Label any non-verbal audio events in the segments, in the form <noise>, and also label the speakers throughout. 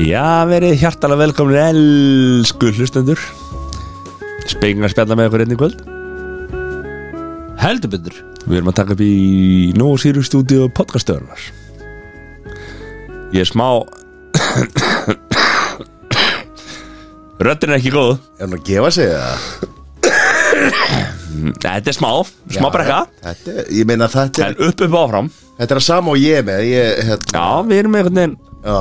Speaker 1: Já, verið hjartalega velkomin elsku hlustendur Spengum að spjalla með ykkur einnig kvöld
Speaker 2: Heldur betur
Speaker 1: Við erum að taka upp í Nóa Sirius stúdíu podcastöðunar Ég er smá Röddin er ekki góð
Speaker 3: Er hann að gefa sig það?
Speaker 1: Nei, Þetta er smá, smá brekka
Speaker 3: Þetta, er- ég meina þetta er,
Speaker 1: En upp upp og áfram
Speaker 3: þetta er að sama og ég með Ég, hérna,
Speaker 1: Já, við erum einhvern veginn
Speaker 3: já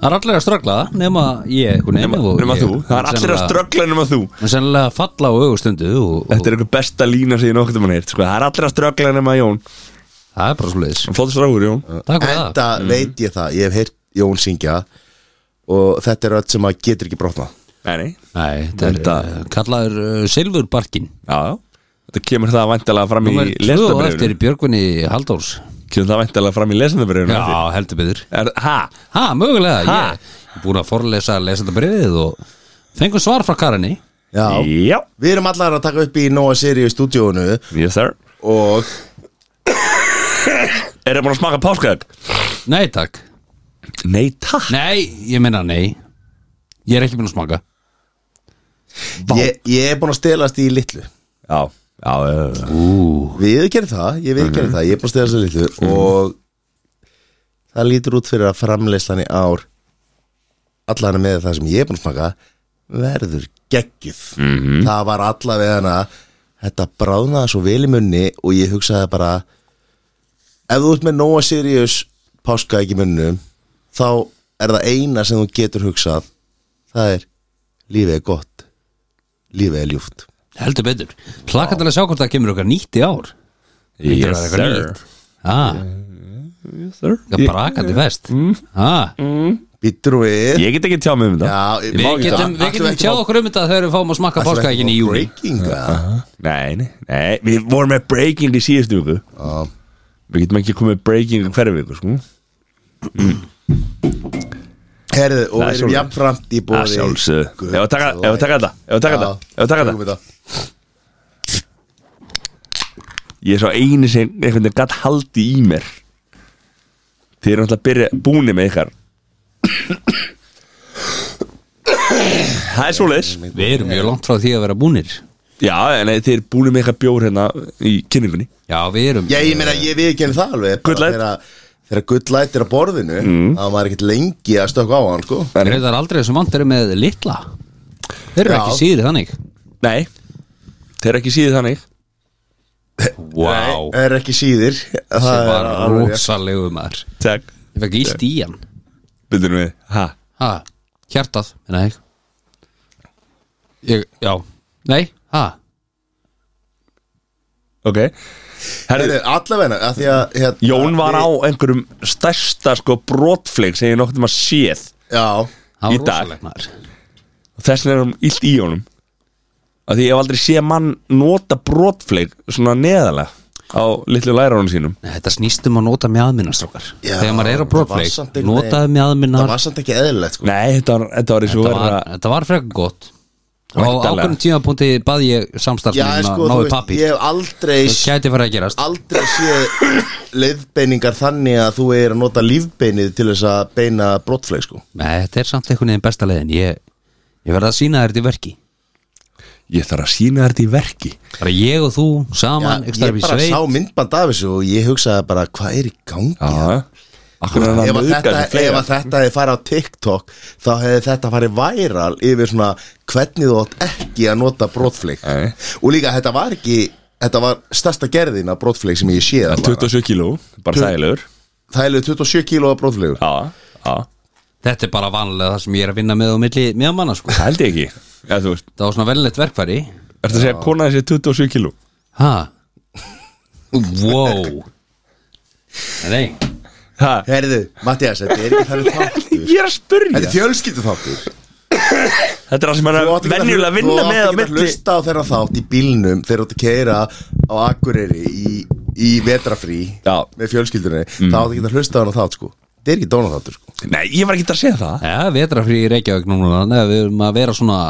Speaker 2: Það er allir að ströggla nema ég
Speaker 1: Nefna, nefna þú, það er allir að ströggla nema þú
Speaker 2: ströggla Sennilega falla á augustundu og, og
Speaker 1: Þetta er einhver besta lína sem ég nokkuð mann heilt sko. Það er allir að ströggla nema Jón
Speaker 2: það er bara svo leiðis
Speaker 1: Flóttur strákur Jón
Speaker 2: Takk fyrir það
Speaker 3: Þetta
Speaker 1: Mm.
Speaker 3: veit ég það, ég hef heyrt Jón syngja Og þetta er öll sem að getur ekki brotna
Speaker 1: Nei, nei,
Speaker 2: Nei, þetta
Speaker 1: Þetta-
Speaker 2: er uh, kallaður uh, Silfurbarkin
Speaker 1: já, já Þetta kemur það væntalega fram í
Speaker 2: Númer 2 og eftir
Speaker 1: lesendabrifinu
Speaker 2: Björgvinni Halldórs
Speaker 1: Kemur það væntalega fram í lesendabrifinu
Speaker 2: Já, heldur betur
Speaker 1: er, Ha?
Speaker 2: Ha, mögulega,
Speaker 1: Ha?
Speaker 2: ég er búin að forlesa lesendabriðið og fengum svar frá Karinni
Speaker 3: Já,
Speaker 1: Já
Speaker 3: við erum allar að taka upp í Nóa Sirius stúdíónu
Speaker 1: Yes sir
Speaker 3: Og
Speaker 1: Er það búin að smaka páskaðeg?
Speaker 2: Nei, takk
Speaker 1: Nei, takk
Speaker 2: Nei, ég meina nei Ég er ekki búin að smaka
Speaker 3: ég, ég er búin að stelast í litlu
Speaker 1: Já, já, já,
Speaker 2: Ú,
Speaker 3: Við gerum það, ég við gerum það Ég er búin að stelast í litlu Og það lítur út fyrir að framleyslan í ár Allar með það sem ég er búin að smaka Verður geggjuð Það var allavega hana Þetta bráðnaði svo vel í munni Og ég hugsaði bara Ef þú ert með Nóa Sirius Páska ekki munnu Þá er það eina sem þú getur hugsað Það er Lífið er gott Lífið er ljúft
Speaker 2: heldur betur Hlakka til að sjá hvort það kemur okkar nýtt í ár Lítur að
Speaker 1: Yes
Speaker 2: vera eitthvað
Speaker 1: sir
Speaker 2: nýtt ah,
Speaker 1: Yes sir
Speaker 2: Það brakandi vest
Speaker 3: Mm.
Speaker 2: ah,
Speaker 3: Býtur við
Speaker 1: Ég get ekki tjá mig um þetta
Speaker 3: Já, ég má
Speaker 2: Við
Speaker 3: ekki það.
Speaker 2: getum, við
Speaker 3: Ætlum
Speaker 2: getum
Speaker 3: ekki
Speaker 2: tjáð okkur um þetta þegar við fáum að
Speaker 3: að-
Speaker 2: smakka
Speaker 3: ætlum ekki
Speaker 2: páskaækin í
Speaker 3: að
Speaker 2: júli
Speaker 3: Breaking eða?
Speaker 1: Nei, nei, nei Við vorum með breaking í síðustu viku
Speaker 3: Já,
Speaker 1: Við getum ekki komið með breaking í hverju viku, sko
Speaker 3: Herðu, og
Speaker 1: Það er
Speaker 3: við erum
Speaker 1: sjálfsögð.
Speaker 3: jafnframt í
Speaker 1: Það
Speaker 3: bóði
Speaker 1: sjálfsögðu Ef við taka ef við taka þetta Ef við taka þetta Ef við taka þetta Ég er svo eini sem einhvern veginn gætt haldi í mér Þið eru náttúrulega byrja, búni með ykkar Það er svoleiðis
Speaker 2: Við erum mjög langt frá því að vera búnir
Speaker 1: Já, en þið eru búni með ykkar bjór hérna í kynningunni
Speaker 2: Já, við erum
Speaker 3: Já, ég meina, ég við ekki það alveg bara
Speaker 1: Good light.
Speaker 3: þegar- Þegar gullætt er á borðinu Það var ekkert lengi að stökka á hann, sko
Speaker 2: Reyðar aldrei sem vantur með litla Þeir eru
Speaker 3: Já.
Speaker 2: ekki síðri þannig
Speaker 1: Nei, þeir eru ekki síðið þannig
Speaker 2: Vá,
Speaker 3: Það er ekki síðir
Speaker 2: það
Speaker 3: Það er
Speaker 2: var
Speaker 3: alveg rétt.
Speaker 2: rosalegu maður
Speaker 1: Takk,
Speaker 2: Ég fekk íst í hann
Speaker 1: byrjum við Ha,
Speaker 2: ha, Hjartað, meina ég Ég, já Nei, ha,
Speaker 1: ok Herðu,
Speaker 3: Herðu, allavegna, að því að hérna,
Speaker 1: Jón var
Speaker 3: við-
Speaker 1: á einhverjum stærsta sko brotfleik sem ég nokkuð maður séð
Speaker 3: Já,
Speaker 2: það
Speaker 1: Í
Speaker 2: var
Speaker 1: dag.
Speaker 2: rosalegu maður
Speaker 1: og þess vegna er hann illt í honum af því ég hef aldrei séð mann nota brotfleik svona neðalega á litlu lærarunum sínum
Speaker 2: Nei, þetta snýst um að nota mjadminnar strókar
Speaker 3: Já,
Speaker 2: Þegar maður
Speaker 3: það var
Speaker 2: er á
Speaker 3: samt
Speaker 2: brotfleik,
Speaker 3: einhvern
Speaker 2: notaðu
Speaker 3: veginn- það
Speaker 2: mjadminnar
Speaker 3: var samt ekki eðlilegt, sko
Speaker 1: Nei, þetta var, þetta var eins og
Speaker 2: Þetta var,
Speaker 1: verða
Speaker 2: þetta var frekar gott Og á
Speaker 1: Væntanlega.
Speaker 2: ákveðnum tímapunkti bað ég
Speaker 3: Já,
Speaker 2: samstarfnum
Speaker 3: en
Speaker 2: að
Speaker 3: sko, þú
Speaker 2: náðu
Speaker 3: veist,
Speaker 2: pappi
Speaker 3: ég hef aldrei
Speaker 2: Það gæti fara að gerast
Speaker 3: aldrei sé leiðbeiningar þannig að þú er að nota lífbeinið til þess að beina brottfleik sko.
Speaker 2: Nei, þetta er samt einhvern veginn besta leiðin Ég, ég verða að sína þér þetta í verki
Speaker 1: Ég þarf að sína þetta í verki
Speaker 2: Bara ég og þú
Speaker 3: Já,
Speaker 2: saman, ekstra
Speaker 3: ég
Speaker 2: upp í
Speaker 3: bara
Speaker 2: sveit
Speaker 3: sá myndband af þessu og ég hugsaði bara hvað er í gangi
Speaker 1: Já, akkur er hann
Speaker 3: ef
Speaker 1: að
Speaker 3: að
Speaker 1: nauðga
Speaker 3: þetta,
Speaker 1: þessu
Speaker 3: ef
Speaker 1: fleira
Speaker 3: að þetta hefði farið á TikTok þá hefði þetta farið væral yfir svona hvernig þú átt ekki að nota brottfleik
Speaker 1: Nei.
Speaker 3: og líka þetta var ekki þetta var stærsta gerðin af brottfleik sem ég séð allavega.
Speaker 1: 27 kíló, bara þægilegur
Speaker 3: það hefði 27 kíló af brottfleikur
Speaker 1: Já, já,
Speaker 2: Þetta er bara vanlega það sem ég er að vinna með á milli mjadmanna sko.
Speaker 1: það held ég ekki Já, þú veist,
Speaker 2: Það var svona velnett verkfæri
Speaker 1: ertu að segja að kona þessi 27 kíló
Speaker 2: Ha Wow Nei,
Speaker 1: Ha,
Speaker 3: herðu, Mattias, þetta er ekki þannig þáttur
Speaker 1: <laughs> ég er að spurja
Speaker 3: þetta er fjölskyldu þáttur
Speaker 1: Þetta er það sem hann
Speaker 3: Þú átt
Speaker 1: er
Speaker 3: ekki að-
Speaker 1: venjulega að vinna með á
Speaker 3: Þú átt ekki að
Speaker 1: milli
Speaker 3: hlusta á þeirra þátt í bílnum Þeir átt að keira á Akureyri Í, í vetrafrí
Speaker 1: Já.
Speaker 3: Með fjölskyldunni mm. Það átt ekki að hlusta á hana þátt sko Þetta er ekki dóna þáttur sko
Speaker 1: Nei, ég var ekki að segja það
Speaker 2: Já, vetrafrí í Reykjavík núna Þannig að við erum að vera svona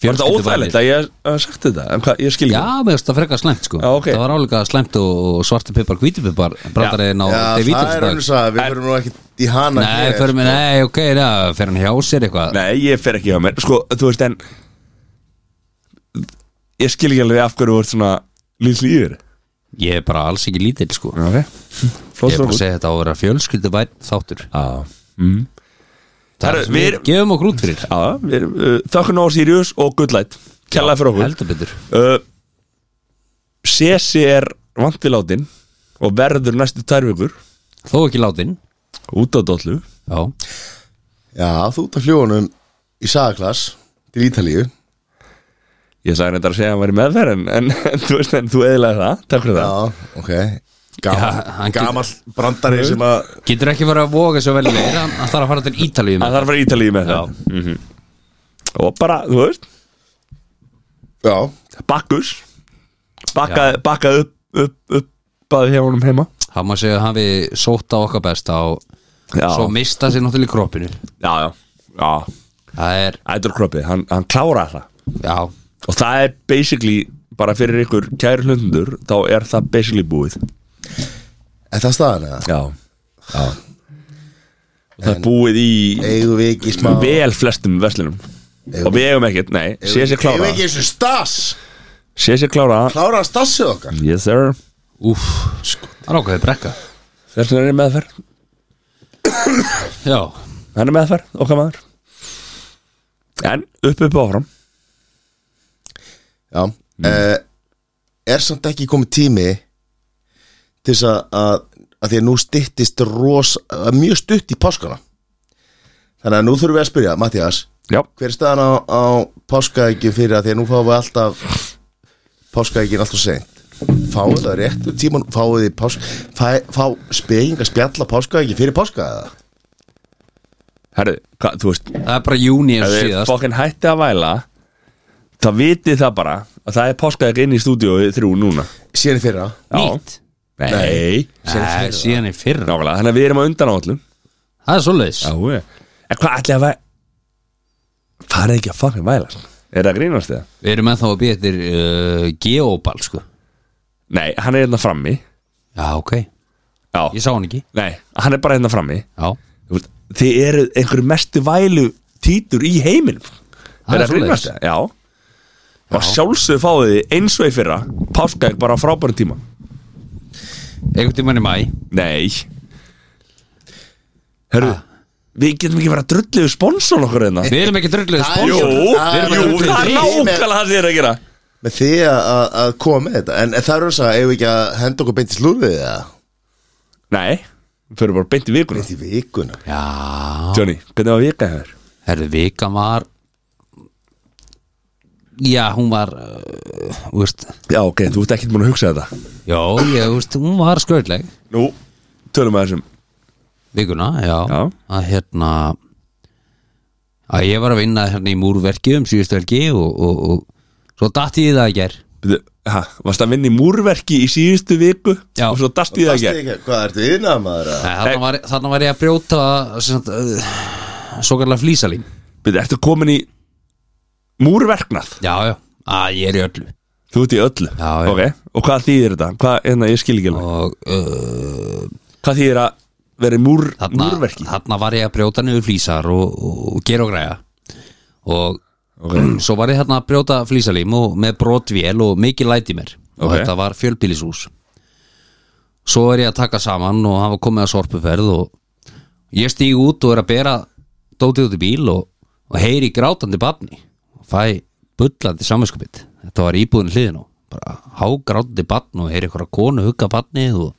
Speaker 1: Var þetta óþægilegt að ég hef sagt þetta? En hvað, ég skil
Speaker 2: Já, mér finnst það frekar slæmt sko
Speaker 1: Já, ok.
Speaker 2: Það var álega slæmt og, og svarti pipar, hvíti pipar Brandarinn á
Speaker 3: Já,
Speaker 2: David
Speaker 3: það er önnur saga, við fyrir nú ekki í hana
Speaker 2: Nei,
Speaker 3: hér,
Speaker 2: fyrir mig,
Speaker 3: sko.
Speaker 2: nei, ok, já, fyrir hann hjá sér eitthvað
Speaker 1: Nei, ég fer ekki hjá mér Sko, þú veist, en Ég skil ekki alveg af hverju þú ert svona Lýsli yfir
Speaker 2: Ég er bara alls ekki lítill sko
Speaker 1: Ok,
Speaker 2: Ég
Speaker 1: flott
Speaker 2: er bara að
Speaker 1: strókur
Speaker 2: segja þetta á að vera fjölskylduvæn þáttur
Speaker 1: Já, mm.
Speaker 2: Það
Speaker 1: Herru,
Speaker 2: er sem við
Speaker 1: við-
Speaker 2: gefum okkur út fyrir
Speaker 1: Já, við erum, uh, þökkun á Sirius og Gullætt Kjallaði fyrir okkur
Speaker 2: Heldur betur
Speaker 1: uh, Sesi er vantvilátin og verður næstu tærvíkur
Speaker 2: Þó ekki látin
Speaker 1: út á dollu
Speaker 2: Já,
Speaker 3: Já, þú ert að fljóðanum í sagaklass til Ítalíu
Speaker 1: Ég sagði þetta að segja að hann væri meðferð en, <laughs> en, en þú veist, en þú eðlaði það Takk fyrir það
Speaker 3: Já, ok
Speaker 2: Já,
Speaker 3: Gamal,
Speaker 2: hann getur-
Speaker 3: gamal brandari sem að
Speaker 2: getur ekki verið að voga svo vel við Hann hann þarf að fara til Ítalíu
Speaker 1: Það
Speaker 2: með
Speaker 1: þarf að fara ítalíu með það mm
Speaker 2: Mhm.
Speaker 1: Og bara, þú veist,
Speaker 3: Já,
Speaker 1: bakkus Bakkaði bakka upp, upp, upp að hjá honum heima
Speaker 2: Það má segja að hafi sótt á okkar besta og
Speaker 1: Já,
Speaker 2: svo mista sér náttúrulega í kroppinu
Speaker 1: já, já, já
Speaker 2: Það er,
Speaker 1: Ædurkroppið, hann, hann kláraði það
Speaker 2: já,
Speaker 1: Og það er basically, bara fyrir ykkur kæri hlundur, þá er það basically búið
Speaker 3: er það staðan eða?
Speaker 1: Já, já. Og það er búið í
Speaker 3: Eigum við ekki smá
Speaker 1: vel flestum verslunum Og við eigum ekkert, nei, sé sér
Speaker 3: Eigum
Speaker 1: klára
Speaker 3: við ekki þessu stass
Speaker 1: Sé sér klára
Speaker 3: Klára stassið okkar
Speaker 1: Yes sir
Speaker 2: úf sko, Það er ákveðið brekka
Speaker 1: Þess vegna er ég meðferð
Speaker 2: Já,
Speaker 1: Hann er meðferð, okkar maður En upp upp og áfram
Speaker 3: Já eh, Er samt ekki komið tími til þess að, að, að því að nú styttist ros, að mjög stutt í páskana Þannig að nú þurfum við að spyrja, Mattias
Speaker 1: Já,
Speaker 3: Hver er staðan á, á páskaækjum fyrir að því að nú fáum við alltaf páskaækjum alltaf seint Fáum við það réttu tíman, fáum við pásk, fæ, fá speging að spjalla páskaækjum fyrir páska eða?
Speaker 1: herru, hvað, þú veist
Speaker 2: það er bara
Speaker 1: Ef
Speaker 2: júni eins og
Speaker 1: við
Speaker 2: síðast
Speaker 1: fokkin hætti að væla Það vitið það bara að það er páskaðið inn í stúdíói þrjú núna
Speaker 3: Síðan í fyrra
Speaker 1: Já.
Speaker 2: Nýtt
Speaker 1: Nei,
Speaker 2: Nei, síðan í fyrra
Speaker 1: Nákvæmlega, þannig að við erum að undan á allum
Speaker 2: Það er svoleiðis
Speaker 1: Já, ég En hvað ætli að væ... Farið ekki að fucking væla sko? Er það að grínast það?
Speaker 2: Við erum ennþá að býja eftir uh, Geobal sko
Speaker 1: Nei, hann er hérna frammi
Speaker 2: Já, ok Ég
Speaker 1: Já,
Speaker 2: sá hann ekki
Speaker 1: nei, hann er bara hérna frammi
Speaker 2: Já,
Speaker 1: Þú veist, Þið eru einhverju mestu vælu títur í heiminum Er
Speaker 2: Það er
Speaker 1: það að grínast það? Já Og sjálfsögðu fáið þið eins og í fyrra Páskaðið bara á frábærum tíma
Speaker 2: einhvern tímann í mæ
Speaker 1: Nei Hörru, við getum ekki verið að drulliðu sponsor okkur hérna
Speaker 2: Við erum ekki drullið
Speaker 3: Það er-
Speaker 1: Jú,
Speaker 2: sponsor
Speaker 1: jú,
Speaker 3: Ah,
Speaker 1: það
Speaker 3: jú,
Speaker 1: er
Speaker 3: jú.
Speaker 1: nákvæmlega það þið er að gera
Speaker 3: Með því að, að, að koma með þetta En, en það eru þess að eigum við ekki að henda okkur beint í slúrið eða?
Speaker 1: Nei, við fyrir bara beint í vikuna
Speaker 3: Beint í vikuna
Speaker 2: Já,
Speaker 1: Johnny, hvernig var vika hefur?
Speaker 2: herðu vikan var Já, hún var uh, Úrst
Speaker 1: Já, ok, þú ert ekkert múin að hugsa þetta
Speaker 2: Já, ég, úrst, hún var skrautleg
Speaker 1: Nú, tölum að þessum
Speaker 2: Vikuna, já,
Speaker 1: Já.
Speaker 2: Að hérna Að ég var að vinna hérna í múrverki um síðustu helgi og, og, og svo datt ég í það að ger
Speaker 1: Bíddu, Ha, varst að vinna í múrverki í síðustu viku
Speaker 2: Já.
Speaker 1: og svo dast í það
Speaker 3: Fast
Speaker 1: ekki
Speaker 3: ekki, hvað ertu yfirnað maður að?
Speaker 2: Þannig var, þarna var ég að brjóta sem sagt, uh, svo kallar flísalín
Speaker 1: Bíddu, Ertu komin í múrverknað?
Speaker 2: Já, já, að ég er í öllu
Speaker 1: Þú ert í öllu
Speaker 2: Já, já.
Speaker 1: Ok, og hvað þýðir þetta? Hvað, hérna, ég skil ekki alveg
Speaker 2: og uh,
Speaker 1: Hvað þýðir að vera í múr,
Speaker 2: þarna,
Speaker 1: múrverki?
Speaker 2: þarna var ég að brjóta niður flísar og, og, og gera og græja og <clears throat> svo var ég þarna að brjóta flísalím og með brotvél og mikið læti mér og
Speaker 1: Ok.
Speaker 2: þetta var fjölbýlishús svo er ég að taka saman og hann var komið að sorpuferð og ég stíg út og er að bera dótið út í bíl og, og heyri grátandi barni og fæ bullandi samanskupið þetta var íbúðin hliðin og bara hágrátandi barn og heyri eitthvað konu hugga barnið og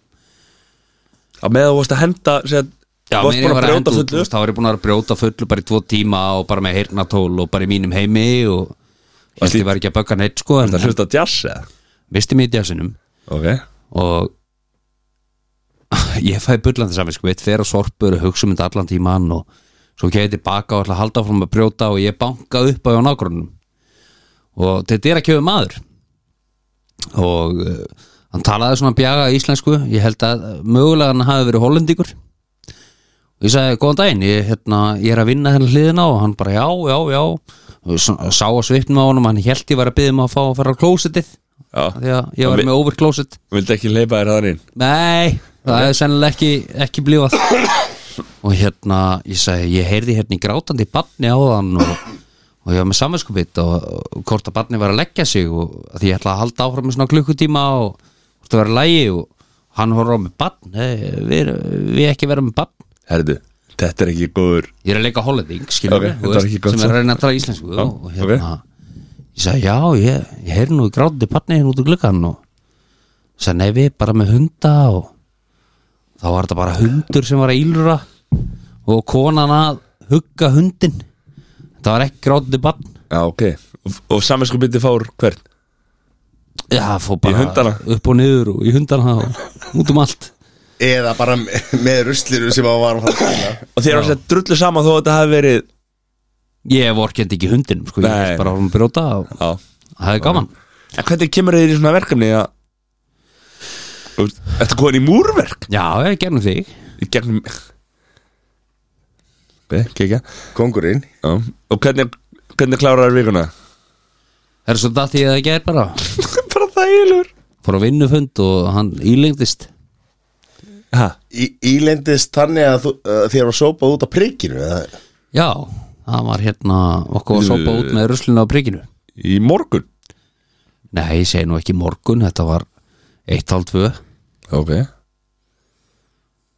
Speaker 1: Að með þú varst að henda sér,
Speaker 2: Já,
Speaker 1: varst
Speaker 2: meðan ég
Speaker 1: bara
Speaker 2: var
Speaker 1: að
Speaker 2: að
Speaker 1: brjóta
Speaker 2: henda út, þú
Speaker 1: fullu
Speaker 2: veist, þá var ég búin að vera að brjóta fullu bara í tvo tíma og bara með heyrnatól og bara í mínum heimi og held ég var ekki að bögga neitt sko en
Speaker 1: Það hlusta jazz eða?
Speaker 2: misti mig í djásinum
Speaker 1: Ok
Speaker 2: og <laughs> ég fæ bullandi saman sko, veit, fer á sorpur og hugsa um þetta allan tíman og svo kemur ég tilbaka og ætla að halda fram að brjóta og ég banka upp á hjá nágrunum og þetta er að kjöfu maður og uh, hann talaði svona bjaga íslensku ég held að mögulega hann hafi verið hollendingur og hérna ég sagði góðan daginn ég, hérna, ég er að vinna hennar hliðina og hann bara já, já, já s- sá að svipnum á honum hann held ég var að byggja mig að fá að fara á klósitið af
Speaker 1: Já,
Speaker 2: því að ég var
Speaker 1: Vi-
Speaker 2: með over closet
Speaker 1: vildi ekki leipa þér þar inn
Speaker 2: nei, það er sennilega ekki, ekki blífað og hérna ég segi, ég heyrði hérna í grátandi barni á þann og, og ég var með samvinskupið og, og hvort að barni var að leggja sig og af því ég ætla að halda áfram með svona klukkutíma og hvort það var að lægi og hann horfður á með barn hey, við, við ekki vera með barn
Speaker 1: Herðu, þetta er ekki góður
Speaker 2: ég er að leika hollending,
Speaker 1: Ok,
Speaker 2: skilur okay,
Speaker 1: þetta
Speaker 2: við
Speaker 1: var
Speaker 2: veist,
Speaker 1: ekki gott
Speaker 2: sem er að
Speaker 1: samt.
Speaker 2: reyna að tala íslensku
Speaker 1: Já,
Speaker 2: og hérna ég sagði, já, ég, ég heyri nú í gráti panniðin út úr gluggan og sagði, nei, við bara með hunda og þá var þetta bara hundur sem var að ílura og konan að hugga hundin þetta var ekki gráti pann
Speaker 1: Já, ok Og, og saminsku bytti fár hvern
Speaker 2: já, það fór
Speaker 1: Í hundana.
Speaker 2: bara upp og niður og í hundana og út um allt
Speaker 3: Eða bara me- með rusliru sem að var að fara að spila
Speaker 1: Og þér var sér drullu saman þó að þetta hafi verið
Speaker 2: ég vorkendi ekki hundin, sko, ég
Speaker 1: Nei.
Speaker 2: held bara að hún brjóta og
Speaker 1: Já
Speaker 2: það er gaman
Speaker 1: En hvernig kemur þér í svona verkefni að Þú veist, Ertu komin í múrverk?
Speaker 2: já, ég gerðum þig
Speaker 1: Í gegnum Ok, kekja
Speaker 3: Kongurinn
Speaker 1: Já Og hvernig, hvernig klárar vikuna?
Speaker 2: Það er svo datt ég að það gerð bara
Speaker 1: Bara þægilegur
Speaker 2: fór á vinnufund og hann ílengdist
Speaker 1: Ha,
Speaker 3: Í- Ílendist þannig að þú, uh, þér var sópað út á prikinu eða?
Speaker 2: já, það var hérna okkur var sopa út með ruslinu á prikinu
Speaker 1: í morgun
Speaker 2: nei, ég segi nú ekki morgun, þetta var 1.30
Speaker 1: Ok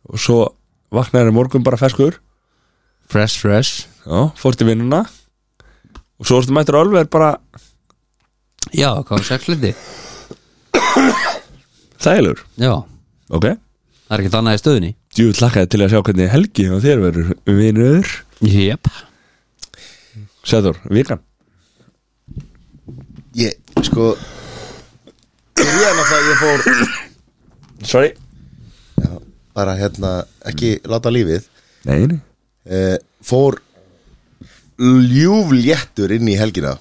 Speaker 1: Og svo vaknaði í morgun bara feskur
Speaker 2: fresh fresh
Speaker 1: Já, fórst í vinnuna Og svo erstu mættur alveg bara
Speaker 2: já, hvað var sexlindi
Speaker 1: þægilegur
Speaker 2: já,
Speaker 1: Ok
Speaker 2: það er ekki þannig í stöðunni
Speaker 1: Jú, hlakkaði til að sjá hvernig helgi og þér verður vinnur
Speaker 2: jep,
Speaker 1: Sæður, vikan
Speaker 3: Ég, sko Byrjaði náttúrulega að ég fór
Speaker 1: Sorry
Speaker 3: já, Bara hérna, ekki láta lífið
Speaker 1: Nei, nei
Speaker 3: uh, Fór ljúfléttur inn í helgina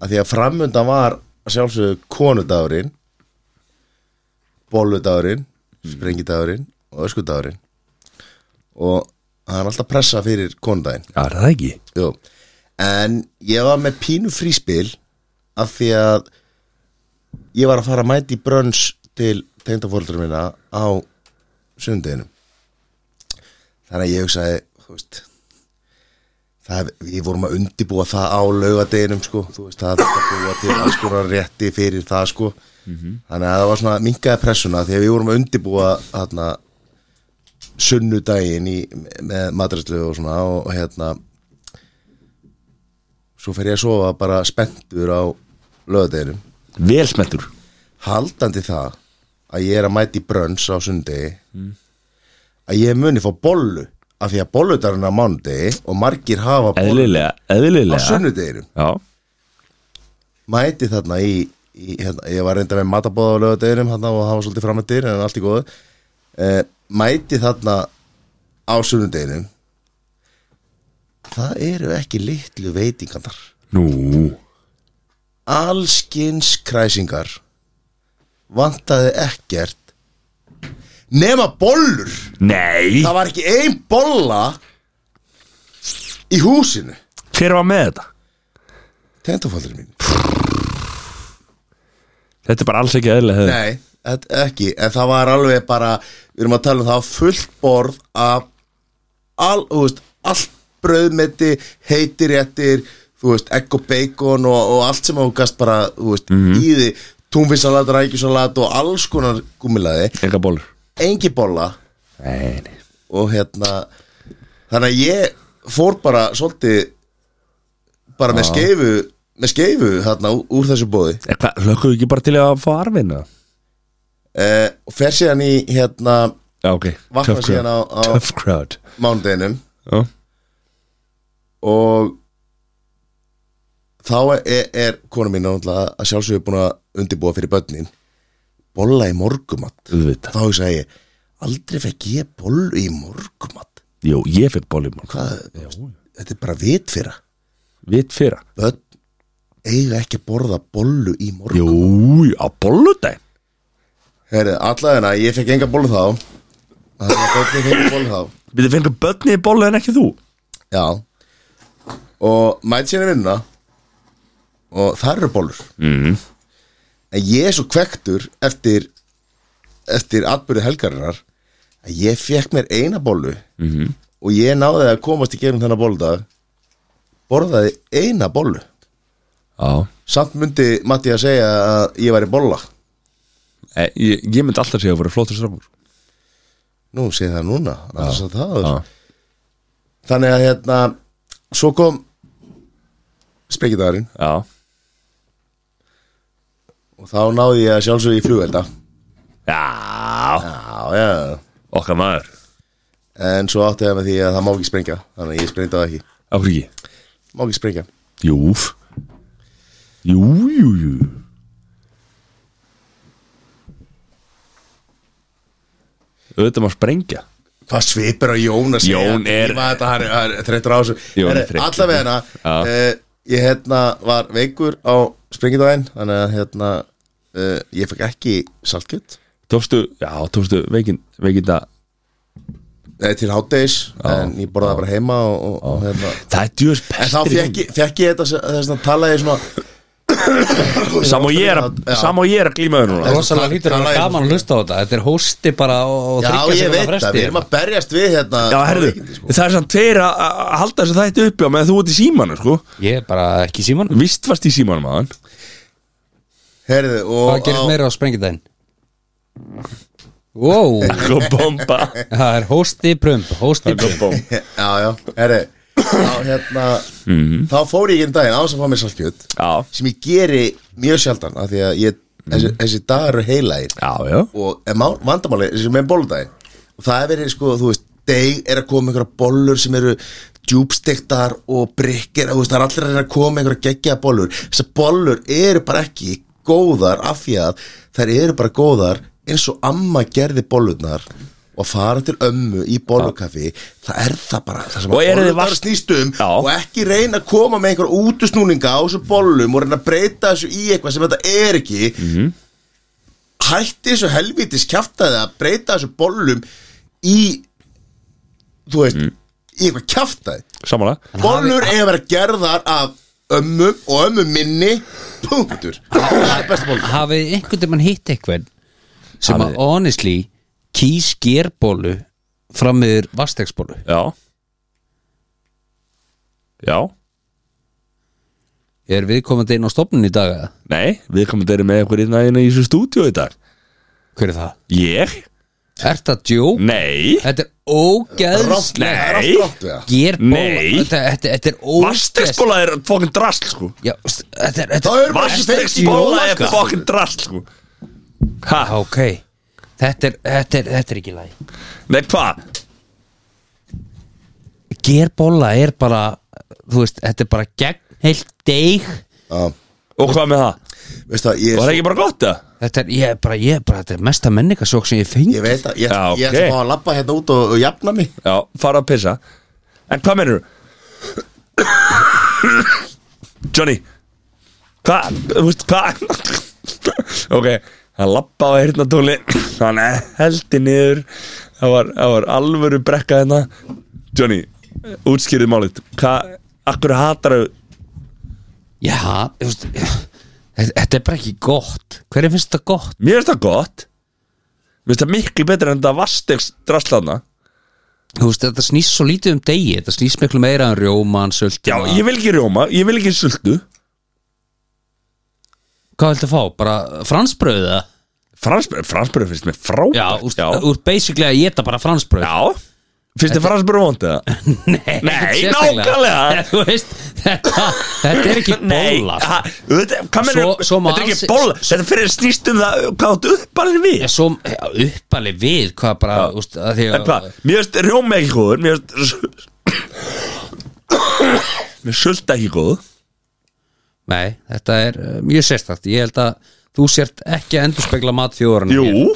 Speaker 3: að Því að framöndan var að sjálfsögðu konudagurinn Bolludagurinn Sprengidagurinn og öskudagurinn Og það er alltaf pressa fyrir konudaginn
Speaker 1: Já, er það ekki?
Speaker 3: Jú. En ég var með pínu fríspil af því að ég var að fara að mæti brönns til tengdafóldra minna á sundinu þannig að ég hugsaði þú veist það, við vorum að undibúa það á laugadeginum sko, þú veist, það þurfti að búa til alls konar rétti fyrir það sko þannig að það var svona minkaði pressuna því að við vorum að undibúa þarna sunnudaginn í, með matræslu og svona og, og hérna svo fer ég að sofa bara spenntur á lögadeginum
Speaker 1: Vel smettur
Speaker 3: haldandi það að ég er að mæti brönns á sundegi að ég muni fá bollu af því að bolludarinn á mánudegi og margir hafa bollu
Speaker 1: Eðlilega,
Speaker 3: á
Speaker 1: eðlilega
Speaker 3: sunnudeginum
Speaker 1: Já,
Speaker 3: mæti þarna í, í hérna, ég var reynda með matabóða á lögadeginum þarna, og það var svolítið framöndir en allt í góðu eh, mæti þarna á sunnudeginum það eru ekki litlu veitingarnar
Speaker 1: nú
Speaker 3: allskins kræsingar vantaði ekkert nema bollur
Speaker 1: Nei
Speaker 3: það var ekki ein bolla í húsinu
Speaker 1: Hver var með þetta?
Speaker 3: tengdafóldur mín
Speaker 1: Þetta er bara alls ekki eðlilega hefði
Speaker 3: nei, þetta ekki en það var alveg bara, við erum að tala um það var fullt borð af all, þú veist, allt brauðmeti heitiréttir, þú veist egg og bacon og, og allt sem ágast bara, þú veist, í því túnfisalat, rækjusalat og alls konar gúmilaði
Speaker 1: Enga bólur
Speaker 3: engi bolla
Speaker 1: Nei, nei
Speaker 3: og hérna þannig að ég fór bara svolítið bara með skeifu með skeifu hérna úr, úr þessu bóði
Speaker 1: En Eh, hvað, lökkuðu ekki bara til að fá arfin eða?
Speaker 3: eh, og fer síðan í hérna
Speaker 1: Já, ok
Speaker 3: Vakna
Speaker 1: Tough
Speaker 3: síðan
Speaker 1: crowd.
Speaker 3: á- á-
Speaker 1: Tough crowd
Speaker 3: mánudeginum
Speaker 1: Já,
Speaker 3: og þá er, er konu mín náttúrulega að sjálfsögur búin að undirbúa fyrir börnin bolla í morgumat
Speaker 1: auðvitað
Speaker 3: þá hugsaði ég aldrei fekk ég bollu í morgumat
Speaker 1: Jú, ég fekk bóli í morgun
Speaker 3: hvað, þetta er bara vit fyrir
Speaker 1: Vitt fyrra
Speaker 3: börn eiga ekki að borða bollu í morgun
Speaker 1: Jú, á bóludaginn
Speaker 3: Herri, allavegna, ég fekk enga bólu þá Þannig að börni fengi bólu þá
Speaker 1: Við þið fengur börni í bólu en ekki þú
Speaker 3: Já og mæti sér að vinna og þar eru bólur
Speaker 1: mm.
Speaker 3: en ég er svo kvektur eftir eftir atbyrði helgarinnar að ég fekk mér eina bólu -hmm. og ég náði að komast í gegnum þennan bóludag borðaði eina bólu
Speaker 1: Já
Speaker 3: samt myndi Matti að segja að ég væri bóla
Speaker 1: Eh, Ég, ég myndi alltaf segja að vera flottur strákur
Speaker 3: nú segi það núna annars að það áður.
Speaker 1: Já.
Speaker 3: þannig að hérna svo kom sprengidagarinn
Speaker 1: Já,
Speaker 3: og þá náði ég að sjálfsög í flugvelda
Speaker 1: já,
Speaker 3: já, já
Speaker 1: okkar maður
Speaker 3: en svo átti það með því að það má ekki sprengja þannig að ég sprengdi það ekki
Speaker 1: Af hverju ekki?
Speaker 3: má ekki sprengja
Speaker 1: Júf Jú, jú, jú Auðvitað maður sprengja
Speaker 3: Hvað svipur á Jón að segja?
Speaker 1: Jón er-
Speaker 3: Ég maður þetta, hann er- hann er þreyttur á þessu
Speaker 1: Jón er
Speaker 3: Herri,
Speaker 1: þreyttur.
Speaker 3: Allavega
Speaker 1: Já.
Speaker 3: hana Ég hérna var veikur á springidaginn Þannig að hérna eh, Ég fekk ekki saltkjöt
Speaker 1: Tókstu, já, tókstu veikin, veikinda
Speaker 3: Nei, eh, til hátdeis En ég borðaði bara heima og, og, og hérna
Speaker 1: Það er djúðis
Speaker 3: En þá
Speaker 1: pestir
Speaker 3: fekk ég, fekk ég þetta Þess að tala ég svona
Speaker 1: Sam og ég er að,
Speaker 3: Já.
Speaker 1: sam og ég er að glíma þér núna
Speaker 2: Rosalega hlýtur að vera gaman að hlusta á þetta Þetta er hósti bara og og
Speaker 3: Já,
Speaker 2: þriggja
Speaker 3: ég
Speaker 2: sekúndna
Speaker 3: veit það,
Speaker 2: fresti.
Speaker 3: við erum að berjast við hérna
Speaker 1: Já, herðu, það sko. er samt tveir að að halda þessu þætti uppi á meðan þú ert í símanu, sko
Speaker 2: Ég er bara ekki í símanum
Speaker 1: Vist varst í símanum aðan
Speaker 3: Herðu,
Speaker 2: Hvað
Speaker 3: og
Speaker 2: gerist
Speaker 3: á-
Speaker 2: meira á sprengindaginn? Wow, <laughs>
Speaker 1: Sko bomba
Speaker 2: það er hósti prump Hósti
Speaker 1: Sko
Speaker 2: prump
Speaker 1: bomba
Speaker 3: Já, já, herri Þá hérna
Speaker 2: Mhm.
Speaker 3: Þá fór ég ekki daginn á þess að fá mér saltkjöt
Speaker 1: Já,
Speaker 3: sem ég geri mjög sjaldan af því að ég, þessi,
Speaker 2: Mhm.
Speaker 3: þessi dagar eru heilægir
Speaker 1: já, já
Speaker 3: og en mál- vandamáli þessi með bóludaginn og það er verið sko, þú veist, deg er að koma einhverja bollur sem eru djúbstektar og brikkir, þú veist, það er allir að reyna að koma einhverja geggjaða bollur þessar bollur eru bara ekki góðar af því að þær eru bara góðar eins og amma gerði bollurnar og að fara til ömmu í bollukaffi það er það bara, það sem
Speaker 1: Og
Speaker 3: að
Speaker 1: eru þið
Speaker 3: bollurnar
Speaker 1: vast-
Speaker 3: snýst um
Speaker 1: Já.
Speaker 3: og ekki reyna að koma með einhver útusnúninga á þessu bollum og reyna að breyta þessu í eitthvað sem þetta er ekki hætti þessu helvitis kjaftaði að breyta þessu bollum í þú veist, í eitthvað kjaftaði
Speaker 1: Samanlega
Speaker 3: bollur eiga að vera gerðar af ömmum og ömmum minni punktur það er besta bollur
Speaker 2: Hafið einhvern tímann hitt eitthvað sem
Speaker 1: Hafið-
Speaker 2: að honestly kýs gerbólu fram meður vastegsbólu
Speaker 1: Já Já,
Speaker 2: Er viðkomandi inn á stofnun í dag? eða?
Speaker 1: nei, við komum þeirri með eitthvað hérna hérna í þessu stúdíu í dag
Speaker 2: Hver er það?
Speaker 1: Ég?
Speaker 2: Er það djók?
Speaker 1: Nei
Speaker 2: Þetta er
Speaker 3: Rangt-
Speaker 2: ógeðslega
Speaker 1: Nei.
Speaker 3: rangt rátt við það.
Speaker 2: Gerbóla
Speaker 1: Nei.
Speaker 2: þetta, þetta, þetta er ógeðslega
Speaker 1: Vastegsbóla er fokkin drasl sko
Speaker 2: Já, st- þetta er, þetta
Speaker 3: þá
Speaker 2: er
Speaker 3: erum við ekki fengt í
Speaker 1: Vastegsbóla er
Speaker 3: jólaskap.
Speaker 1: fokkin drasl sko Ha,
Speaker 2: Ok Þetta er, þetta er, þetta er ekki læg
Speaker 1: nei hvað?
Speaker 2: Gerbóla er bara Þú veist, þetta er bara gegn heilt deig
Speaker 3: Já,
Speaker 1: Og hvað með það?
Speaker 3: veist það, ég,
Speaker 1: Var það
Speaker 3: er svo-
Speaker 1: ekki bara gott það?
Speaker 2: Þetta er, ég er bara, ég er bara Þetta er mesta menningasjók sem ég fengi
Speaker 3: ég veit að ég,
Speaker 1: Já,
Speaker 3: ég
Speaker 1: ok.
Speaker 3: ætla að fá að labba hérna út og, og jafna mig
Speaker 1: Já, fara að pissa En hvað meinur Johnny Hvað, þú veist, hvað Ok, það lappa á heyrnatóli Hann heldi niður Það var, það var alvöru brekka hérna Johnny, útskýrið málið Hvað, akkur hatar
Speaker 2: Já, þú veist Þetta þetta er bara ekki gott Hverju finnst þetta gott?
Speaker 1: Mér finnst það gott Mér finnst það miklu betur en það vastegs drastlana
Speaker 2: Þú veist, þetta snýst svo lítið um degi Þetta snýst miklu meira um en rjóman,
Speaker 1: Já,
Speaker 2: söltina
Speaker 1: ég vil ekki rjóma, ég vil ekki sultu
Speaker 2: Hvað viltu fá? Bara fransbröða?
Speaker 1: Fransbröð, fransbröð finnst mér frábært
Speaker 2: Já, úst, úr basically að geta bara fransbröð <laughs>
Speaker 1: Já Finnst þið fransbjörn vond eða?
Speaker 2: Nei,
Speaker 1: Nei,
Speaker 2: sérstaklega.
Speaker 1: nákvæmlega.
Speaker 2: <laughs> Þú veist, þetta, þetta er
Speaker 1: <laughs>
Speaker 2: ekki bóla sko.
Speaker 1: ha, auðvitað- hvað meður,
Speaker 2: Svo- svo má
Speaker 1: þetta er
Speaker 2: alls-
Speaker 1: ekki bóla Þetta fyrir snýst um það, hvað áttu uppalinn við
Speaker 2: Ég Svo já, uppalið við hvað bara,
Speaker 1: Já.
Speaker 2: úst, að því
Speaker 1: En hvað,
Speaker 2: að
Speaker 1: mér finnst rjóma ekki góður Mér finnst <coughs> Mér sulta ekki góð
Speaker 2: Nei, þetta er uh, mjög sérstakt Ég held að þú sért ekki að endurspegla mat þjóðurinn
Speaker 1: Jú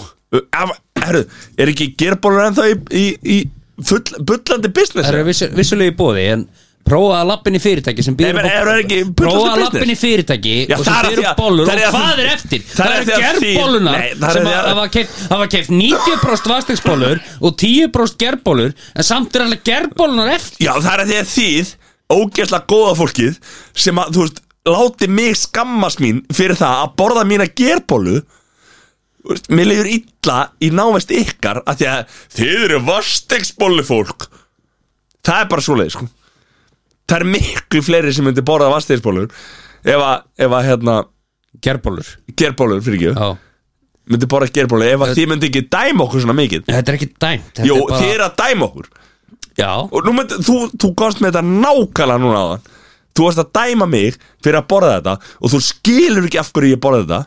Speaker 1: af, herru, Er ekki gerbólur ennþá í, í, í full, bullandi business
Speaker 2: Það eru vissu, vissulega í bóði en prófa að lappin í fyrirtæki sem býður
Speaker 1: Nei,
Speaker 2: upp
Speaker 1: menn,
Speaker 2: á-
Speaker 1: eru það ekki bullandi
Speaker 2: Prófa að
Speaker 1: business?
Speaker 2: lappin í fyrirtæki
Speaker 1: Já,
Speaker 2: og
Speaker 1: það er
Speaker 2: sem
Speaker 1: að því
Speaker 2: býður
Speaker 1: að-
Speaker 2: upp bollur
Speaker 1: það er
Speaker 2: og
Speaker 1: að því-
Speaker 2: hvað er eftir?
Speaker 1: það er
Speaker 2: Það
Speaker 1: að því
Speaker 2: eru
Speaker 1: að því-
Speaker 2: gerðbólunar
Speaker 1: Nei, það er
Speaker 2: sem
Speaker 1: að því
Speaker 2: að-
Speaker 1: að-
Speaker 2: hafa keift, hafa keift 90% vastegsbólur og 10% gerðbólur en samt er alveg gerðbólunar eftir
Speaker 1: Já, það er að því að þið ógeðslega góða fólkið sem að, þú veist, láti mig skammast mín fyrir það að borða mína gerbólu Þú veist, mér leiður illa í návist ykkar að því að þið eru vastegsbólu fólk það er bara svoleið sko. það er miklu fleiri sem myndi borða vastegsbólur ef að, ef að hérna,
Speaker 2: Gerbólur
Speaker 1: gerbólur fyrir ekki
Speaker 2: Já
Speaker 1: myndi borða gerbólu ef að þið myndi ekki dæma okkur svona mikið
Speaker 2: Þetta er ekki dæmt þetta
Speaker 1: Jú,
Speaker 2: er bara-
Speaker 1: þið eru að dæma okkur
Speaker 2: Já,
Speaker 1: og nú myndi, þú, þú komst með þetta nákvæmlega núna áðan þú varst að dæma mig fyrir að borða þetta og þú skilur ekki af hverju ég borða þetta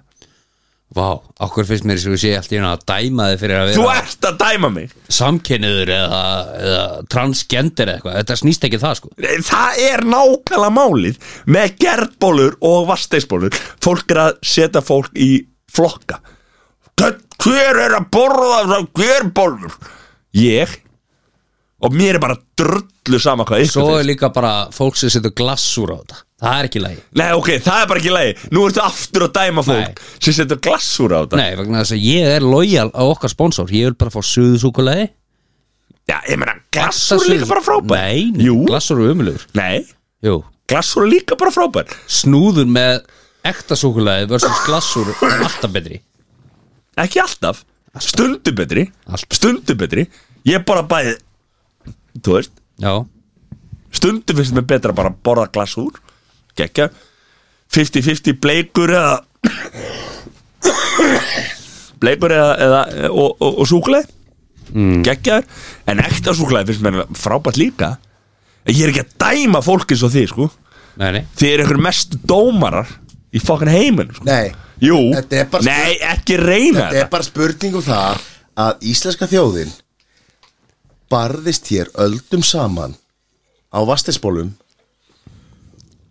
Speaker 2: vá, okkur finnst mér sem ég sé allt í hérna að dæma þið fyrir að
Speaker 1: þú
Speaker 2: vera
Speaker 1: ert að dæma mig
Speaker 2: samkynniður eða, eða transgender eða eitthvað, þetta snýst ekki það sko
Speaker 1: Nei, það er nákvæmlega málið með gerðbólur og vasteisbólur fólk er að setja fólk í flokka Hvern- hver er að borða gerðbólur ég og mér er bara drullu sama hvað ykkur
Speaker 2: Svo
Speaker 1: finnst.
Speaker 2: er líka bara fólk sem setur glassúr á þetta Það er ekki lægi
Speaker 1: Nei, ok, það er bara ekki leiði Nú ertu aftur að dæma fólk sem setur glassúr á þetta
Speaker 2: Nei, vegna þess að ég er lojal á okkar sponsor Ég vil bara fá suðusúkulegi
Speaker 1: Já, ég meina, glassúr er líka bara frábær
Speaker 2: Nei, nei,
Speaker 1: Jú,
Speaker 2: glassúr er umulugur
Speaker 1: nei,
Speaker 2: Jú,
Speaker 1: glassúr er líka bara frábær
Speaker 2: snúður með ekta súkulegi versus glassúr er alltaf betri
Speaker 1: Ekki alltaf, stundu betri
Speaker 2: Alltaf.
Speaker 1: Stundu betri Ég bara bæði, þú veist
Speaker 2: Já,
Speaker 1: Stundu finnst mér betra bara að borða glassúr Gekja 50-50 bleikur eða Bleikur eða, eða og, og, og súkuleg mm. En ekta súkuleg finnst mér frábært líka En Ég er ekki að dæma fólk eins og þið, sko
Speaker 2: nei, nei
Speaker 1: Þið eru ykkur mestu dómarar í fokkan heiminn sko.
Speaker 3: Nei,
Speaker 1: Jú,
Speaker 3: Þetta er bara- sko-
Speaker 1: nei, ekki reyna
Speaker 3: þetta
Speaker 1: þetta
Speaker 3: er bara spurning um það að íslenska þjóðin barðist hér öldum saman á vastisbólum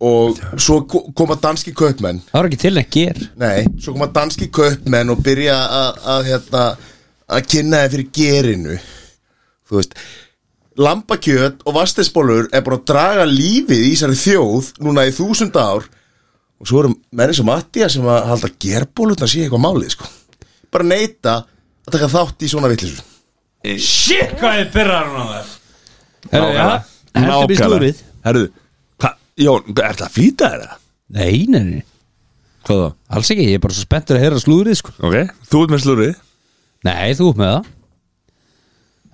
Speaker 3: og svo ko- koma danski kaupmenn
Speaker 2: Það var ekki til að ger
Speaker 3: Nei, svo koma danski kaupmenn og byrja að- að hérna, að kynna þeim fyrir gerinu Þú veist Lambakjöt og vastisbólur er bara að draga lífið í þessari þjóð núna í þúsund ár og svo eru menni sem Mattia sem að halda gerbólutna sé eitthvað málið sko bara neita að taka þátt í svona vitlisum
Speaker 4: Shit, hvað þið byrjar hún á þér
Speaker 2: Nákvæmlega Heldur við slúrið
Speaker 1: Herðu, hva, Jón, er það að flýta þér það?
Speaker 2: Nei, nei, nei
Speaker 1: Hvað þá?
Speaker 2: Alls ekki, ég er bara svo spenntur að heyra slúðrið sko
Speaker 1: Ok, þú ert með slúrið
Speaker 2: Nei, þú upp með það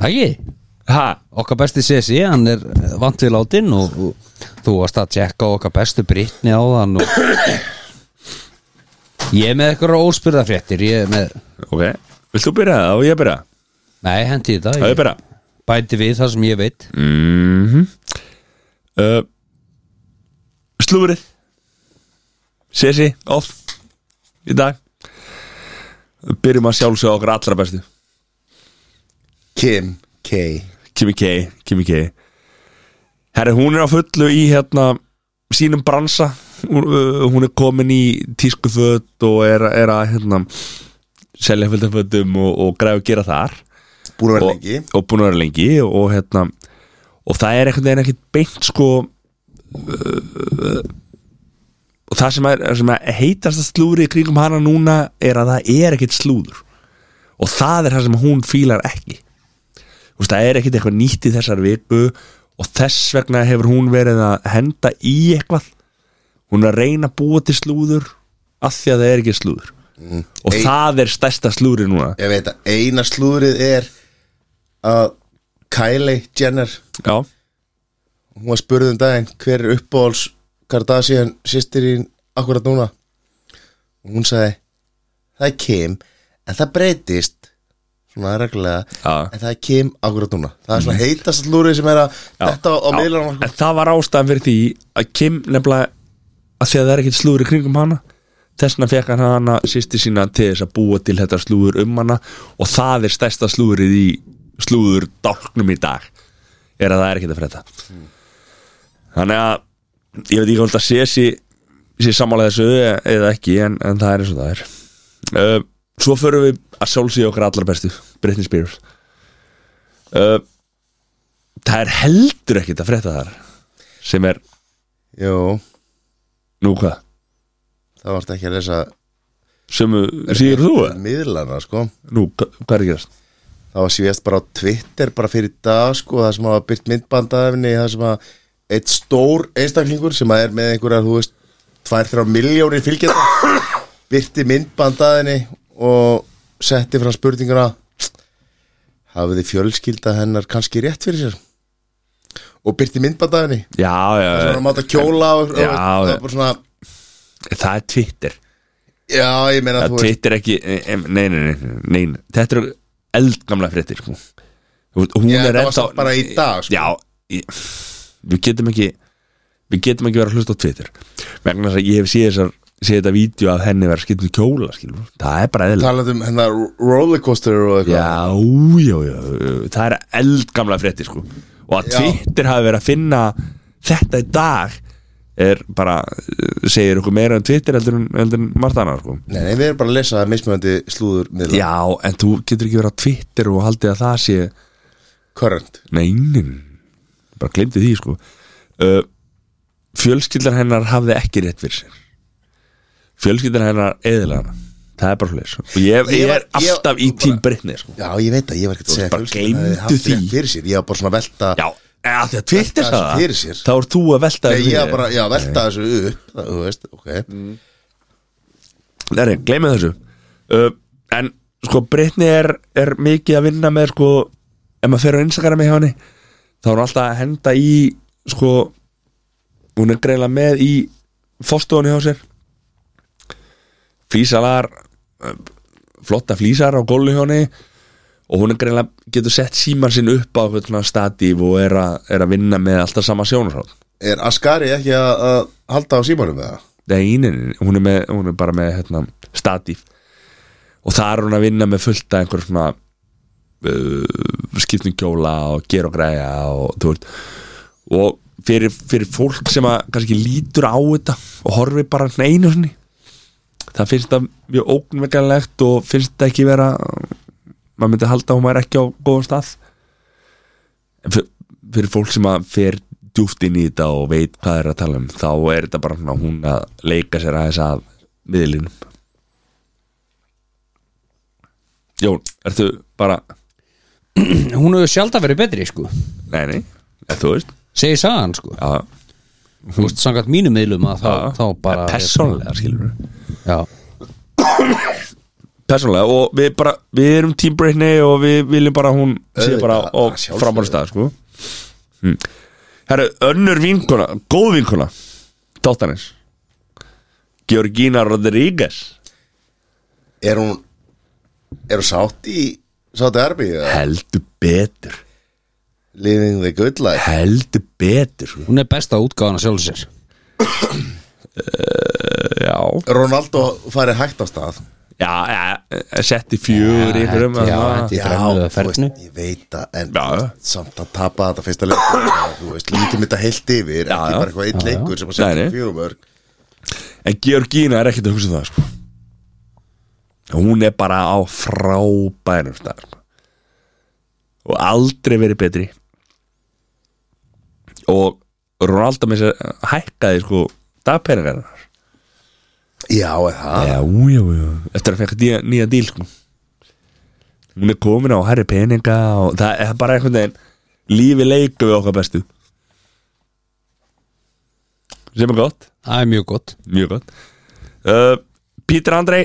Speaker 2: Það ekki
Speaker 1: Ha,
Speaker 2: Okkar besti CSI, hann er vant við látin og, og þú varst að tjekka á okkar bestu brittni á þann og Ég er með eitthvað óspyrðafréttir Ég er með,
Speaker 1: ok Vilt þú byrja það og ég byrja?
Speaker 2: nei, hendi í
Speaker 1: Það
Speaker 2: þetta
Speaker 1: ég
Speaker 2: ég
Speaker 1: byrja
Speaker 2: Bæti við það sem ég veit
Speaker 1: uh, Slúrið Sessi, off Í dag Byrjum að sjálfsögja okkar allra bestu
Speaker 3: Kim K
Speaker 1: Kimi K, Kimi K Herri, hún er á fullu í hérna sínum bransa hún, uh, hún er komin í tískuföt og er, er að hérna, selja fullt af fötum og, og græði að gera þar
Speaker 3: búin að vera
Speaker 1: og,
Speaker 3: lengi
Speaker 1: og búin að vera lengi og, hérna, og það er einhvern veginn ekkert beint sko uh, og það sem, er, sem er heitast að slúri í kringum hana núna er að það er ekkert slúður og það er það sem hún fílar ekki Þú veist, það er ekkert eitthvað nýtt í þessar viku og þess vegna hefur hún verið að henda í eitthvað hún er að reyna að búa til slúður af því að það er ekki slúður og
Speaker 3: Mm. Ei-
Speaker 1: það er stærsta slúri núna
Speaker 3: Ég veit að eina slúrið er að Kylie Jenner
Speaker 1: já,
Speaker 3: hún var spurð um daginn hver er uppáhalds Kardashian sýstirinn akkurat núna og hún sagði það er Kim en það breytist svona reglulega
Speaker 1: Já. Mhm.
Speaker 3: en það er Kim akkurat núna það er svona heitast lúrið sem er að þetta á miðlarnar sko.
Speaker 1: En það var ástæðan fyrir því að Kim nefnilega að því að það er ekkert slúður í kringum hana þessna fekk hann hana sýsti sína til þess að búa til þetta slúður um hana og það er stærsta slúðurið í slúður dálknum í dag er að það er ekkert að frétta þannig að ég veit ekki hvort að sé sér sé sammála þessu e- eða ekki en, en það er eins og það er uh, svo förum við að sjálfsíða okkar allar bestu Britney Spears uh, það er heldur ekkert að frétta þar sem er,
Speaker 3: jú
Speaker 1: nú hvað
Speaker 3: það varst ekki að lesa
Speaker 1: sem síður þú eða?
Speaker 3: miðlarnar sko
Speaker 1: nú, hva- hvað er að gerast?
Speaker 3: það var síðast bara á Twitter bara fyrir í dag sko það sem hafa byrt myndbandaðefni það sem að eitt stór einstaklingur sem að er með einhverja, þú veist, 2-3 miljónir fylgjenda byrti myndbandaðinni og setti fram spurninguna hafiði fjölskylda hennar kannski rétt fyrir sér og byrti myndbandaðinni
Speaker 1: já, já,
Speaker 3: það var að máta kjóla og,
Speaker 1: Já,
Speaker 3: og, og,
Speaker 1: já.
Speaker 3: og bara svona,
Speaker 1: það er Twitter
Speaker 3: já, ég meina
Speaker 1: það
Speaker 3: þú veist
Speaker 1: Twitter ekki, eh, em, nei, nei, nei, nei, nei þetta eru eldgamla fréttir sko. Þú veist, hún
Speaker 3: Já,
Speaker 1: er
Speaker 3: þetta var
Speaker 1: ennþá
Speaker 3: samt bara í dag, sko.
Speaker 1: já, ég, við getum ekki við getum ekki verið að hlusta á Twitter vegna þess að ég hef séð þessar séð þetta vídeo að henni verið skiptum kjóla skilur. það er bara eðla
Speaker 3: talandi um hennar rollercoaster og eitthvað
Speaker 1: já, já, já, það er eldgamla fréttir sko. og að
Speaker 3: Já.
Speaker 1: Twitter hafi verið að finna þetta í dag er bara segir okkur meira um Twitter heldur en, heldur en margt annað sko.
Speaker 3: Nei, nei, við erum bara að lesa mismöndi slúður miðla,
Speaker 1: Já, en þú getur ekki verið á Twitter og haldið að það sé
Speaker 3: current
Speaker 1: Neinin, bara glemdi því sko uh, Fjölskyldar hennar hafði ekki rétt fyrir sér Fjölskyldar hennar eðilega Það er bara hlutis Og ég,
Speaker 3: Ég
Speaker 1: ég
Speaker 3: var-
Speaker 1: er alltaf
Speaker 3: ég-
Speaker 1: í tím Brittany sko.
Speaker 3: Já, ég veit að ég var ekkert að
Speaker 1: Þú
Speaker 3: segja
Speaker 1: bara
Speaker 3: fjölskyldan
Speaker 1: gleymdu
Speaker 3: hefði haft
Speaker 1: því.
Speaker 3: rétt fyrir sér Ég var bara svona að velta
Speaker 1: Já, eða því að Twitter
Speaker 3: Velta
Speaker 1: sagði
Speaker 3: þessu fyrir sér.
Speaker 1: það Þá ert þú að velta
Speaker 3: Nei,
Speaker 1: þessu
Speaker 3: ég
Speaker 1: fyrir
Speaker 3: var
Speaker 1: þér.
Speaker 3: bara, já, velta þessu upp það, Þú veist, ok
Speaker 1: Nei, gleymið þessu uh, En sko Brittany er, er mikið að vinna með sko Ef maður fer á Instagrami hjá henni Þá er hún alltaf að henda í sko Hún er greiðlega með í Fóstofunni hjá sér Flísalar uh, Flotta flísar á gólu hjá henni Og hún er greiðlega getur sett síman sinn upp á einhvern svona statíf og er, a, er að vinna með alltaf sama sjónarsráð
Speaker 3: Er Ascari ekki að, að halda á símanum með það?
Speaker 1: Nei, nei, nei, hún er, með, hún er bara með hérna, statíf og það er hún að vinna með fullt af einhver svona uh, skiptum kjóla og gera og græja og þú veist og fyrir, fyrir fólk sem að kannski lítur á þetta og horfi bara svona einu sinni það finnst það mjög ógnvekjanlegt og finnst það ekki vera maður myndi halda að hún er ekki á góðum stað en fyr- fyrir fólk sem að fer djúft inn í þetta og veit hvað er að tala um þá er þetta bara svona hún að leika sér aðeins að miðlinum Jón, ertu bara
Speaker 2: Hún hefur sjaldan verið betri sko
Speaker 1: nei, nei, eða þú veist
Speaker 2: Segir sagan sko
Speaker 1: já,
Speaker 2: Þú veist samkvæmt mínum miðlum að þá,
Speaker 1: já,
Speaker 2: þá bara hérna.
Speaker 1: persónlega skilur við
Speaker 2: Já
Speaker 1: persónlega og við bara við erum Team Britney og við viljum bara að hún sé
Speaker 3: Auðvitað,
Speaker 1: bara á
Speaker 3: að sjálfsögðu.
Speaker 1: framar stað sko hm. herru, önnur vinkona góð vinkona Tóttanis Georgina Rodríguez
Speaker 3: Er hún, er hún sátt í Sátti Arbi?
Speaker 1: heldur betur
Speaker 3: Living the good life
Speaker 1: heldur betur sko.
Speaker 2: Hún er besta útgáðan að sjálf sér
Speaker 1: Eh, já,
Speaker 3: Ronaldo farið hægt á stað
Speaker 1: já, já setti fjör í einhverjum
Speaker 2: já,
Speaker 1: þarna.
Speaker 2: þetta er brennuðu
Speaker 3: þú
Speaker 2: fernu
Speaker 3: veist, ég veit að En
Speaker 1: Já.
Speaker 3: samt að tapa þetta fyrsta leik Þú veist, lítum þetta heilt yfir
Speaker 1: Já,
Speaker 3: Ekki
Speaker 1: já.
Speaker 3: bara eitthvað eitt leikur sem að setja
Speaker 1: Nei, nei.
Speaker 3: fjörum örg
Speaker 1: en Georgina er ekkert að hugsa það sko. hún er bara á frábærum stað sko. og aldrei verið betri og Ronaldo með þess að hækkaði sko dagpenningar
Speaker 3: Já, er það?
Speaker 1: já, já, já eftir að fekk nýja, nýja díl sko hún er komin á herri peninga og það er bara einhvern veginn lífi leiku við okkar bestu sem er gott
Speaker 2: Það er mjög gott
Speaker 1: Mjög gott uh, Pítur Andrei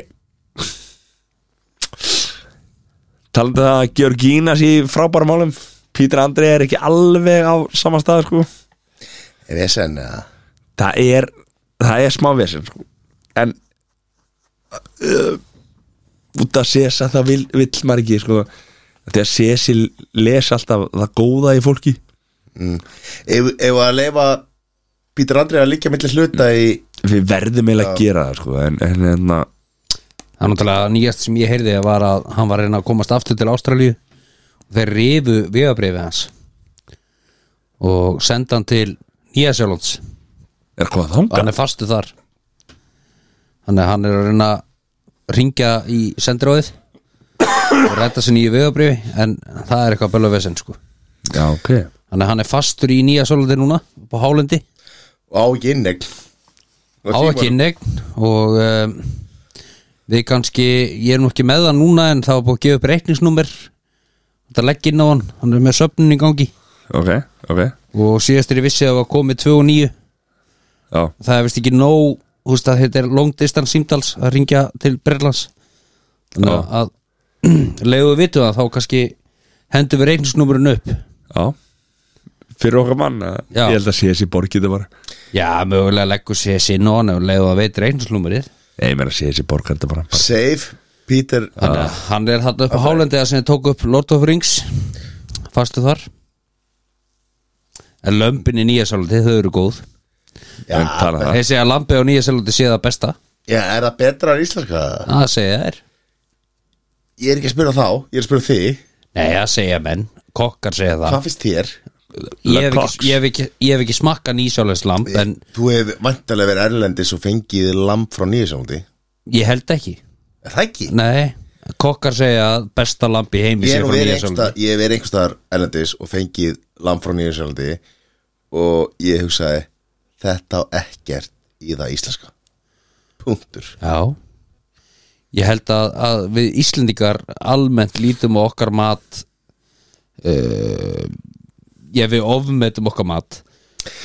Speaker 1: Talandi um það að Georgina sé í frábærum málum Pítur Andrei er ekki alveg á sama stað sko.
Speaker 3: Er ég senni að
Speaker 1: Það er Það er smá vesinn sko. En uh, Út að sés að það vil, vill maður ekki sko. Þegar sési les alltaf Það góða í fólki
Speaker 3: ef, ef að leifa Pítur Andrið að líka milli hluta í
Speaker 1: Við verðum eiginlega að gera það sko. En, en, en, en
Speaker 2: Það er náttúrulega nýjast sem ég heyrði var að hann var að reyna að komast aftur til Ástralíu og þeir rifu vegabrifi hans og senda hann til Nýja Sjálflands
Speaker 1: er hvað þangað?
Speaker 2: hann er fastu þar þannig að hann er að reyna að ringja í sendiróðið og redda sér nýju vegabrifi en það er eitthvað bella vesend sko
Speaker 1: Já, ok
Speaker 2: þannig að hann er fastur í Nýja Sjálflandi núna upp á Hálendi
Speaker 3: á ekki innegn
Speaker 2: á ekki negn og um, við kannski ég er nú ekki með það núna en það var búið að gefa upp reikningsnúmer þetta legg inn á hann, hann er með söfnun í gangi
Speaker 1: Ok, ok
Speaker 2: og síðast er ég vissi að það var komið 2 og 9
Speaker 1: já,
Speaker 2: það er vist ekki nóg þú veist að þetta er long distance símtals að ringja til Breitlands þannig
Speaker 1: Já.
Speaker 2: að <clears throat> leiðu við vitum það þá kannski hendum við reynsnúmurinn upp
Speaker 1: já Fyrir okkar mann, eða?
Speaker 2: Já.
Speaker 1: ég held að sé þessi borg getur bara
Speaker 2: já, mögulega leggur sér sín og hann og leiðu að veit reynsnúmurinn
Speaker 1: Nei, ég meina sé þessi borg heldur bara bara-
Speaker 3: Save Peter
Speaker 2: hann, hann er hann upp á Hálendi sem tók upp Lord of Rings fastu þar en lömbin í nýja sálandi þau eru góð
Speaker 3: Já,
Speaker 1: En tala um það
Speaker 2: þeir segja að lampi á nýja sálandi sé það besta
Speaker 3: Já, er það betra en íslenska?
Speaker 2: það segja þær
Speaker 3: Ég er ekki að spyrja þá, ég er að spyrja þig
Speaker 2: nei, það segja menn, kokkar segja það
Speaker 3: Hvað finnst þér?
Speaker 2: ég hef,
Speaker 1: Lecoq.
Speaker 2: ekki, ég, hef ekki, ég hef ekki smakka nýsjálæslamb en
Speaker 3: Þú hef vantarlega verið erlendis og fengið lamb frá nýjusjóndi
Speaker 2: ég held ekki
Speaker 3: Er það ekki?
Speaker 2: Nei, kokkar segja að besta lamb í heimi
Speaker 3: Ég
Speaker 2: sé
Speaker 3: er nú
Speaker 2: frá
Speaker 3: verið
Speaker 2: nýsjálæslamb
Speaker 3: einhverstað Ég hef verið einhverstaðar erlendis og fengið lamb frá nýjusjóndi og ég hugsaði þetta á ekkert í það íslenska Punktur
Speaker 2: Já Ég held að, að við Íslendingar almennt lítum á okkar mat uh, ég við ofmetum okkar mat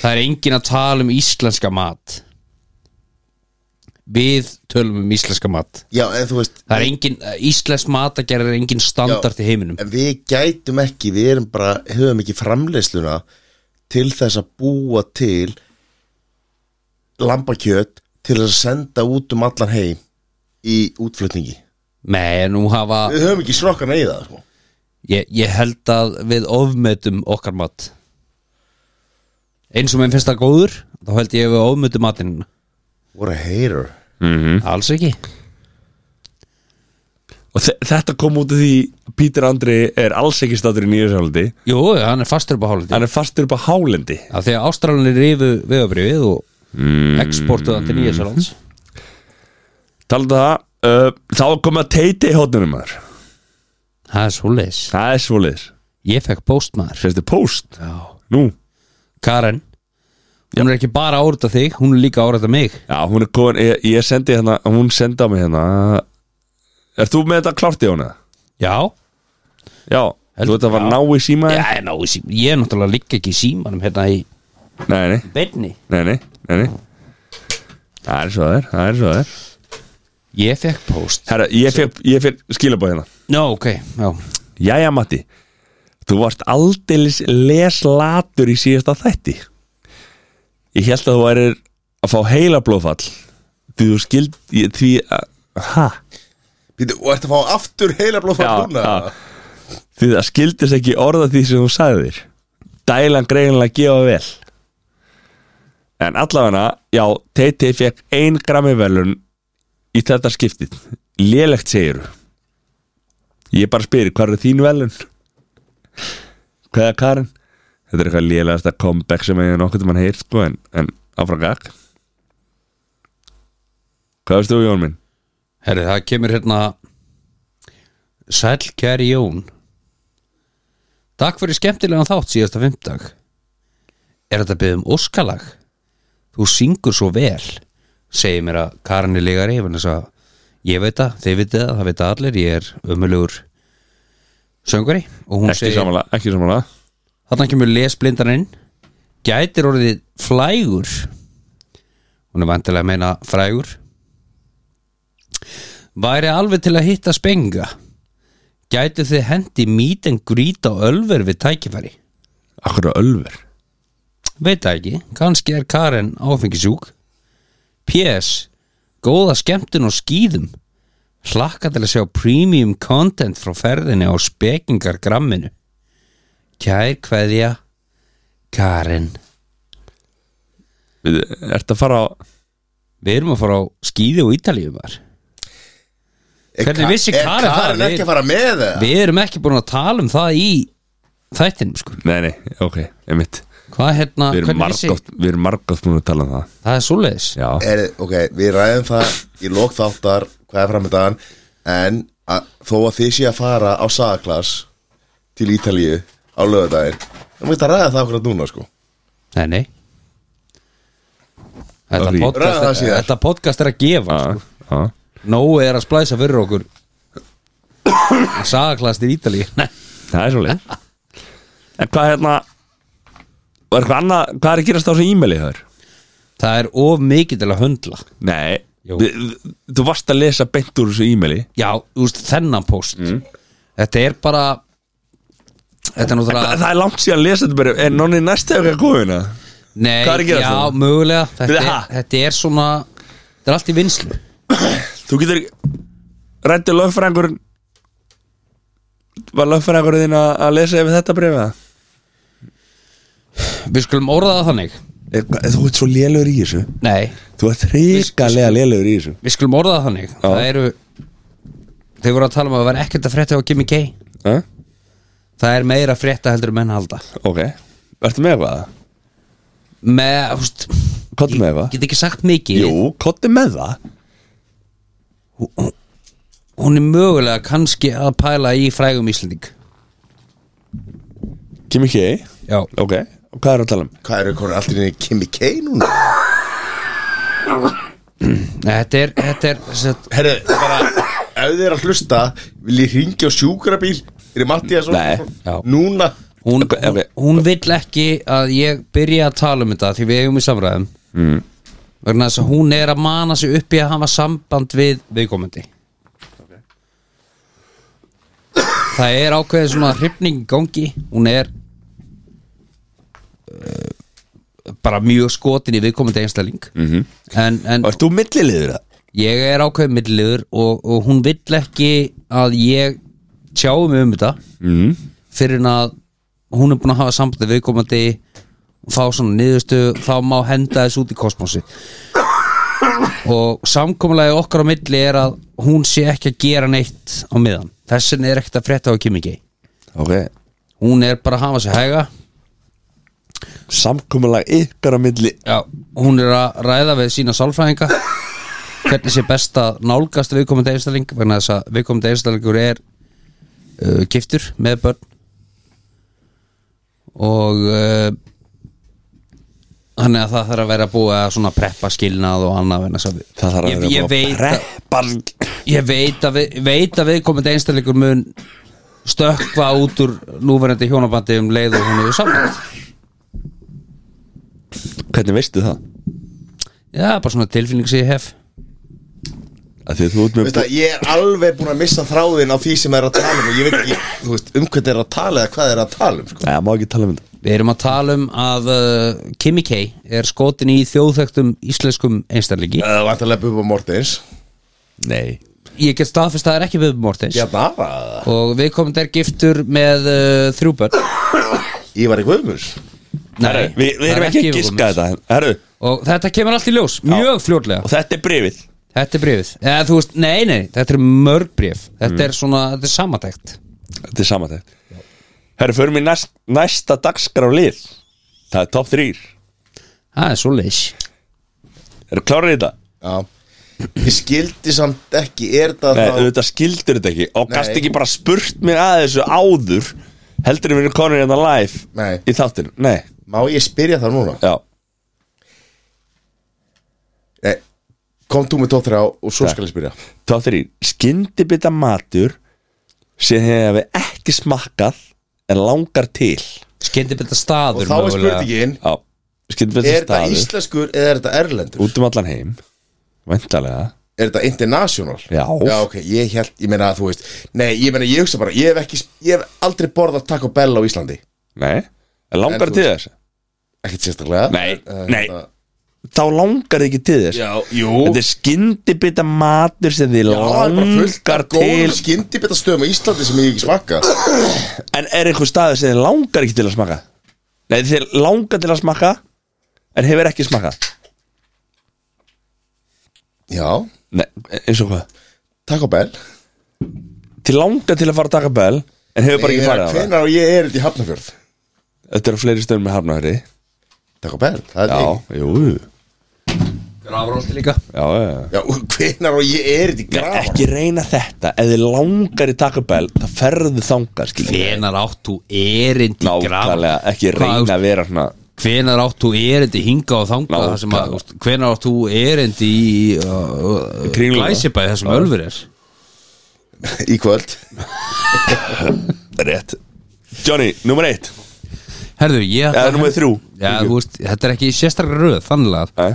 Speaker 2: Það er engin að tala um íslenska mat Við tölum um íslenska mat
Speaker 3: Já, en þú veist
Speaker 2: Það er engin, íslensk matagerð er engin standard í heiminum
Speaker 3: En við gætum ekki, við erum bara höfum ekki framleiðsluna til þess að búa til lambakjöt til þess að senda út um allan heim í útflutningi
Speaker 2: Nei, nú hafa
Speaker 3: Við höfum ekki srokkana í það sko.
Speaker 2: Ég, ég held að við ofmetum okkar mat eins og mér finnst það góður þá held ég að við ofmetum matinn
Speaker 3: What a hater
Speaker 1: Mhm.
Speaker 2: alls ekki
Speaker 1: Og þe- þetta kom út af því að Pítur Andri er alls ekki statur í nýja sjálfandi
Speaker 2: Jú, hann er fastur upp á hálfandi
Speaker 1: Hann er fastur upp á hálendi
Speaker 2: af því að Ástralinni rifu vegabrifið og mm. exportuð hann til nýja sálans
Speaker 1: Talandi um það, uh, þá er komið að teiti í hóttunum maður
Speaker 2: það er svoleiðis
Speaker 1: Það er svoleiðis
Speaker 2: ég fekk postmaður
Speaker 1: Sérstu post Nú,
Speaker 2: Karen, hún er ekki bara árætt af þig hún er líka árætt af mig
Speaker 1: já, hún er komin Ég, ég sendi hérna, hún sendi á mig hérna Er þú með þetta klárt í hún eða?
Speaker 2: já,
Speaker 1: Já, þú
Speaker 2: Heldur-
Speaker 1: veit að var ná í síma
Speaker 2: já ég, ná, í sím- ég er náttúrulega líka ekki í símanum hérna í
Speaker 1: Nei, nei,
Speaker 2: beinni
Speaker 1: nei, nei, nei, nei. Það er svo það er, það er svo það er
Speaker 2: ég fekk post
Speaker 1: Herra, ég fekk, ég fekk skilabóð hérna
Speaker 2: no, ok, já
Speaker 1: Jæja Matti Þú varst aldeilis leslatur í síðasta þætti Ég held að þú værir að fá heila blóðfall Því þú skild ég- Því að Ha?
Speaker 3: Býtu, Og ertu að fá aftur heila blóðfæð
Speaker 1: Já,
Speaker 3: núna
Speaker 1: já. Því það skildist ekki orða því sem þú sagðir Dælan greinilega gefa vel En allavega Já, TT fekk ein grammi velun Í þetta skiptið Lélegt segir Ég bara spyr, hvað er þín velun? Hvað er Karin? Þetta er eitthvað lélegasta comeback sem ég nokkuð mann heyr sko, en, en áfram gag Hvað veist þú Jón minn?
Speaker 2: Herri, það kemur hérna Sæll kæri Jón Takk fyrir skemmtilegan þátt síðasta fimmtag Er þetta beðum óskalag? Þú syngur svo vel segir mér að Karin er líka reyfin þess að ég veit það, þið vitið það, það veit það allir ég er ömulugur söngari og hún
Speaker 1: Ekki
Speaker 2: segir
Speaker 1: samanlega, ekki samanlega
Speaker 2: Þarna kemur lesblindaninn Gætir orðið flægur Hún er vantilega að meina frægur Væri alveg til að hitta spenga Gætu þið hendi meet and greet á ölver við tækifæri
Speaker 1: Akkur á ölver
Speaker 2: Veit það ekki, kannski er Karen áfengisjúk PS Góða skemmtun og skýðum Hlakka til að sjá premium content frá ferðinni á spekingargramminu Kær kveðja Karen
Speaker 1: Við- Ertu að fara á
Speaker 2: Við erum að fara á skýði og ítalíu var
Speaker 3: Er
Speaker 2: Hvernig
Speaker 3: Ka-
Speaker 2: vissi Karen
Speaker 3: Er
Speaker 2: það?
Speaker 3: Karin ekki að fara með það?
Speaker 2: Við erum ekki búin að tala um það í þættinum sko
Speaker 1: Nei, nei, ok, ég mitt
Speaker 2: Hvað hérna,
Speaker 1: Við erum
Speaker 2: hvernig vissi
Speaker 1: margótt, við erum margótt múin að tala um það
Speaker 2: Það er svoleiðis
Speaker 1: Já,
Speaker 3: Er, ok, við ræðum það í lók þáttar hvað er framöndan en að, þó að þið sé að fara á sagaklass til Ítalíu á lögadaginn þá múið að ræða það okkur núna sko
Speaker 2: Nei, nei Þetta
Speaker 1: Sorry.
Speaker 2: podcast,
Speaker 3: Ræða það
Speaker 2: er,
Speaker 3: síðar.
Speaker 2: þetta podcast er að gefa
Speaker 1: já, já
Speaker 2: Nói er að splæsa fyrir okkur <coughs> Sagaklast í Ítali Nei,
Speaker 1: Það er svolítið En hvað hérna Og er eitthvað annað, hvað er að gerast á þessu e-maili þar?
Speaker 2: Það er of mikið til að höndla
Speaker 1: Nei,
Speaker 2: Jú.
Speaker 1: við- við- þú varst að lesa beint úr þessu e-maili
Speaker 2: Já, þú veist, þennan post
Speaker 1: Mm.
Speaker 2: Þetta er bara Þetta er
Speaker 1: Þa,
Speaker 2: náttúrulega
Speaker 1: Það er langt síðan að lesa þetta bara En nonni næstu hefur ekki að góðina
Speaker 2: Nei,
Speaker 1: hvað er að gera
Speaker 2: já,
Speaker 1: svona?
Speaker 2: mögulega þetta
Speaker 1: Ha?
Speaker 2: er, þetta er svona Þetta er allt í vinslu
Speaker 1: Þú getur ekki Rætti lögfræðingur Var lögfræðingur þín að, að lesa yfir þetta brefa?
Speaker 2: Við skulum orða það þannig
Speaker 1: Þú ert svo lélugur í þessu
Speaker 2: Nei,
Speaker 1: Þú ert hrikalega lélugur í þessu
Speaker 2: við skulum orða það þannig Það eru Þau voru að tala um að það var ekkert að frétta á Jimmy Kay
Speaker 1: ha?
Speaker 2: Það er meira að frétta heldur en menn halda
Speaker 1: Ok, ertu með eitthvað?
Speaker 2: Með, þú veist
Speaker 1: Kottu með eitthvað?
Speaker 2: Get ekki sagt mikið
Speaker 1: Jú, kottu með það
Speaker 2: Hún er mögulega kannski að pæla í frægum Íslending
Speaker 1: Kimi Kei,
Speaker 2: Já
Speaker 1: ok Og hvað er að tala um?
Speaker 3: Hvað eru konur allt í henni Kimi K núna?
Speaker 2: Nei, þetta er, þetta er set,
Speaker 3: Herri, bara Ef þið er að hlusta Vil ég ringja á sjúkrabíl Er ég Mattias
Speaker 1: Nei.
Speaker 2: Já.
Speaker 3: Núna
Speaker 2: hún,
Speaker 1: Ok,
Speaker 2: hún,
Speaker 1: ok.
Speaker 2: hún vill ekki að ég byrja að tala um þetta því við eigum í samræðum mm. vegna þess að hún er að mana sig upp í að hafa samband við viðkomandi Það er ákveðið svona hrifning í gangi hún er uh, bara mjög skotin í viðkomandi einstakling -hmm. en, en
Speaker 1: Varst þú milliliður það?
Speaker 2: ég er ákveðið milliður og, og hún vill ekki að ég tjáum um þetta
Speaker 1: Mm.
Speaker 2: fyrir en að hún er búin að hafa sambandi viðkomandi fá svona niðurstu, þá má henda þessu út í kosmosi og samkomulagi okkar á milli er að hún sé ekki að gera neitt á miðan, þessin er ekkert að frétta á Kimiki,
Speaker 1: Ok,
Speaker 2: hún er bara að hafa sig hæga
Speaker 1: samkomulag ykkar á milli
Speaker 2: Já, hún er að ræða við sína sálfræðinga hvernig sé best að nálgast viðkomandi einstakling vegna þess að viðkomandi einstaklingur er uh, giftur með börn og uh, hann er að það þarf að vera búið að svona preppa skilnað og annað vegna þess að við-
Speaker 1: Það þarf að
Speaker 2: Ég-
Speaker 1: vera
Speaker 2: ég
Speaker 1: búið að
Speaker 2: veit að-
Speaker 1: preppa
Speaker 2: Ég veit að, við, veit að viðkomandi einstaklingur mun stökkva út úr núverandi hjónabandi um leið og hún hefur samband
Speaker 1: Hvernig veistu það?
Speaker 2: Já, bara svona tilfinning sem ég hef
Speaker 1: Af því að þú ert með
Speaker 3: Veist það, ég er alveg búin að missa þráðin á því sem er að tala um og ég veit ekki, þú veist, um hvernig er að tala eða hvað er að tala um, sko
Speaker 1: Nei, það má ekki tala um þetta
Speaker 2: Við erum að tala um að uh, Kimi K er skotin í þjóðþögtum íslenskum einstaklingi
Speaker 3: Það var alltaf lepa upp á Mortens
Speaker 1: Nei
Speaker 2: Ég get staðfest að það er ekki Bubbi Mortens
Speaker 3: Ég bara,
Speaker 2: og við komum þær giftur með uh, þrjú börn
Speaker 3: ég var í Guðmunds
Speaker 1: Herru, við, við
Speaker 2: það er
Speaker 1: erum ekki að
Speaker 2: yfirkomið.
Speaker 1: giska þetta Herru,
Speaker 2: Og þetta kemur allt í ljós, mjög fljótlega
Speaker 1: og þetta er brefið
Speaker 2: Þetta er bréfið, eða þú veist, nei, nei, þetta er mörg bréf Þetta
Speaker 1: Mm.
Speaker 2: er svona, þetta er samatækt
Speaker 1: Þetta er saman þetta Herru, förum við næst, næsta dagskrá lið Það er top 3
Speaker 2: Það er svo leis
Speaker 1: Eru klárið þetta?
Speaker 3: Já Ég skildi samt ekki, er það
Speaker 1: Nei,
Speaker 3: þá
Speaker 1: auðvitað skildur þetta ekki Og
Speaker 3: Nei.
Speaker 1: gast ekki bara spurt mér að þessu áður Heldur en við erum konur hérna live
Speaker 3: Nei.
Speaker 1: Í þáttinu, nei,
Speaker 3: Má ég spyrja það núna?
Speaker 1: já
Speaker 3: Nei, Eh, kom þú með tóttra og svo
Speaker 1: Takk.
Speaker 3: skal ég spyrja
Speaker 1: Top 3, skyndibita matur sem hefur ekki smakkað en langar til
Speaker 2: Skendi betur staður
Speaker 3: Og þá er
Speaker 2: mögulega.
Speaker 3: spurningin,
Speaker 1: Já, skyndibita
Speaker 3: er þetta
Speaker 1: staður
Speaker 3: íslenskur eða er þetta erlendur?
Speaker 1: Út um allan heim Væntalega
Speaker 3: Er þetta international?
Speaker 1: Já.
Speaker 3: Já, ok, ég held, ég meina að þú veist Nei, ég meina, ég hugsa bara, ég hef ekki Ég hef aldrei borðað Taco Bell á Íslandi
Speaker 1: Nei, en langar
Speaker 3: En þú-
Speaker 1: til þess
Speaker 3: Ekkert sérstaklega
Speaker 1: Nei,
Speaker 3: Eh,
Speaker 1: nei.
Speaker 3: það-
Speaker 1: Þá langar þið ekki til þess
Speaker 3: Já, jú
Speaker 1: Þetta er skyndibita matur sem þið
Speaker 3: Já, það er bara fullt
Speaker 1: langar
Speaker 3: af
Speaker 1: til
Speaker 3: góðum skyndibita stöðum á Íslandi sem ég hef ekki smakka
Speaker 1: En er einhver staður sem þið langar ekki til að smakka Nei, þið langar til að smakka En hefur ekki smakkað
Speaker 3: Já,
Speaker 1: Nei, eins og hvað
Speaker 3: Taco Bell
Speaker 1: Þið langar til að fara að taka bell En hefur bara ekki farið á það
Speaker 3: Hvenar og ég er þetta í Hafnafjörð?
Speaker 1: Þetta er á fleiri stöðum með hafnafri
Speaker 3: Taco Bell, það er
Speaker 1: Já,
Speaker 3: ég
Speaker 1: jú
Speaker 2: Grafrótti líka
Speaker 1: Já, já, já
Speaker 3: Já, hvenar og ég er þetta í
Speaker 1: Nei,
Speaker 3: grafa?
Speaker 1: ekki reyna þetta Ef þið langar í Taco Bell Það ferðu þangað, skiljum
Speaker 2: Hvenar áttu erindi í
Speaker 1: Nákvæmlega, ekki
Speaker 2: Hvað, þú veist,
Speaker 1: reyna að vera svona
Speaker 2: hvenar átt þú erindi hinga og þanga
Speaker 1: Nákvæmlega.
Speaker 2: þar sem að, úst, hvenar átt þú erindi í uh,
Speaker 1: Kringluna.
Speaker 2: glæsibæði þar sem ölfur er
Speaker 3: Í kvöld
Speaker 1: Rétt Johnny, nummer eitt
Speaker 2: herðu, ég
Speaker 1: Eða nummer þrjú Eh?
Speaker 2: Já, Já, þú veist, þetta er ekki sérstaklega röð, þannig
Speaker 1: Nei.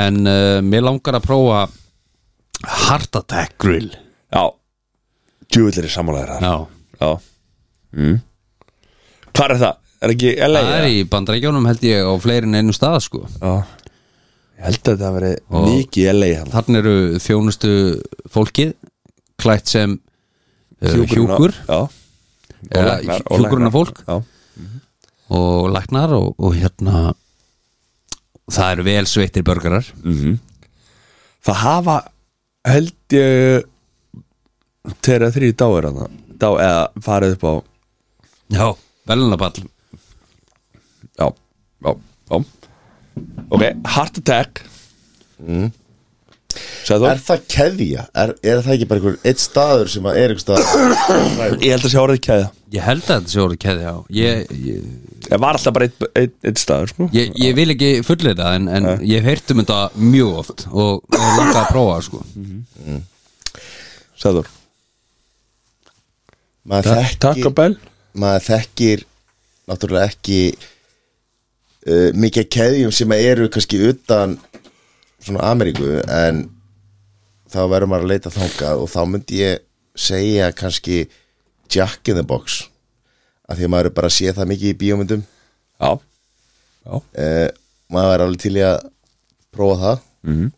Speaker 2: En uh, mér langar að prófa Heart Attack Grill
Speaker 1: Já Djúvillir er sammálaður þar
Speaker 2: Já,
Speaker 1: Já mm. Hvar er það? Er ekki LA?
Speaker 2: það er
Speaker 1: eða?
Speaker 2: í bandrækjónum held ég á fleirin einu stað sko
Speaker 1: Já Ég held að það veri
Speaker 2: Og-
Speaker 1: mikið LA hann
Speaker 2: Þannig eru þjónustu fólkið klætt sem uh, hjúkur
Speaker 1: Já Og
Speaker 2: Eða
Speaker 1: læknar- og
Speaker 2: hjúkurunarfólk.
Speaker 1: læknar. Já
Speaker 2: og læknar og, og hérna það eru vel sveittir börgarar
Speaker 3: Mm.
Speaker 1: Það hafa held ég Þegar þrý dáir hann Dá eða farið upp á
Speaker 2: Já, velunapall
Speaker 1: Já, já, já Ok, heart attack mm. Sæðu
Speaker 3: Er það keðja? Er, er það ekki bara einhver eitt staður sem að er einhver staður
Speaker 1: Ég held að sé árið kæða
Speaker 2: Ég held að þetta sé orðið keði á ég, ég,
Speaker 1: Ég var alltaf bara eitt, eitt, eitt staður sko.
Speaker 2: ég, ég vil ekki fullið það en, en ég hef heyrt um þetta mjög oft og ég langar að prófa sko
Speaker 3: Mhm.
Speaker 1: Sæður
Speaker 3: maður
Speaker 1: Taco
Speaker 3: þekkir,
Speaker 1: Bell
Speaker 3: maður þekkir náttúrulega ekki uh, mikið af keðjum sem að eru kannski utan svona Ameríku en þá verður maður að leita þangað og þá myndi ég segja kannski Jack in the Box af því að maður er bara að sé það mikið í bíómyndum
Speaker 1: Já,
Speaker 3: uh, maður er alveg til í að prófa það mm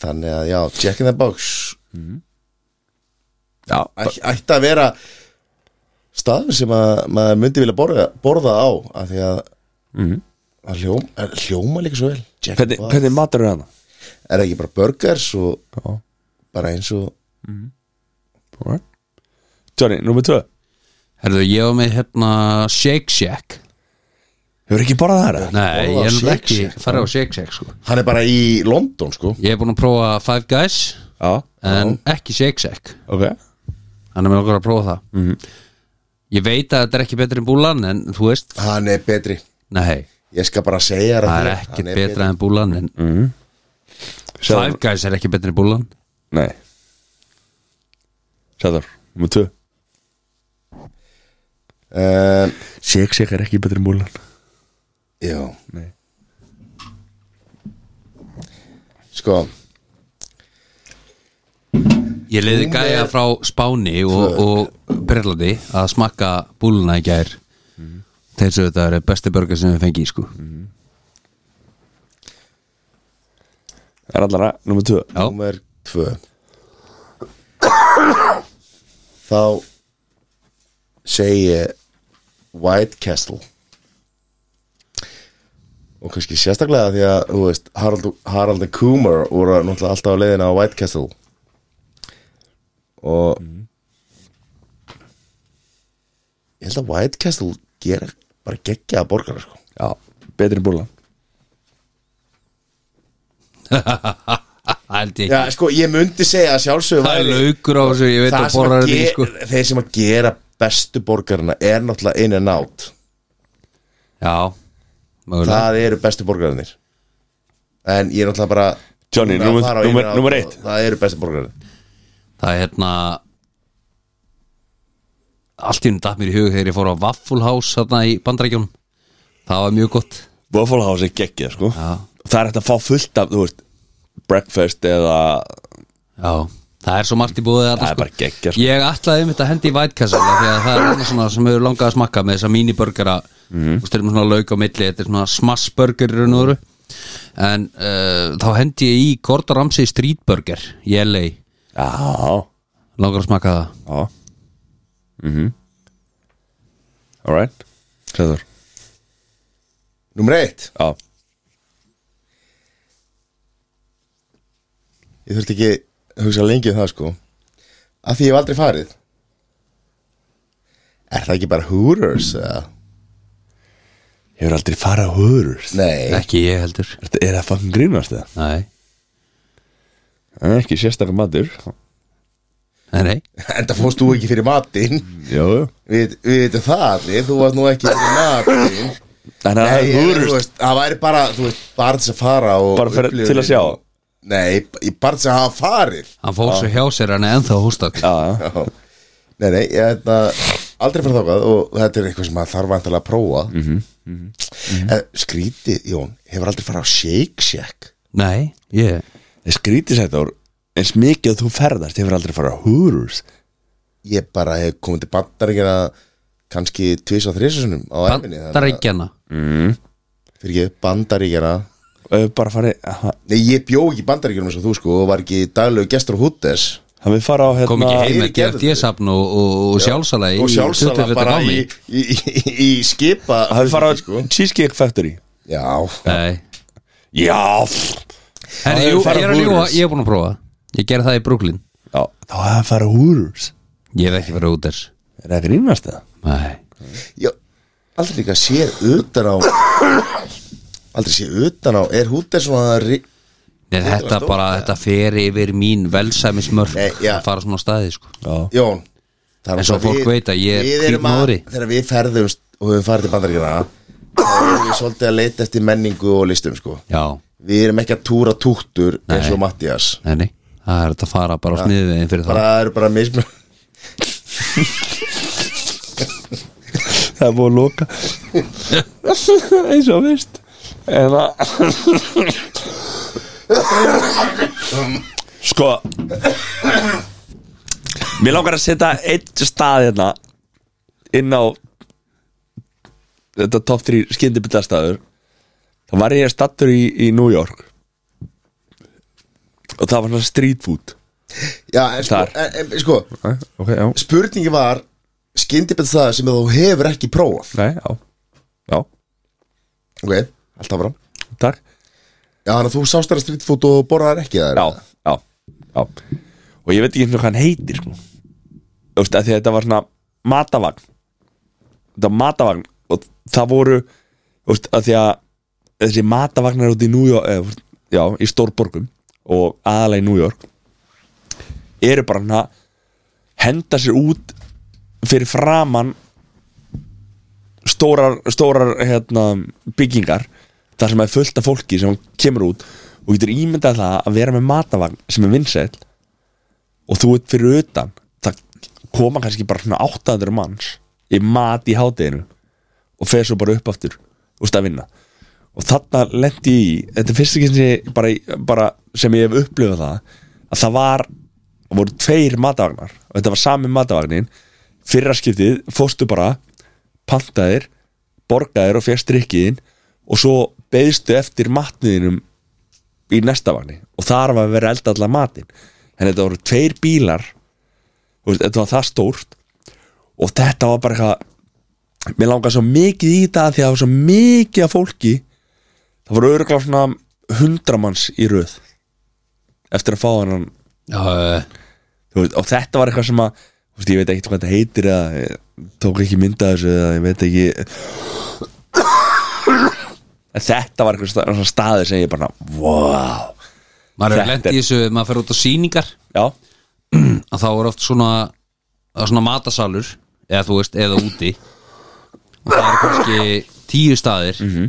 Speaker 3: þannig að já, Jack in the Box
Speaker 1: já,
Speaker 3: æ, ætti að vera staður sem að maður myndi vilja borða, borða á af því að að hljóm, að hljóma líka svo vel Jack in the
Speaker 1: hvernig,
Speaker 3: Box.
Speaker 1: hvernig matur er hana?
Speaker 3: er það ekki bara burgers og
Speaker 1: Já,
Speaker 3: bara eins og
Speaker 1: ok Johnny, nummer tvö
Speaker 2: Herðu, ég var með hérna Shake Shack
Speaker 1: Hefur ekki borðað það hana?
Speaker 2: Nei,
Speaker 3: Borða á
Speaker 2: ég er nú
Speaker 3: Shake
Speaker 2: ekki
Speaker 3: Shack,
Speaker 2: farið á Shake Shack sko
Speaker 3: hann er bara í London sko
Speaker 2: Ég hef búin að prófa Five Guys
Speaker 1: Já,
Speaker 2: en ekki Shake Shack
Speaker 1: ok
Speaker 2: Þannig að mér langar að prófa það
Speaker 3: Mhm.
Speaker 2: Ég veit að þetta er ekki betri en búlan en þú veist,
Speaker 3: hann er betri,
Speaker 2: nei,
Speaker 3: ég skal bara segja þér að
Speaker 2: það er
Speaker 3: því-
Speaker 2: ekkert
Speaker 3: hann Mm.
Speaker 2: betra en búlan en Five
Speaker 1: Sæður,
Speaker 2: Guys er ekki betri en búlan
Speaker 1: nei Sæður, nummer tvö
Speaker 3: Ehm,
Speaker 1: Sek, sek er ekki betri múlan
Speaker 3: Já
Speaker 1: Nei.
Speaker 3: Sko,
Speaker 2: Ég leiði
Speaker 3: Númer-
Speaker 2: gæja frá Spáni og, og Brellandi að smakka búluna í gær
Speaker 3: Mm.
Speaker 2: þeir svo þetta er besti börgar sem við fengi sko.
Speaker 1: Er allara, nummer tvö
Speaker 2: Já.
Speaker 3: númer tvö Þá segi ég White Castle og kannski sérstaklega því að þú veist, Harald, Harald and Coomer voru náttúrulega alltaf á leiðina á White Castle og
Speaker 2: Mhm.
Speaker 3: ég held að White Castle gera bara geggjaða borgara sko
Speaker 1: Já, betri múlan
Speaker 2: Held ég
Speaker 3: Já,
Speaker 2: ekki
Speaker 3: sko, ég myndi segja að sjálfsögum
Speaker 2: Það er laukur á þessu, ég veit
Speaker 3: það
Speaker 2: að
Speaker 3: sem
Speaker 2: borra
Speaker 3: að
Speaker 2: þetta í,
Speaker 3: ge-
Speaker 2: sko.
Speaker 3: þeir sem að gera bestu borgarina er náttúrulega in and out
Speaker 2: Já, mögulega
Speaker 3: það eru bestu borgarinir en ég er náttúrulega bara
Speaker 1: Johnny,
Speaker 3: búinn að
Speaker 1: númer-
Speaker 3: fara á In
Speaker 1: númer-
Speaker 3: and Out
Speaker 1: númer
Speaker 3: og
Speaker 1: eitt.
Speaker 3: það eru bestu borgarinir
Speaker 2: Það er hérna Allt í henni datt mér í hug þegar ég fór á Waffle House þarna í bandarækjum Það var mjög gott
Speaker 1: Waffle House er geggið sko
Speaker 2: Já.
Speaker 1: Það er hægt að fá fullt af, þú veist Breakfast eða
Speaker 2: Já, það er svo margt í búið
Speaker 1: Það er bara geggjað, sko.
Speaker 2: Ég ætlaði um þetta að hendi í White Castle af því að það er annað svona sem hefur langað að smakka með þessa mínibörgara mm. og styrir með svona lauk á milli, þetta er svona smassburger í raun og veru en uh, þá hendi ég í Gordon Ramsay Street Burger í LA,
Speaker 1: Já,
Speaker 2: langar að smakka það
Speaker 1: já Mhm Alright Sæður
Speaker 3: númer eitt,
Speaker 1: Já,
Speaker 3: ég þurfti ekki að hugsa lengi um það sko að því ég hef aldrei farið er það ekki bara Hooters eða?
Speaker 1: hefur aldrei farið á hörur
Speaker 3: <laughs> nei,
Speaker 2: ekki ég heldur,
Speaker 1: Er er það fucking grínast það?
Speaker 2: nei,
Speaker 1: Það er ekki sérstakar matur
Speaker 2: nei, nei
Speaker 3: þetta fórst þú ekki fyrir matinn
Speaker 1: Já, já
Speaker 3: við, við veitum það allir, þú varst nú ekki fyrir matinn
Speaker 1: Þannig að það
Speaker 3: Nei,
Speaker 1: er
Speaker 3: ég- þú
Speaker 1: hörur
Speaker 3: veist, það væri bara, þú veist, bara til þess að fara og
Speaker 1: Bara fyrir-
Speaker 3: upplifa
Speaker 1: til að
Speaker 3: þetta.
Speaker 1: sjá.
Speaker 3: Nei, ég bara til þess að hafa farið
Speaker 2: hann fór svo hjá sér hann er ennþá hústak
Speaker 1: Já, já
Speaker 3: Nei, nei, ég þetta aldrei fyrir þákað og þetta er eitthvað sem maður þarf vantilega að prófa mm
Speaker 1: Mhm,
Speaker 3: -hmm. Skrítið, Jón, hefur aldrei farið á Shake Shack
Speaker 2: Nei, ég
Speaker 1: Skrítið sætt ár eins mikið að þú ferðast, ég fyrir aldrei að fara á Hooters
Speaker 3: Ég bara hef komið til bandaríkjana kannski tvís á þrísunum á æfinni
Speaker 2: Bandaríkjana
Speaker 3: Fyrir ekki, bandaríkjana
Speaker 1: Eh, bara farið, ha-
Speaker 3: Nei, ég bjó ekki í bandaríkjunum eins og þú sko og var ekki daglegu gestur á Hútes
Speaker 1: hann vil fara á hérna
Speaker 2: Kom ekki heim
Speaker 3: ég
Speaker 2: með
Speaker 3: gerði
Speaker 2: DFD-safn og, og, og sjálfsala í
Speaker 3: og sjálfsala
Speaker 2: 20 feta
Speaker 3: bara
Speaker 2: gámi.
Speaker 3: í, í, í, í skipa
Speaker 1: hann vil fara á
Speaker 2: Sko.
Speaker 1: Cheesecake Factory
Speaker 3: Já,
Speaker 2: Nei
Speaker 1: já pff.
Speaker 2: Herri,
Speaker 1: hefur
Speaker 2: jú,
Speaker 1: farið
Speaker 2: ég er
Speaker 1: á
Speaker 2: að ljúga,
Speaker 1: Hooters.
Speaker 2: ég er búin að prófa Ég gerði það í Brooklyn
Speaker 1: já, þá hefði að fara á Hooters
Speaker 2: Ég hef ekki verið út þess
Speaker 1: er það að grínast það?
Speaker 2: Nei
Speaker 3: Já, aldrei líka sér utan á Aldrei sér utan á Er hútið svona ri-
Speaker 2: Nei, þetta
Speaker 3: stórt,
Speaker 2: bara, þetta fer yfir mín velsæmismörk
Speaker 3: Nei, já.
Speaker 2: að fara svona á staði, sko
Speaker 1: já,
Speaker 3: Jón það er
Speaker 2: En svo
Speaker 3: náttúrulega
Speaker 2: fólk
Speaker 3: við-
Speaker 2: veit að ég er
Speaker 3: við erum
Speaker 2: hvítmári.
Speaker 3: að- Þegar við ferðumst og höfum farið til bandaríkjana þá erum við svolítið að leita eftir menningu og listum sko
Speaker 2: Já,
Speaker 3: Við erum ekki að túra túttur eins
Speaker 2: Nei.
Speaker 3: og Mattias
Speaker 2: nei, nei Það er þetta að fara bara á sniðveginn fyrir
Speaker 3: bara,
Speaker 2: það
Speaker 3: Það eru bara mismun <laughs>
Speaker 1: það er búið að <laughs> loka eins og veist en það sko mér langar að setja eitt stað hérna inn á þetta top 3 skyndibitaðstæður þá var ég stattur í, í New York og það var svona street food
Speaker 3: Já, en sko,
Speaker 1: Þar.
Speaker 3: en, en, sko
Speaker 1: ok, já
Speaker 3: spurningi var skyndibett það sem þú hefur ekki prófað
Speaker 1: Nei, já, já,
Speaker 3: Ok, allt áfram
Speaker 1: takk
Speaker 3: Já, þannig að þú sást þér að streetfoot og borðar ekki það
Speaker 1: já, já, já og ég veit ekki einu sinni hvað hann heitir sko. þú veist, af því að þetta var svona matavagn þetta var matavagn og það voru þú veist, að því að þessi matavagnar út í New York eða, þú veist, já, í stórborgum og aðalega í New York eru bara hann að henda sér út fyrir framan stórar, stórar hérna, byggingar þar sem er fullt af fólki sem kemur út og getur ímyndað það að vera með matavagn sem er vinsæll og þú ert fyrir utan það koma kannski bara svona 800 manns í mat í hádeginu og fer svo bara upp aftur úst að vinna og þarna lendi ég í þetta er fyrst ekki sem ég, bara, bara sem ég hef upplifað það að það var, það voru tveir matavagnar og þetta var sami matavagnin fyrra skiptið, fórstu bara pantaðir, borgaðir og fjast drikkiðin og svo beðstu eftir matniðinum í næsta vagni og þar var að vera elda allar matinn en þetta voru tveir bílar þú veist, þetta var það stórt og þetta var bara eitthvað mér langaði svo mikið í þetta af því að það var svo mikið af fólki það voru örgulega svona hundramanns í röð eftir að fá hann
Speaker 2: Já, eh,
Speaker 1: veist, og þetta var eitthvað sem að þú veist, ég veit ekkert hvað þetta heitir eða ég tók ekki mynda þessu eða ég veit ekki En þetta var eitthvað sta- svona staði sem ég bara wow,
Speaker 2: maður
Speaker 1: Þetta
Speaker 2: er lent í
Speaker 1: er-
Speaker 2: þessu ef maður fer út á sýningar
Speaker 1: já
Speaker 2: að þá er oft svona það er svona matasalur eða þú veist, eða úti og það er kannski tíu staðir
Speaker 3: Mhm.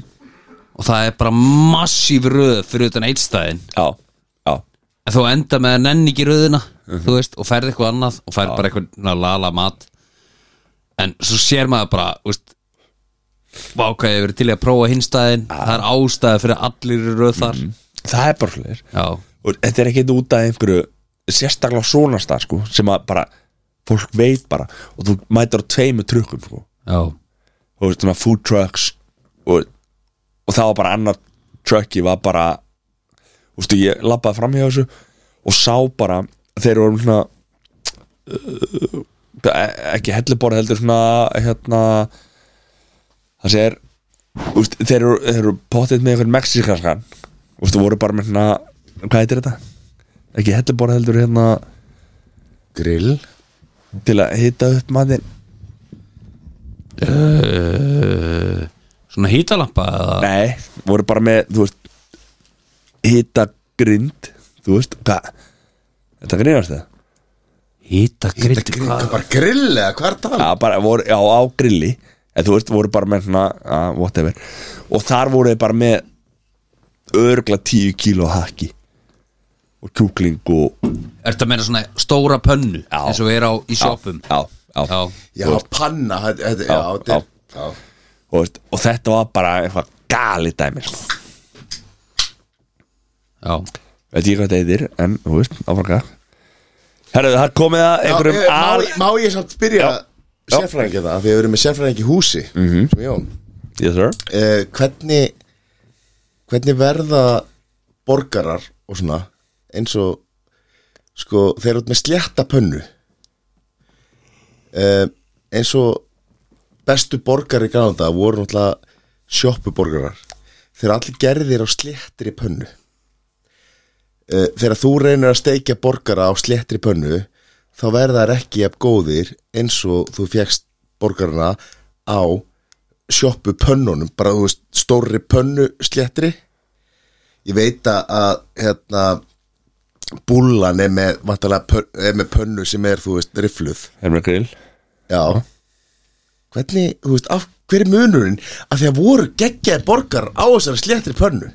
Speaker 2: og það er bara massíf röð fyrir utan eitt staðin
Speaker 1: já, já,
Speaker 2: en þú enda með að nenni ekki röðina
Speaker 1: Mhm.
Speaker 2: þú veist, og ferð eitthvað annað og ferð bara eitthvað svona lala mat en svo sér maður bara þú veist, vákaði verið til í að prófa hinstæðin það er ástæði fyrir að allir eru röð þar
Speaker 1: Mhm. það er bara slir
Speaker 2: já,
Speaker 1: og þetta er ekki út af einhverju sérstaklega svona stað sko, sem að bara, fólk veit bara og þú mætir á tveimu trukkum sko.
Speaker 2: já,
Speaker 1: og veist, svona food trucks og, og það var bara annar trucki var bara veistu, ég labbaði fram hjá þessu og sá bara, þeir voru svona uh, ekki helluborð heldur svona hérna það sé er úst, þeir, eru, þeir eru pottið með einhvern mexikanskan og þú voru bara með hérna hvað heitir þetta? ekki helluborð heldur hérna
Speaker 3: Grill
Speaker 1: til að hita upp matinn
Speaker 2: Eh, svona hítalampa eða
Speaker 1: Nei, voru bara með, þú veist Hita grind Þú veist, hvað Þetta grínast það?
Speaker 2: hítagrind
Speaker 3: Grill, bara grill eða hvað er það?
Speaker 1: Já, bara voru, já, á grilli En þú veist, voru bara með svona, uh, whatever Og þar voru þið bara með Örgla 10 kíló haki Og kjúkling og
Speaker 2: er þetta meina svona stóra pönnu
Speaker 1: Já.
Speaker 2: eins og er á í sjoppum
Speaker 1: Já, já.
Speaker 2: Já.
Speaker 3: Já,
Speaker 1: Þú veist,
Speaker 3: panna þetta- þetta- Já,
Speaker 1: Já,
Speaker 3: þetta er- já
Speaker 1: og, veist, og þetta var bara eitthvað gali dæmi sko.
Speaker 2: já,
Speaker 1: veit ég hvað þetta heitir en, þú veist, áfranga herruðu, það er komið að
Speaker 3: Já,
Speaker 1: einhverjum
Speaker 3: eh, má,
Speaker 1: al...
Speaker 3: ég- má ég samt byrja sérfræðingi það, af því að við erum með sérfræðingi í húsi -hmm.
Speaker 1: Mhm.
Speaker 3: sem Jón
Speaker 1: yes, sir.
Speaker 3: uh, hvernig hvernig verða borgarar og svona eins og sko, þeir eru út með slétta pönnu uh, eins og bestu borgar í gráða voru náttúrulega sjoppuborgarar þeir eru allir gerðir á sléttri pönnu uh, þegar þú reynir að steikja borgara á sléttri pönnu þá verða þær ekki jafn góðir eins og þú fjekkst borgarana á sjoppu pönnunum, bara þú veist stórri pönnu sléttri ég veit að, að hérna búlan er með, vantarlega pön- er með pönnu sem er, þú veist, rifluð
Speaker 1: erum við grill
Speaker 3: Já Hvernig, þú veist, af, hver er munurinn að því að voru geggjaði borgar á þessari sléttri pönnu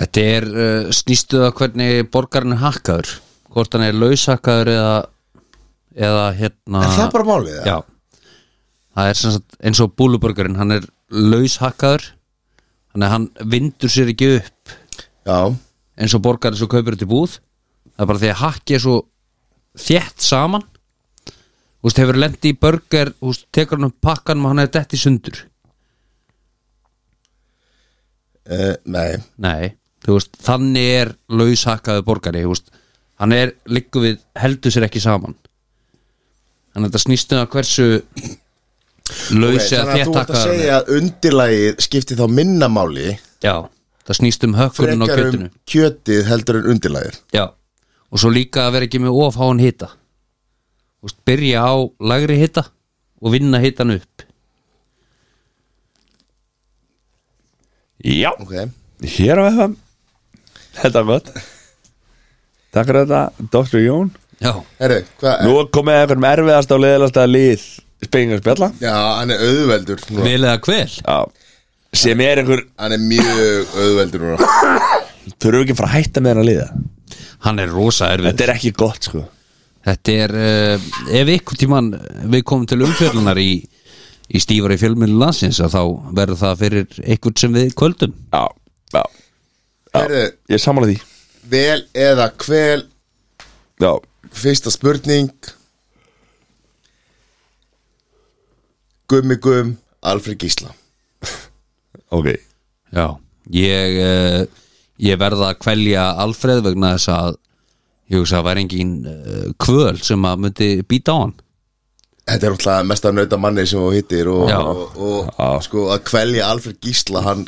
Speaker 2: þetta er uh, snýstuð að hvernig borgarinn er hakkaður hvort hann er laushakkaður eða eða hérna
Speaker 3: Er það bara málið það?
Speaker 2: Já Það er sem sagt eins og búluborgarinn hann er laushakkaður þannig að hann vindur sér ekki upp
Speaker 3: Já,
Speaker 2: eins og borgarinn svo kaupir þetta í búð það er bara því að hakki er svo þétt saman Þú veist, hefur lendi í burger þú veist, tekur hann upp pakkanum og hann er dett í sundur
Speaker 3: uh, nei
Speaker 2: Nei, þú veist, þannig er laushakkaðu borgari, þú veist hann er, liggur við, heldur sér ekki saman en þetta snýst um að hversu laus
Speaker 3: Þannig að þú ert
Speaker 2: eða
Speaker 3: að
Speaker 2: þéttakkaður
Speaker 3: segja að undirlagið skipti þá minna máli
Speaker 2: Já, það snýst um hökkurinn á
Speaker 3: frekar um
Speaker 2: kjötinu
Speaker 3: kjötið heldur en undirlagið
Speaker 2: Já, og svo líka að vera ekki með ofháan hita Þú veist, byrja á lagri hita og vinna hitan upp
Speaker 1: já,
Speaker 3: Ok,
Speaker 1: hér á FM þetta er gott takk fyrir þetta, Dr. Jón
Speaker 2: Já,
Speaker 3: herru, hvað
Speaker 1: nú er komið að einhverjum erfiðast og leðilasta lið spengingar spjalla
Speaker 3: Já, hann er auðveldur núna.
Speaker 2: vel eða hvel
Speaker 1: já. sem er einhver,
Speaker 3: Hann er mjög auðveldur núna
Speaker 1: þurfum við ekki að fara að hætta með hennar liða
Speaker 2: Hann er rosa erfið
Speaker 1: þetta er ekki gott sko
Speaker 2: Þetta er, uh, ef ykkur tíman við komum til umfjörlunar í, í stífari fjölmjölu landsins að þá verður það fyrir ykkur sem við kvöldum
Speaker 1: já, já,
Speaker 3: Herru,
Speaker 1: ég er samanlega því
Speaker 3: vel eða hvel
Speaker 1: já,
Speaker 3: Fyrsta spurning Gummi Gum Alfred Gísla
Speaker 1: ok
Speaker 2: Já Ég, uh, ég verða að kvelja Alfreð vegna þess að ég hugsa að væri engin uh, kvöl sem að myndi býta á hann
Speaker 3: Þetta er náttúrulega mest að nauta manni sem þú hittir og,
Speaker 2: Já.
Speaker 3: og, og, sko að kvelja Alfred Gísla hann,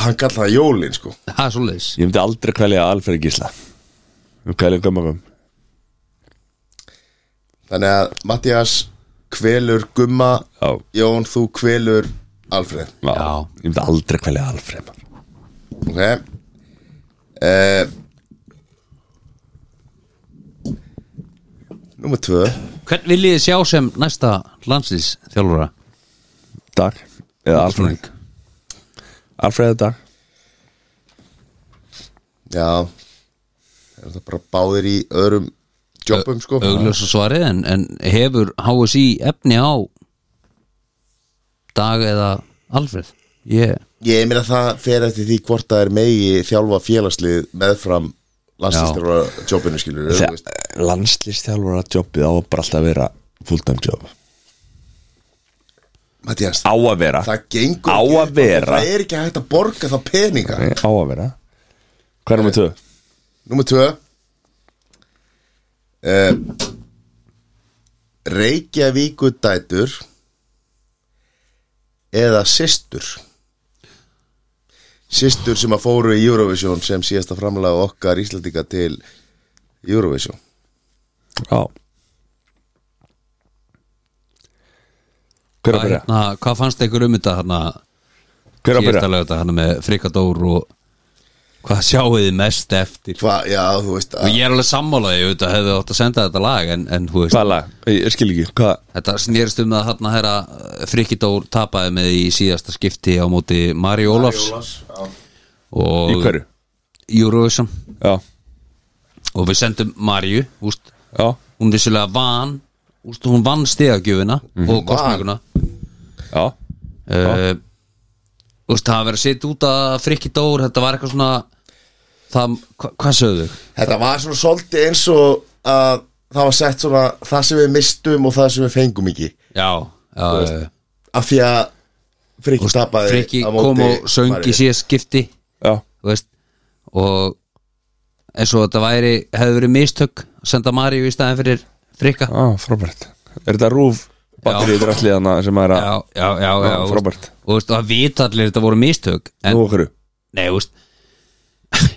Speaker 3: hann kallar það jólin sko
Speaker 2: Það er svoleiðis
Speaker 1: ég myndi aldrei kvelja Alfred Gísla um kvelja gömmagum
Speaker 3: Þannig að Mattias kvelur Gumma
Speaker 1: Já.
Speaker 3: Jón þú kvelur Alfred
Speaker 1: já.
Speaker 2: Já.
Speaker 1: ég myndi aldrei kvelja Alfred maður.
Speaker 3: Ok eh, Númer tvö
Speaker 2: Hvern vil ég sjá sem næsta landslýs þjálfara?
Speaker 1: dag eða Alfred Alfred dag
Speaker 3: Já Er það bara báðir í öðrum jobbum sko
Speaker 2: Augljósa svarið en, en hefur HSI efni á dag eða Alfreð? Ég
Speaker 3: Ég meina það fer eftir því hvort það er megi þjálfa félagslið meðfram landslistara jobbinu skilur við, þú veist.
Speaker 1: landslistjálfara jobbið á að bara alltaf að vera fulltime job
Speaker 3: Mattías,
Speaker 1: á að vera
Speaker 3: það gengur
Speaker 1: á
Speaker 3: ekki
Speaker 1: að
Speaker 3: upp,
Speaker 1: vera
Speaker 3: Það er ekki hægt að borga þá peninga
Speaker 1: Nei, á að vera hvað er með tvö?
Speaker 3: Númer tvö uh, Reykjavíkudætur eða systur systur sem að fóru í Eurovision sem síðasta framlega okkar Íslandinga til Eurovision
Speaker 1: já hver er að
Speaker 2: Hvað,
Speaker 1: byrja?
Speaker 2: hérna, hvað fannst ykkur um þetta hérna
Speaker 1: hver er að
Speaker 2: síðasta
Speaker 1: byrja?
Speaker 2: lögða hérna með frikadór og hvað sjáuð þið mest eftir
Speaker 3: Hva, já, þú veist
Speaker 2: og
Speaker 3: að,
Speaker 2: ég er alveg sammálaði auðvitað hefði átt að senda þetta lag en, en þú veist,
Speaker 1: hvaða lag? ég skil ekki hvað
Speaker 2: þetta snýrst um að hérna herra frikadór tapaði með í síðasta skipti á móti Mari Ólafs
Speaker 1: í
Speaker 2: og
Speaker 1: hverju?
Speaker 2: Eurovision
Speaker 1: já
Speaker 2: og við sendum Marju úst,
Speaker 1: já
Speaker 2: hún vissulega van úst, hún vann stegagjöfina
Speaker 3: Mhm.
Speaker 2: og kostninguna
Speaker 1: Já,
Speaker 2: uh, úst, það var verið að setja út að frikki dór, þetta var eitthvað svona það, hva, hvað sögðu?
Speaker 3: Þetta var svona svolítið eins og að það var sett svona það sem við mistum og það sem við fengum ekki
Speaker 2: Já, já, já, já.
Speaker 3: af því að Frikki tapaði
Speaker 2: frikki
Speaker 3: á móti
Speaker 2: kom og söng í
Speaker 3: Maríu.
Speaker 2: síðast skipti
Speaker 1: já,
Speaker 2: þú veist og eins og þetta væri hefði verið mistök að senda Maríu í staðin fyrir frikka
Speaker 1: já, frábært Er þetta rúf batterið drallið hana sem er að
Speaker 2: já, já, já, já,
Speaker 1: Já,
Speaker 2: þú veist.
Speaker 1: frábært.
Speaker 2: og þú veist, og það vita allir þetta voru mistök en,
Speaker 1: Nú okkur
Speaker 2: nei, þú veist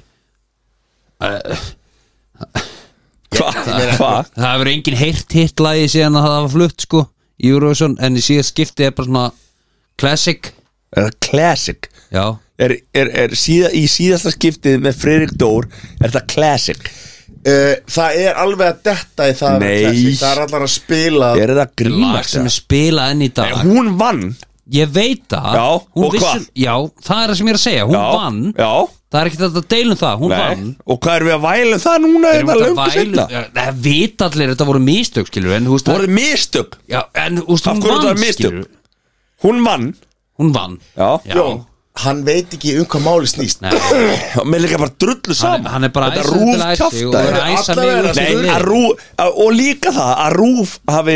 Speaker 1: Hvað? Hvað?
Speaker 2: það hefur enginn heyrt hitt lagi síðan að það var flutt sko í Eurovision, en í síðast skipti er bara svona classic,
Speaker 1: Er það classic?
Speaker 2: já
Speaker 1: Er, er, er síða, í síðasta skiptið með Friðrik Dór er það classic?
Speaker 3: Uh, það er alveg að detta í það að vera
Speaker 1: Nei.
Speaker 3: classic. Það er allar að spila
Speaker 1: Er það
Speaker 2: lag
Speaker 1: grínast?
Speaker 2: sem er spilað enn í dag
Speaker 1: Nei, Hún vann
Speaker 2: ég veit það
Speaker 1: Já,
Speaker 2: Hún
Speaker 1: og
Speaker 2: vissi-
Speaker 1: hvað?
Speaker 2: já, það er það sem ég er að segja, hún
Speaker 1: Já,
Speaker 2: vann
Speaker 1: Já,
Speaker 2: það er ekkert hægt að deilum það, hún vann
Speaker 1: nei Og hvað erum við að væla um það núna? Er
Speaker 2: Erum
Speaker 1: það
Speaker 2: þetta
Speaker 1: löngu
Speaker 2: vælu-
Speaker 1: setna?
Speaker 2: Já, Það vita allir þetta voru mistök skilur En þú veist
Speaker 1: Voruð mistök?
Speaker 2: Já, en þú veist
Speaker 1: Af
Speaker 2: hún
Speaker 1: hverju þetta
Speaker 2: vann
Speaker 1: var mistök?
Speaker 2: skilur
Speaker 1: Hún vann
Speaker 2: Hún vann
Speaker 1: Já,
Speaker 2: Já
Speaker 3: Hann veit ekki um hvað máli snýst
Speaker 2: Nei,
Speaker 1: Og mér er líka bara drullu
Speaker 2: hann,
Speaker 1: saman
Speaker 2: er- hann er bara
Speaker 1: Þetta rúf
Speaker 2: æsandi til æsi
Speaker 1: kjaftaði.
Speaker 2: Og er að æsa mig
Speaker 3: Allavega
Speaker 2: út
Speaker 1: Nei,
Speaker 2: í mig.
Speaker 1: að rúf, að, og líka það að rúf hafi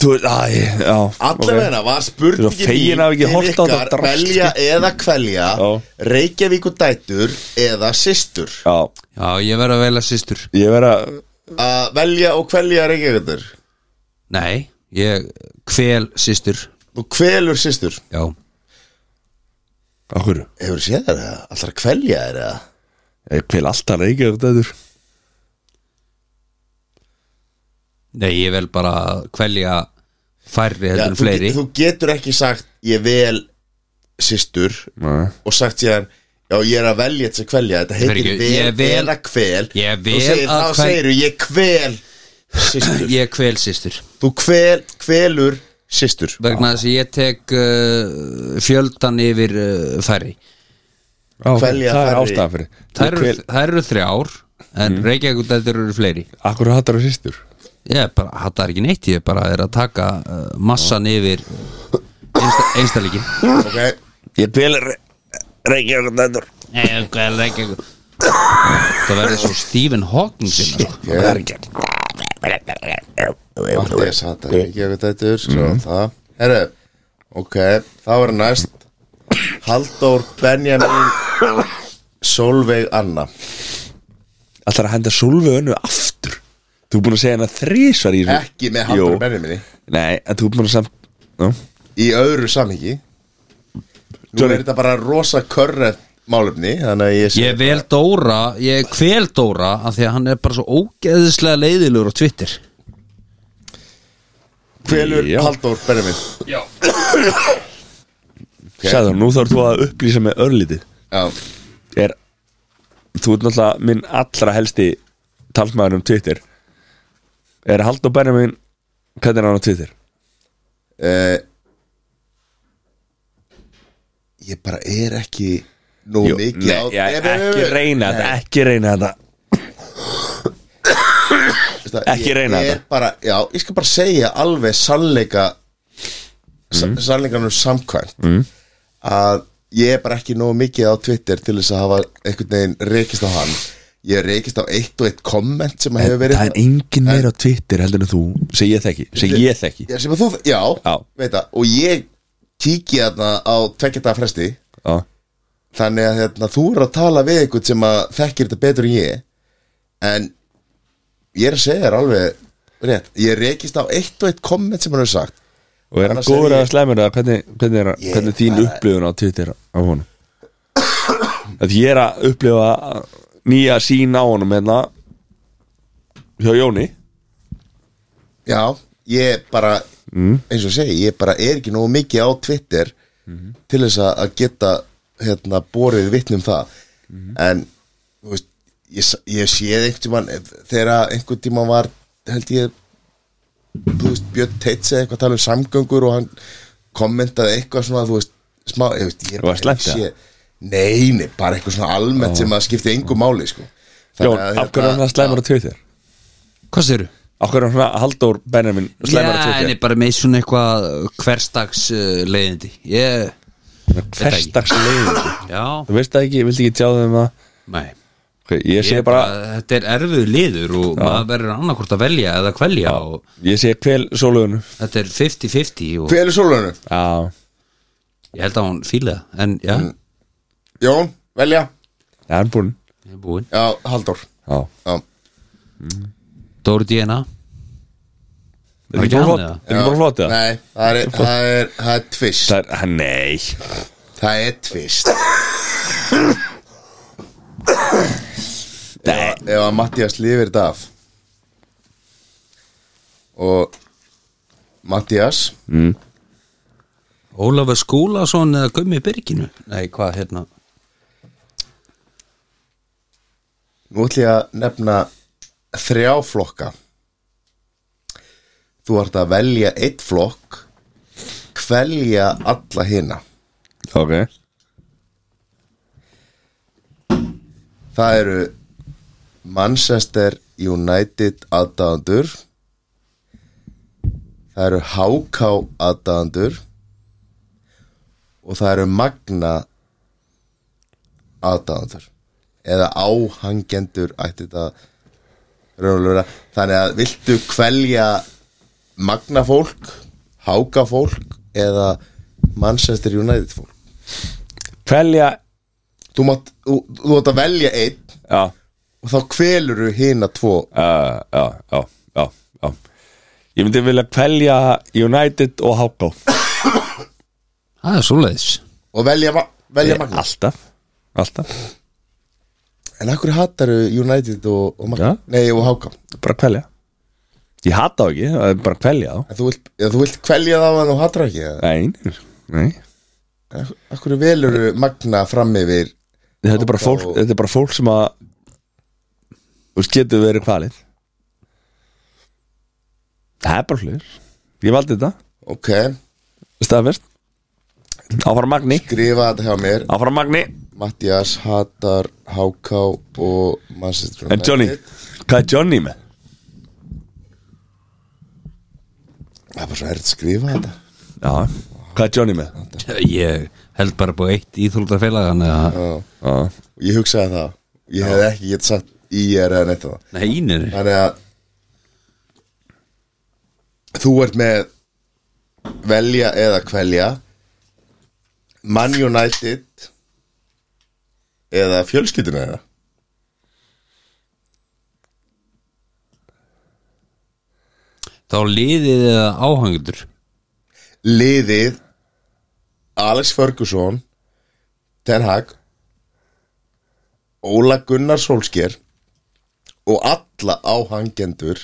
Speaker 1: Þú veist, æ, já
Speaker 3: Allavega okay. var
Speaker 1: Þú veist,
Speaker 3: spurningin
Speaker 1: fegin að hafa ekki horft á þetta drasl.
Speaker 3: Velja eða kvelja
Speaker 1: Já.
Speaker 3: Reykjavíku dætur eða systur
Speaker 1: Já,
Speaker 2: Já, ég verð að velja systur
Speaker 1: ég verð að
Speaker 3: Að velja og kvelja Reykjavíkur
Speaker 2: Nei, ég kvel systur
Speaker 3: Þú kvelur systur
Speaker 2: Já
Speaker 1: Akkur,
Speaker 3: Hefur séð þér það? Allar að kvelja þér eða?
Speaker 1: ég kvel alltaf reykja þetta þurr
Speaker 2: Nei, ég vel bara að kvelja færri
Speaker 3: Já,
Speaker 2: heldur
Speaker 1: um
Speaker 2: en
Speaker 3: þú,
Speaker 2: fleiri
Speaker 3: get- þú getur ekki sagt Ég vel systur
Speaker 1: Nei.
Speaker 3: Og sagt síðan Já, ég er að velja þess að kvelja Þetta heitir
Speaker 2: Fyrir ekki,
Speaker 3: vel,
Speaker 2: ég vel-
Speaker 3: eða kvel
Speaker 2: Ég
Speaker 3: Þú
Speaker 2: vel
Speaker 3: segir,
Speaker 2: að
Speaker 3: Þá
Speaker 2: kvel-
Speaker 3: segir þú ég kvel systur
Speaker 2: Ég kvel systur
Speaker 3: Þú kvel, kvelur systur
Speaker 2: Vegna þess að ég tek uh, fjöldan yfir uh, færri
Speaker 1: Já,
Speaker 3: Kvelja
Speaker 1: Það er
Speaker 3: færri.
Speaker 1: ástæðan fyrir
Speaker 2: Þær eru,
Speaker 1: Kvel-
Speaker 2: þær eru þrjár En mm. Reykjavíkudættur eru fleiri
Speaker 1: Akkur hattar og sýstur
Speaker 2: Ég er bara, það er ekki neitt, ég er bara er að taka uh, massan yfir einsta, einstallíkin
Speaker 3: Ok,
Speaker 1: Ég kvel reykja þetta þurr
Speaker 2: Það verður svo Stephen Hawking sinna sko.
Speaker 3: ég er ekki Matti er satt að ekki að þetta er Svo
Speaker 1: Mhm.
Speaker 3: það Herru, ok, þá er næst Halldór Benjamin Solveig Anna
Speaker 1: Alltaf að henda Solveig önnu aftur Þú er búin að segja hennar þrísvar í þessu.
Speaker 3: Ekki með
Speaker 1: Jú.
Speaker 3: Halldór Benjamin
Speaker 1: Nei, en þú er búin að samt Já,
Speaker 3: Í öðru samhengi Nú
Speaker 1: Sorry.
Speaker 3: er þetta bara rosa körre málefni Þannig að ég
Speaker 2: Ég vel Dóra, ég kvel Dóra af því að hann er bara svo ógeðislega leiðilegur á Twitter
Speaker 3: kvelur
Speaker 1: Já.
Speaker 3: Halldór Benjamin
Speaker 1: sagði hún, nú þarf þú að upplýsa með örlítið
Speaker 3: Já,
Speaker 1: er þú ert náttúrulega minn allra helsti talsmaður um Twitter er Haldur Benjamin hvernig er hann á Twitter?
Speaker 3: uh, Ég bara er ekki Nú mikið
Speaker 1: nei,
Speaker 3: á
Speaker 1: ég,
Speaker 3: Nei, nei, nei,
Speaker 1: ekki
Speaker 3: nei.
Speaker 1: reyna þetta ekki reyna þetta
Speaker 3: Veist það,
Speaker 1: ekki reyna
Speaker 3: ég er
Speaker 1: þetta.
Speaker 3: bara, Já, ég skal bara segja alveg sannleika mm. Sannleikanum samkvæmt mm. Að ég er bara ekki nógu mikið á Twitter Til þess að hafa einhvern veginn reykist á hann Ég reykist á eitt og eitt komment Sem að hefur verið
Speaker 1: það er engin meira á Twitter heldur en þú sem ég þekki, sem ég þekki
Speaker 3: Já, sem að þú, já,
Speaker 1: Já.
Speaker 3: veit það Og ég kíki þarna á tveggjata fresti
Speaker 1: já,
Speaker 3: Þannig að hérna, þú er að tala við einhvern sem að þekkir þetta betur en ég En ég er að segja þér alveg rétt Ég reykist á eitt og eitt komment sem hann hefur sagt
Speaker 1: og er hann
Speaker 3: Annars
Speaker 1: góður
Speaker 3: er ég-
Speaker 1: eða slæmur eða hvernig, hvernig, er,
Speaker 3: Ég
Speaker 1: hvernig þín
Speaker 3: bara-
Speaker 1: upplifun á Twitter á honum að ég er að upplifa nýja sín á honum hérna hjá Jóni
Speaker 3: Já, ég bara, eins og ég segi, ég bara er ekki nógu mikið á Twitter Til þess að- að geta hérna, borið vitni um það En, þú veist, ég, s- ég séð einhvern tímann eh, Þegar einhvern tímann var, held ég þú veist, Björn Teits eða eitthvað að tala um samgöngur og hann kommentaði eitthvað svona, þú veist, smá, ég veist, ég
Speaker 1: Var slæmt,
Speaker 3: ég- Nei, nei, bara eitthvað svona almennt sem að skipti engu máli, sko.
Speaker 1: Jón, af hverju er hann að slæmur á Twitter?
Speaker 2: Hvað séru?
Speaker 1: Akkur er hann svona Halldór Benjamin Slæmar
Speaker 2: Já,
Speaker 1: að
Speaker 2: en ég bara með svona eitthvað hverstags uh, leiðindi Ég,
Speaker 1: tjóka Hverstags leiðin
Speaker 2: já,
Speaker 1: Þú veist það ekki, ég vildi ekki tjá þeim það
Speaker 2: nei
Speaker 1: Ok, Ég sé
Speaker 2: ég
Speaker 1: bara,
Speaker 2: bara, þetta er erfiður liður og maður verður annarkvort að velja eða kvelja og
Speaker 1: ég sé kvel sólugunum
Speaker 2: þetta er 50-50 og
Speaker 3: Hver er sólunum?
Speaker 1: Já,
Speaker 2: ég held að hún fíla það, en já,
Speaker 1: Mm.
Speaker 3: Jón, velja
Speaker 1: það er búinn
Speaker 2: ég er búinn
Speaker 3: Já, Halldór
Speaker 1: Já,
Speaker 3: Já,
Speaker 2: Dóri DNA
Speaker 1: er
Speaker 2: Var
Speaker 1: ekki
Speaker 2: ekki
Speaker 1: bara
Speaker 2: hann
Speaker 1: flott Er ekki bara flott
Speaker 2: eða?
Speaker 1: eða?
Speaker 3: Nei, það er, það er, það er tvist
Speaker 1: Það er, ha, nei
Speaker 3: Það er tvist Ef ef að Mattias lifir þetta af Og Mattias
Speaker 2: Ólafur Skúlason eða Gummi Birginu Nei, hvað hérna
Speaker 3: Nú ætlum ég að nefna þrjá flokka Þú ert að velja eitt flokk Kvelja alla hina
Speaker 1: Ok
Speaker 3: Það eru Manchester United aðdáðandur Það eru HK aðdáðandur og það eru Magna aðdáðandur eða áhangendur ætti þetta raunlega þannig að viltu kvelja Magna fólk HK fólk eða Manchester United fólk
Speaker 1: Kvelja,
Speaker 3: þú mátt, þú, þú mátt að velja einn
Speaker 1: já,
Speaker 3: og þá kveluru hina tvo
Speaker 1: uh, já, já, já, já Ég myndi vilja kvelja United og Háká
Speaker 2: Það er svoleiðis <laughs>
Speaker 3: og velja, ma- velja Magnús
Speaker 1: Alltaf, alltaf
Speaker 3: en akkur hattar United og, og
Speaker 1: Ja.
Speaker 3: Magnús nei og Háka en
Speaker 1: Bara kvelja Ég hata þá ekki, það er bara kvelja þá
Speaker 3: þú vilt, ja, þú vilt kvelja það en þú hattar ekki eða?
Speaker 1: Nei, nei, nei
Speaker 3: En ak- akkur veluru Magna fram yfir
Speaker 1: þetta er bara fólk, þetta er bara fólk sem að þú veist, getur verið kvalið það er bara hlut ég valdi þetta
Speaker 3: ok,
Speaker 1: staðfest áfram Magni
Speaker 3: grifa þetta hjá mér
Speaker 1: áfram Magni
Speaker 3: Mattias hattar Háka og Manchester
Speaker 1: en Johnny hvað er Johnny með?
Speaker 3: það er bara svo erfitt að skrifa þetta
Speaker 1: já hvað er Johnny með?
Speaker 2: Ég held bara búið eitt íþróldafélagan eða
Speaker 1: já
Speaker 3: og ég hugsaði það ég hef ekki gett sagt í er eða neitt það
Speaker 2: Nei, ínir
Speaker 3: Þannig að Þú ert með Velja eða kvelja Man United Eða fjölskylduna eða
Speaker 2: Þá liðið eða áhangur
Speaker 3: Liðið Alex Ferguson Ten Hag Óla Gunnar Solskjær Og alla áhangendur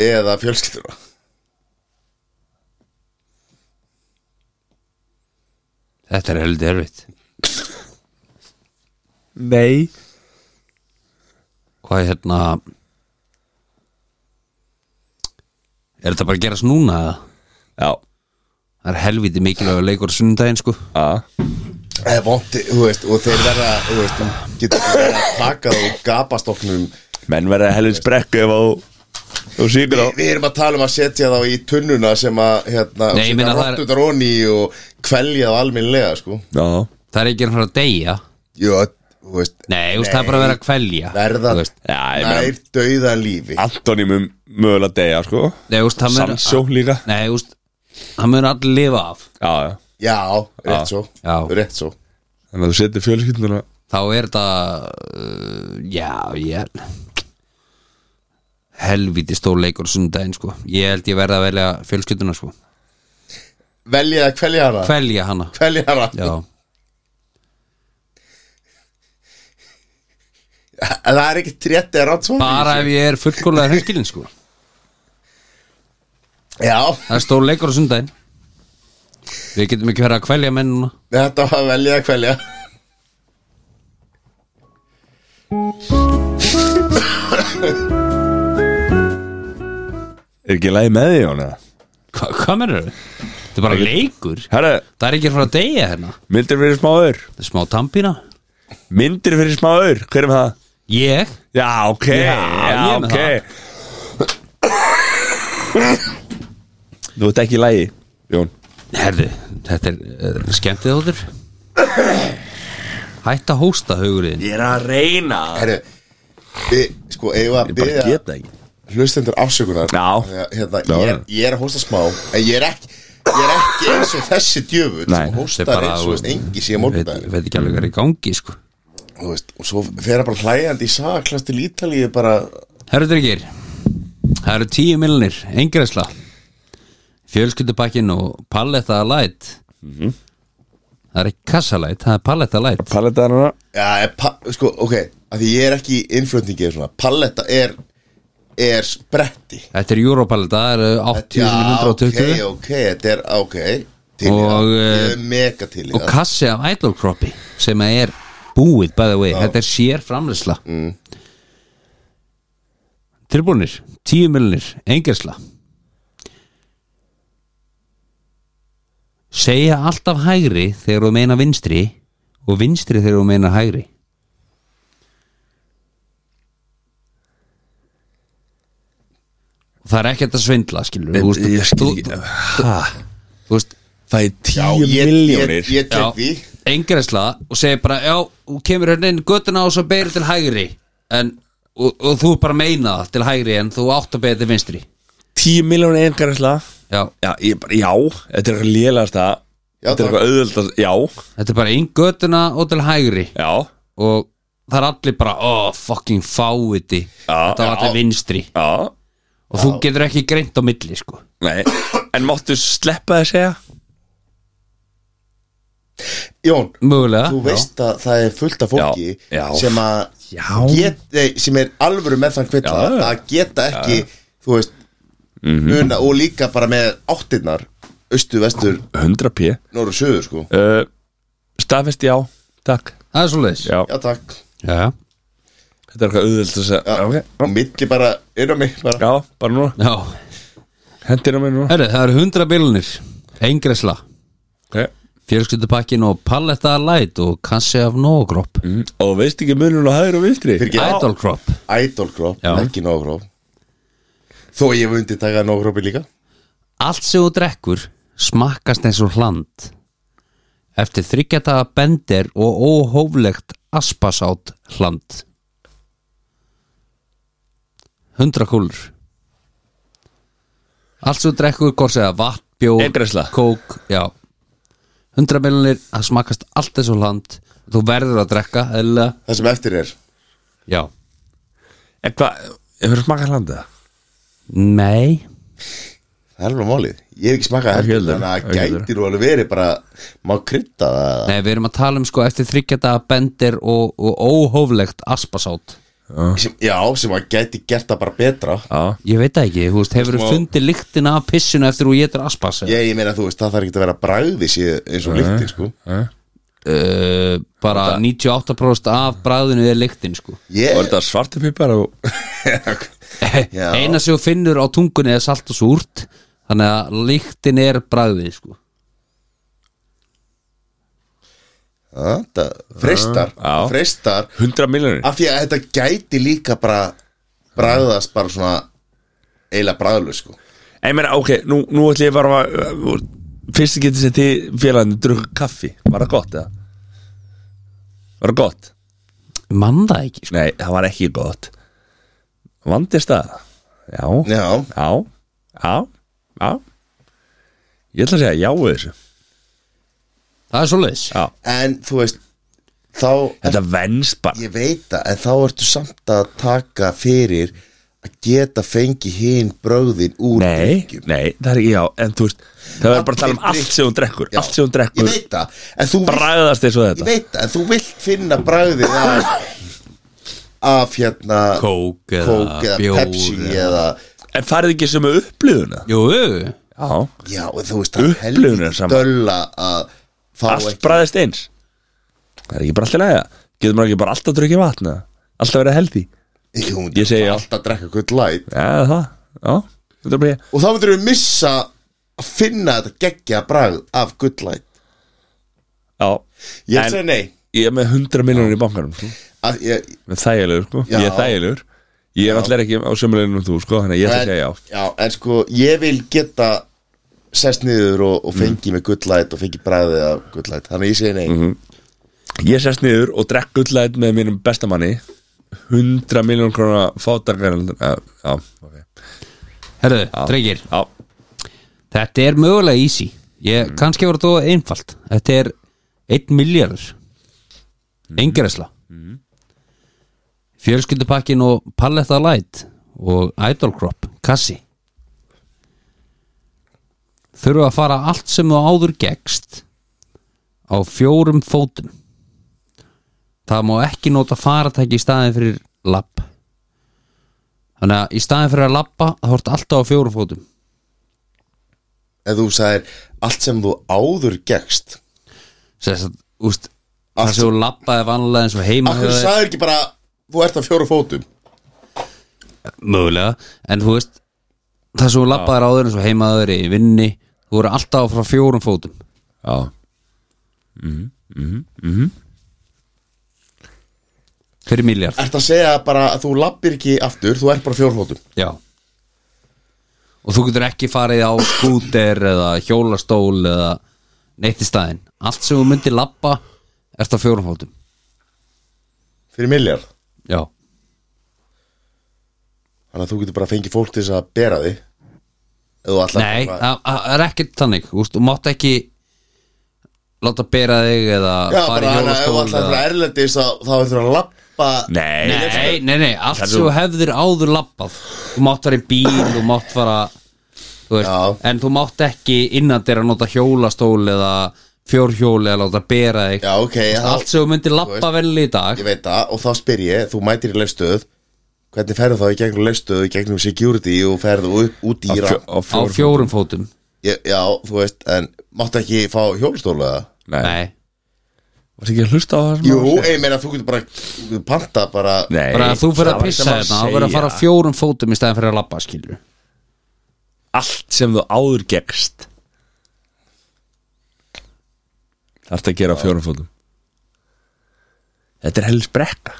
Speaker 3: Eða fjölskylduna
Speaker 2: Þetta er heldur erfitt
Speaker 1: nei
Speaker 2: Hvað er hérna Er þetta bara að gerast núna eða?
Speaker 1: já
Speaker 2: Það er helviti mikilvægur leikur á sunnudaginn sko
Speaker 1: já
Speaker 3: Það er Eh, vonti, þú veist, og þeir verða, þú veist, þú getur verið að taka þú gapastoknum Vi,
Speaker 1: menn verða helvits brekku ef þú þú sýkur á
Speaker 3: Við erum að tala um að setja þá í tunnuna sem að, hérna,
Speaker 2: Nei, ég meina það er-
Speaker 3: rottutar onni og kvelja þá alminnlega, sko
Speaker 1: já
Speaker 2: Það er ekki að fara að deyja
Speaker 3: Jú, þú veist,
Speaker 2: Nei, þú veist, það er bara að vera að kvelja
Speaker 3: verða
Speaker 2: Þú veist,
Speaker 1: já ég meina
Speaker 3: nær dauða lífi
Speaker 1: Antoni mun mögulega deyja sko
Speaker 2: Nei, þú veist, það mun
Speaker 1: Sandsjó líka
Speaker 2: Nei, þú veist, það mun allir lifa af
Speaker 1: já já
Speaker 3: Já, rétt svo,
Speaker 2: Já.
Speaker 3: rétt svo
Speaker 1: þannig að þú setur fjölskylduna
Speaker 2: Þá er þetta uh, Já, ég Helviti stór leikur á sunnudaginn sko Ég held ég verða að velja fjölskylduna sko
Speaker 3: Velja að kvelja hana
Speaker 2: Kvelja hana
Speaker 3: Kvelja hana
Speaker 2: Já,
Speaker 3: En það er ekki trétt eða rátt svo
Speaker 2: bara ef ég er fullkólega hreinskilin sko
Speaker 3: Já,
Speaker 2: Það er stór leikur á sundaginn Við getum ekki verið að kvelja menn núna
Speaker 3: þetta var velja að kvelja
Speaker 1: Er ekki læg með því hún eða?
Speaker 2: Hva, Hvað mennur þau? Þetta er bara leikur
Speaker 1: Herra,
Speaker 2: Það er ekki að fara að deyja hérna
Speaker 1: myndir fyrir smáður
Speaker 2: Það er smá tampína
Speaker 1: Myndir fyrir smáður, hver er með það?
Speaker 2: Ég?
Speaker 1: Já, ok,
Speaker 2: Já,
Speaker 1: já,
Speaker 2: ég er með
Speaker 1: ok Þú ert ekki í lægi, Jón
Speaker 2: Herðu, þetta er uh, skemmtið áður Hætt að hósta haugurinn
Speaker 1: Ég er að reyna
Speaker 3: Herru, við, sko, eigum
Speaker 1: Ég
Speaker 3: við að
Speaker 1: bara
Speaker 3: byrja
Speaker 1: geta ekki
Speaker 3: hlustendur afsökunar
Speaker 1: Já.
Speaker 3: Af því að, hérna,
Speaker 1: Já,
Speaker 3: ég, er, ég er að hósta smá En ég er ekki, ég er ekki eins og þessi djöfur
Speaker 1: Nei,
Speaker 3: sem
Speaker 2: þetta er
Speaker 3: hóstar
Speaker 2: bara-
Speaker 3: eins og veist, engi sé
Speaker 2: veit,
Speaker 3: morgunbæðin
Speaker 2: veit ekki alveg hvað er í gangi sko
Speaker 3: Þú veist, og svo fer að bara hlægjandi í saklast til Ítalíu bara
Speaker 2: Herru drengir Það eru tíu millinir, engreisla Fjölskyldupakkin og palletta light Það er ekki kassalæt, það er palletta light
Speaker 1: Paletta er hana
Speaker 3: Já, er pa- sko, ok, af því ég er ekki í innflutningi eða svona, palletta er er spretti
Speaker 2: Þetta er Europalletta, það eru 80.120
Speaker 3: ok, ok, þetta er, ok til í
Speaker 2: Og,
Speaker 3: það,
Speaker 2: eh,
Speaker 3: ég er mega til í
Speaker 2: og
Speaker 3: það
Speaker 2: kassi af Idol Croppi sem er búið by the way, þetta er sér framleysla mm. tilbúinir, tíu millinir engersla segja alltaf hægri þegar þú meina vinstri og vinstri þegar þú meina hægri það er ekkert að svindla skilur
Speaker 1: Ég, ég skil
Speaker 2: þú,
Speaker 1: ekki Ha?
Speaker 2: þú veist
Speaker 1: Það er tíu
Speaker 3: ég, ég,
Speaker 1: miljónir
Speaker 3: ég tek því
Speaker 2: engresla og segir bara já, þú kemur hérna inn göttuna og svo beirur til hægri en, og, og þú bara meina það til hægri en þú átt að beira til vinstri
Speaker 1: Tíu miljónir einhverjarsla
Speaker 2: já,
Speaker 1: Já, ég bara, já, þetta er eitthvað lélegast að
Speaker 3: Já,
Speaker 1: Þetta er
Speaker 3: takk.
Speaker 1: eitthvað auðvöldast, já,
Speaker 2: þetta er bara inn göttuna og til hægri
Speaker 1: já
Speaker 2: og það er allir bara oh, fucking fáiði
Speaker 1: Já,
Speaker 2: þetta var allir vinstri
Speaker 1: Já,
Speaker 2: og þú getur ekki greint á milli sko
Speaker 1: nei En máttu sleppa þið að segja?
Speaker 3: Jón,
Speaker 2: mögulega
Speaker 3: þú veist að það er fullt af fólki
Speaker 1: Já, já.
Speaker 3: sem að
Speaker 1: Já.
Speaker 3: get, nei, sem er alvöru með þann kvilla
Speaker 1: Já, já. Mhm.
Speaker 3: að geta ekki, þú veist muna, og líka bara með áttirnar austu, vestur,
Speaker 1: 100 p
Speaker 3: norður, söður sko
Speaker 1: uh, Staðfest já, takk
Speaker 2: það er svo leiðis
Speaker 1: Já,
Speaker 3: já, takk,
Speaker 2: já.
Speaker 1: þetta er eitthvað auðvöldast að segja Já, ok,
Speaker 3: og milli bara, inn á mig bara
Speaker 1: já, bara núna,
Speaker 2: Já.
Speaker 1: hendir á mig núna
Speaker 2: Herri, það eru hundra bilunir engresla
Speaker 1: okay.
Speaker 2: fjölskyldupakkin og palletta light og kassi af nógróp mm.
Speaker 1: mm. Og þú veist ekki munun á hægri og vinstri
Speaker 3: Fyrir ekki-
Speaker 2: idol crop
Speaker 3: Idolkróp,
Speaker 2: Já.
Speaker 3: ekki nógróp Þó ég hef undir taka nógrópi líka
Speaker 2: Allt sem þú drekkur smakkast eins og hland eftir þryggjataða bender og óhóflegt aspasátt hland Hundra kúlur Allt sem þú drekkur hvort segja vatn, bjór,
Speaker 1: Eingreiðsla.
Speaker 2: kók já. Hundra miljonir það smakkast allt eins og hland þú verður að drekka eða
Speaker 3: Það sem eftir er
Speaker 2: já,
Speaker 1: En hvað, hefur smakað landið?
Speaker 2: nei
Speaker 3: Það er alveg málið Ég hef ekki smakað
Speaker 1: Ekki
Speaker 3: heldur
Speaker 1: heldur,
Speaker 3: Þannig að
Speaker 1: ekki heldur.
Speaker 3: gætir og alveg verið bara Má krydda það
Speaker 2: Nei, við erum að tala um sko eftir þryggjataða bender og, og óhóflegt aspasátt
Speaker 3: sem, Já, sem að gæti gert það bara betra
Speaker 1: Já
Speaker 2: Ég veit það ekki, þú veist, hefur þú
Speaker 3: Smá-
Speaker 2: fundið lyktina af pissinu eftir þú getur aspas
Speaker 3: Ég, ég meina þú veist, það þarf ekki að vera bragði sér eins og lyktir sko
Speaker 2: uh, bara 98% af bræðinu er lyktin sko.
Speaker 1: Og er
Speaker 3: Ég,
Speaker 1: þetta svartu pipar og
Speaker 3: <laughs> Já.
Speaker 2: <laughs> eina sem þú finnur á tungunni er salt og súrt þannig að lyktin er bræði sko.
Speaker 3: að, það, Ah, freistar
Speaker 1: Já.
Speaker 3: Freistar
Speaker 1: 100 miljonir
Speaker 3: Af því að þetta gæti líka bara Bragðast bara svona Eila bragðlu sko
Speaker 1: En meina, ok, nú, nú ætlum ég bara að uh, Fyrst getið sér til félaginu drukku kaffi Var það gott eða? Var það gott?
Speaker 2: mann það ekki sko.
Speaker 1: Nei, það var ekki gott Vandist það? Já
Speaker 3: Já,
Speaker 1: Já Já Já Ég ætla að segja já við þessu
Speaker 2: það er svo leiðis
Speaker 1: Já
Speaker 3: en þú veist Þá
Speaker 1: Þetta venst bara
Speaker 3: Ég veit það, en þá ertu samt að taka fyrir að geta fengið hinn bröðin úr
Speaker 1: Nei,
Speaker 3: drykkjum.
Speaker 1: nei, það er ekki já En þú veist, það er bara að tala um
Speaker 3: Allir
Speaker 1: allt sem hún drekkur
Speaker 3: Já,
Speaker 1: Allt sem hún drekkur
Speaker 3: Ég veit það, en þú, vilt,
Speaker 1: Bræðast eins og
Speaker 3: ég
Speaker 1: þetta
Speaker 3: veit það, en þú vilt finna bröðið af, af hérna
Speaker 2: kók eða,
Speaker 3: kók eða
Speaker 2: bjór
Speaker 3: pepsi eða
Speaker 1: En farið ekki sem með upplifuna
Speaker 2: jú,
Speaker 1: Já
Speaker 3: Já, og þú veist, það
Speaker 1: Upplifunin
Speaker 3: er
Speaker 1: er
Speaker 3: helviti
Speaker 1: sama.
Speaker 3: dölla að fá
Speaker 1: Allt
Speaker 3: ekki
Speaker 1: bræðist eins Það er ekki bara allt í læga Getur maður ekki bara alltaf að drukja vatna Alltaf verið heldi
Speaker 3: Jú,
Speaker 1: Ég segi já.
Speaker 3: alltaf að drekka gull light
Speaker 1: Já, það Já, þetta er bara ég
Speaker 3: Og þá myndir við missa að finna þetta geggja bragð af gull light
Speaker 1: Já
Speaker 3: Ég
Speaker 1: En-
Speaker 3: segi nei
Speaker 1: Ég er með 100 miljonir í bankanum sko.
Speaker 3: að ég,
Speaker 1: Þægilegur sko,
Speaker 3: Já.
Speaker 1: ég er þægilegur Ég er allir ekki á sömuleginum þú sko Þannig að ég ætla að segja já
Speaker 3: en sko ég vil geta sest niður og, og
Speaker 1: Mhm.
Speaker 3: fengi mm. með gullæt og fengi bræðið af gullæt þannig að ég segi nei
Speaker 1: Ég sest niður og drekk gullæð með mínum bestamanni 100 miljón krona fátakar Já, já, ok
Speaker 2: Herðu, drengir,
Speaker 1: Já,
Speaker 2: þetta er mögulega easy ég, Kannski voru þetta einfalt Þetta er 1 miljardur Engresla Fjölskyldupakkin og Paletta Light og Idol Crop, kassi Þurfa að fara allt sem þú áður gegst á fjórum fótum Það má ekki nota faratæki í staðin fyrir lapp Þannig að í staðin fyrir að lappa þá ertu alltaf á fjórum fótum
Speaker 3: en þú sagðir allt sem þú áður gegst
Speaker 2: Sess að, úst Það
Speaker 3: Allt-
Speaker 2: sem þú labbaði vanlega eins og heima
Speaker 3: akkur
Speaker 2: hjá þér,
Speaker 3: sagðir ekki bara þú ert á fjóru fótum
Speaker 2: Mögulega, en þú veist Það sem þú labbaði áður eins og heima hjá þér í vinni Þú voru alltaf frá fjórum fótum
Speaker 1: já
Speaker 2: Fyrir miljard
Speaker 3: ert að segja bara að þú lappir ekki aftur þú ert bara fjóru fótum
Speaker 2: Já Og þú getur ekki farið á skúter eða hjólastól eða neitt í staðinn Allt sem þú myndir labba Ert á fjórum fótum
Speaker 3: fyrir milljar
Speaker 2: Já,
Speaker 3: þannig að þú getur bara að fengi fólk til þess að bera þig Ef þú ætlar
Speaker 2: nei,
Speaker 3: bara-
Speaker 2: það það er ekkert þannig úst, Þú mátt ekki Láta bera þig eða
Speaker 3: Já,
Speaker 2: fara
Speaker 3: bara
Speaker 2: í
Speaker 3: hann að ef þú
Speaker 2: hjólastól
Speaker 3: ætlar að
Speaker 2: eða-
Speaker 3: fara erlendis þá þá ætlar að lappa
Speaker 1: Nei,
Speaker 2: Nei, nei, nei, allt
Speaker 1: Það er
Speaker 2: sem
Speaker 1: þú-
Speaker 2: þú hefðir áður labbað Þú mátt fara í bíl, þú mátt fara þú veist,
Speaker 3: Já.
Speaker 2: En þú mátt ekki innan þér að nota hjólastól eða fjórhjól eða láta bera þig
Speaker 3: Já, ok,
Speaker 2: Þú veist,
Speaker 3: þá-
Speaker 2: Allt sem þú myndir
Speaker 3: þú
Speaker 2: labba
Speaker 3: veist,
Speaker 2: vel í dag
Speaker 3: Ég veit það og þá spyr ég, þú mætir í leifstöð Hvernig ferðu þá í gegnum leifstöð í gegnum security og ferðu upp- út í rann
Speaker 1: Á
Speaker 2: Á fjórum fótum
Speaker 3: Já, þú veist, en máttu ekki fá hjólastóla eða?
Speaker 1: Nei,
Speaker 2: Nei,
Speaker 1: varst ekki að hlusta á það sem
Speaker 3: Jú,
Speaker 1: maður segir?
Speaker 3: ég meina þú getur bara þú getur panta bara
Speaker 1: Nei,
Speaker 2: bara að þú fyrir
Speaker 1: það
Speaker 2: að
Speaker 1: var
Speaker 2: pissa
Speaker 1: sem
Speaker 2: þetta Þá fyrir að fara á
Speaker 1: segja.
Speaker 2: fjórum fótum í stæðan fyrir að labba skilur
Speaker 1: allt sem þú áður gegst Það ert að gera á fjórum fótum Þetta er helst brekka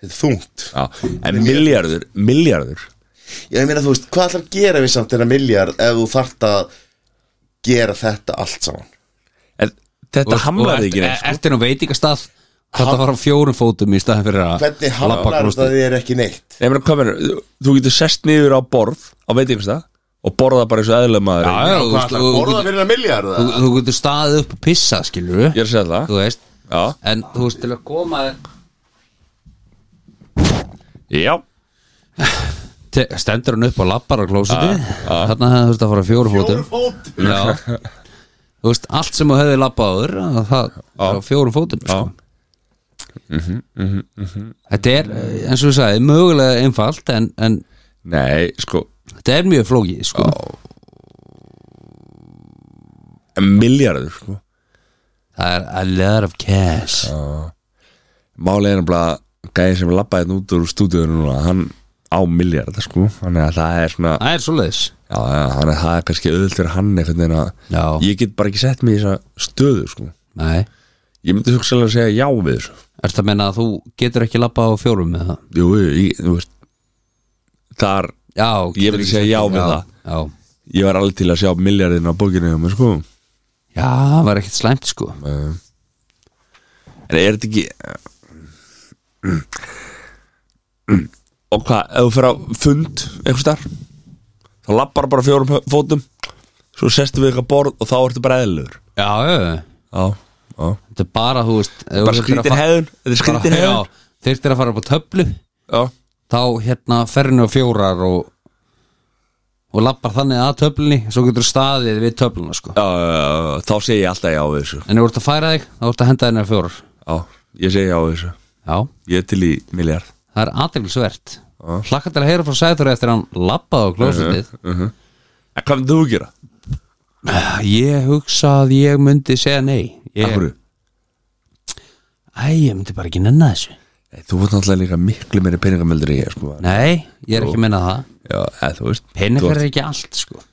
Speaker 3: Þetta er þungt
Speaker 1: Já, en miljardur, miljardur
Speaker 3: Já, ég meina þú veist, hvað ætlar að gera við samt þeirra miljard ef þú þart að gera þetta allt saman
Speaker 1: en Þetta hamlaði ekki neitt sko.
Speaker 2: Eftir nú veitingastað Þetta að fara á fjórum fótum í stæðan fyrir
Speaker 3: Hvernig
Speaker 2: að labba
Speaker 3: hamlar þetta
Speaker 2: grústi
Speaker 3: þér ekki neitt?
Speaker 1: Nei, meni, hvað menur, þú getur sest niður á borð á veitingstað og borða bara eins og eðlega maður
Speaker 2: Já, já, þú
Speaker 3: Hvað
Speaker 2: veist,
Speaker 3: ætlar að
Speaker 2: þú- þú
Speaker 3: borða
Speaker 2: getur-
Speaker 3: fyrir að miljard
Speaker 2: þú-
Speaker 3: eða?
Speaker 2: þú getur staðið upp og pissa skilur
Speaker 1: Ég er að segja það
Speaker 2: Þú veist
Speaker 1: Já,
Speaker 2: En þú veist til að koma
Speaker 1: já,
Speaker 2: te- Stendur hann upp á labbaraklósiti Þarna hefði þurft að fara fjóru fótum
Speaker 3: Fjórum fótum
Speaker 2: Já Þú veist, allt sem þú hefði labbað áður að Það er á fjórum fótum sko. Þetta er, eh, eins og við sagði, mögulega einfalt En, en
Speaker 1: nei, sko
Speaker 2: þetta er mjög flókið sko.
Speaker 1: miljardur, sko
Speaker 2: Það er a lot of cash
Speaker 1: Málið er nefnilega gæði sem labbaði hérna út úr stúdíunum núna hann á miljard, sko þannig að það er svona
Speaker 2: Það er svoleiðis
Speaker 1: Já, já, þannig að það er kannski auðvöld fyrir hann einhvern veginn að
Speaker 2: Já,
Speaker 1: ég get bara ekki sett mig í þessa stöðu sko.
Speaker 2: nei
Speaker 1: ég myndi hugsaðlega að segja já við þessu
Speaker 2: Ertu að menna að þú getur ekki labbað á fjórum með það?
Speaker 1: jú, jú, ég, þú veist þar,
Speaker 2: Já,
Speaker 1: Ég
Speaker 2: getur
Speaker 1: myndi
Speaker 2: ekki
Speaker 1: segja
Speaker 2: sagt-
Speaker 1: já við það.
Speaker 2: Já,
Speaker 1: ég var alveg til að sjá miljardin á bókinu hjá mér sko
Speaker 2: já það var ekkert slæmt sko
Speaker 1: en er þetta ekki Eh, og hvað, ef þú fyrir á fund einhvers þar þá lappar bara fjórum fótum svo sestu við eitthvað borð og þá ertu bara eðlugur
Speaker 2: Já, já, já
Speaker 1: já, já
Speaker 2: Þetta er bara, þú veist ef þú
Speaker 1: bara
Speaker 2: þurftir að
Speaker 1: skrítin
Speaker 2: fa-
Speaker 1: hefðun þetta er skrítin
Speaker 2: bara- já,
Speaker 1: hefðun
Speaker 2: Þyrftir að fara upp á töflu
Speaker 1: já
Speaker 2: Þá hérna ferinu á fjórar og og lappar þannig að töflunni svo getur staðið við töfluna sko
Speaker 1: Já, já, já, já, þá segi ég alltaf já við þessu
Speaker 2: En þú ert að færa þig, þá ert að henda þenni á fjórar
Speaker 1: Já, ég segi já við þessu
Speaker 2: Já,
Speaker 1: Ég er til í miljard
Speaker 2: það er aðeinsvert Hlakka til að heyra frá sæður eftir að hann lappaði á klósitið
Speaker 1: En hvað myndir þú gera?
Speaker 2: Ég hugsa að ég myndi segja nei
Speaker 1: Yeah.
Speaker 2: ég, Æ, ég myndi bara ekki nenna þessu
Speaker 1: Nei, þú vart náttúrulega líka miklu meiri peningamöldur í ég sko.
Speaker 2: Nei, ég er ekki að menna það
Speaker 1: Já, eða þú veist
Speaker 2: Peningar
Speaker 1: þú
Speaker 2: er
Speaker 1: ert-
Speaker 2: ekki allt sko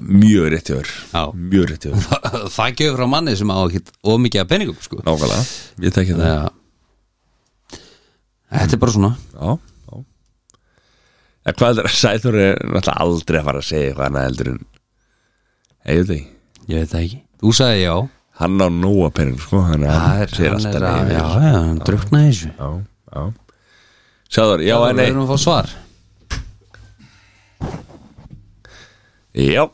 Speaker 1: mjög rétt hjá
Speaker 2: Já.
Speaker 1: þér mjög rétt hjá <laughs> þér
Speaker 2: <laughs> það er gefur frá manni sem á ekki of mikið af peningum sko.
Speaker 1: nákvæmlega, ég tekja það
Speaker 2: Þegar Þetta er bara svona
Speaker 1: já, já. En hvað er Sæþór er náttúrulega aldrei að fara að segja eitthvað annað heldur en ég veit það ekki
Speaker 2: Ég veit það ekki Þú sagði já
Speaker 1: hann á nóa pening sko hann,
Speaker 2: Það er,
Speaker 1: segir
Speaker 2: hann
Speaker 1: alltaf
Speaker 2: er að,
Speaker 1: nei,
Speaker 2: já,
Speaker 1: já,
Speaker 2: já, hann druknaði þessu
Speaker 1: já, já. Sæþór, já en
Speaker 2: Það
Speaker 1: nei
Speaker 2: erum að fá svar
Speaker 1: já,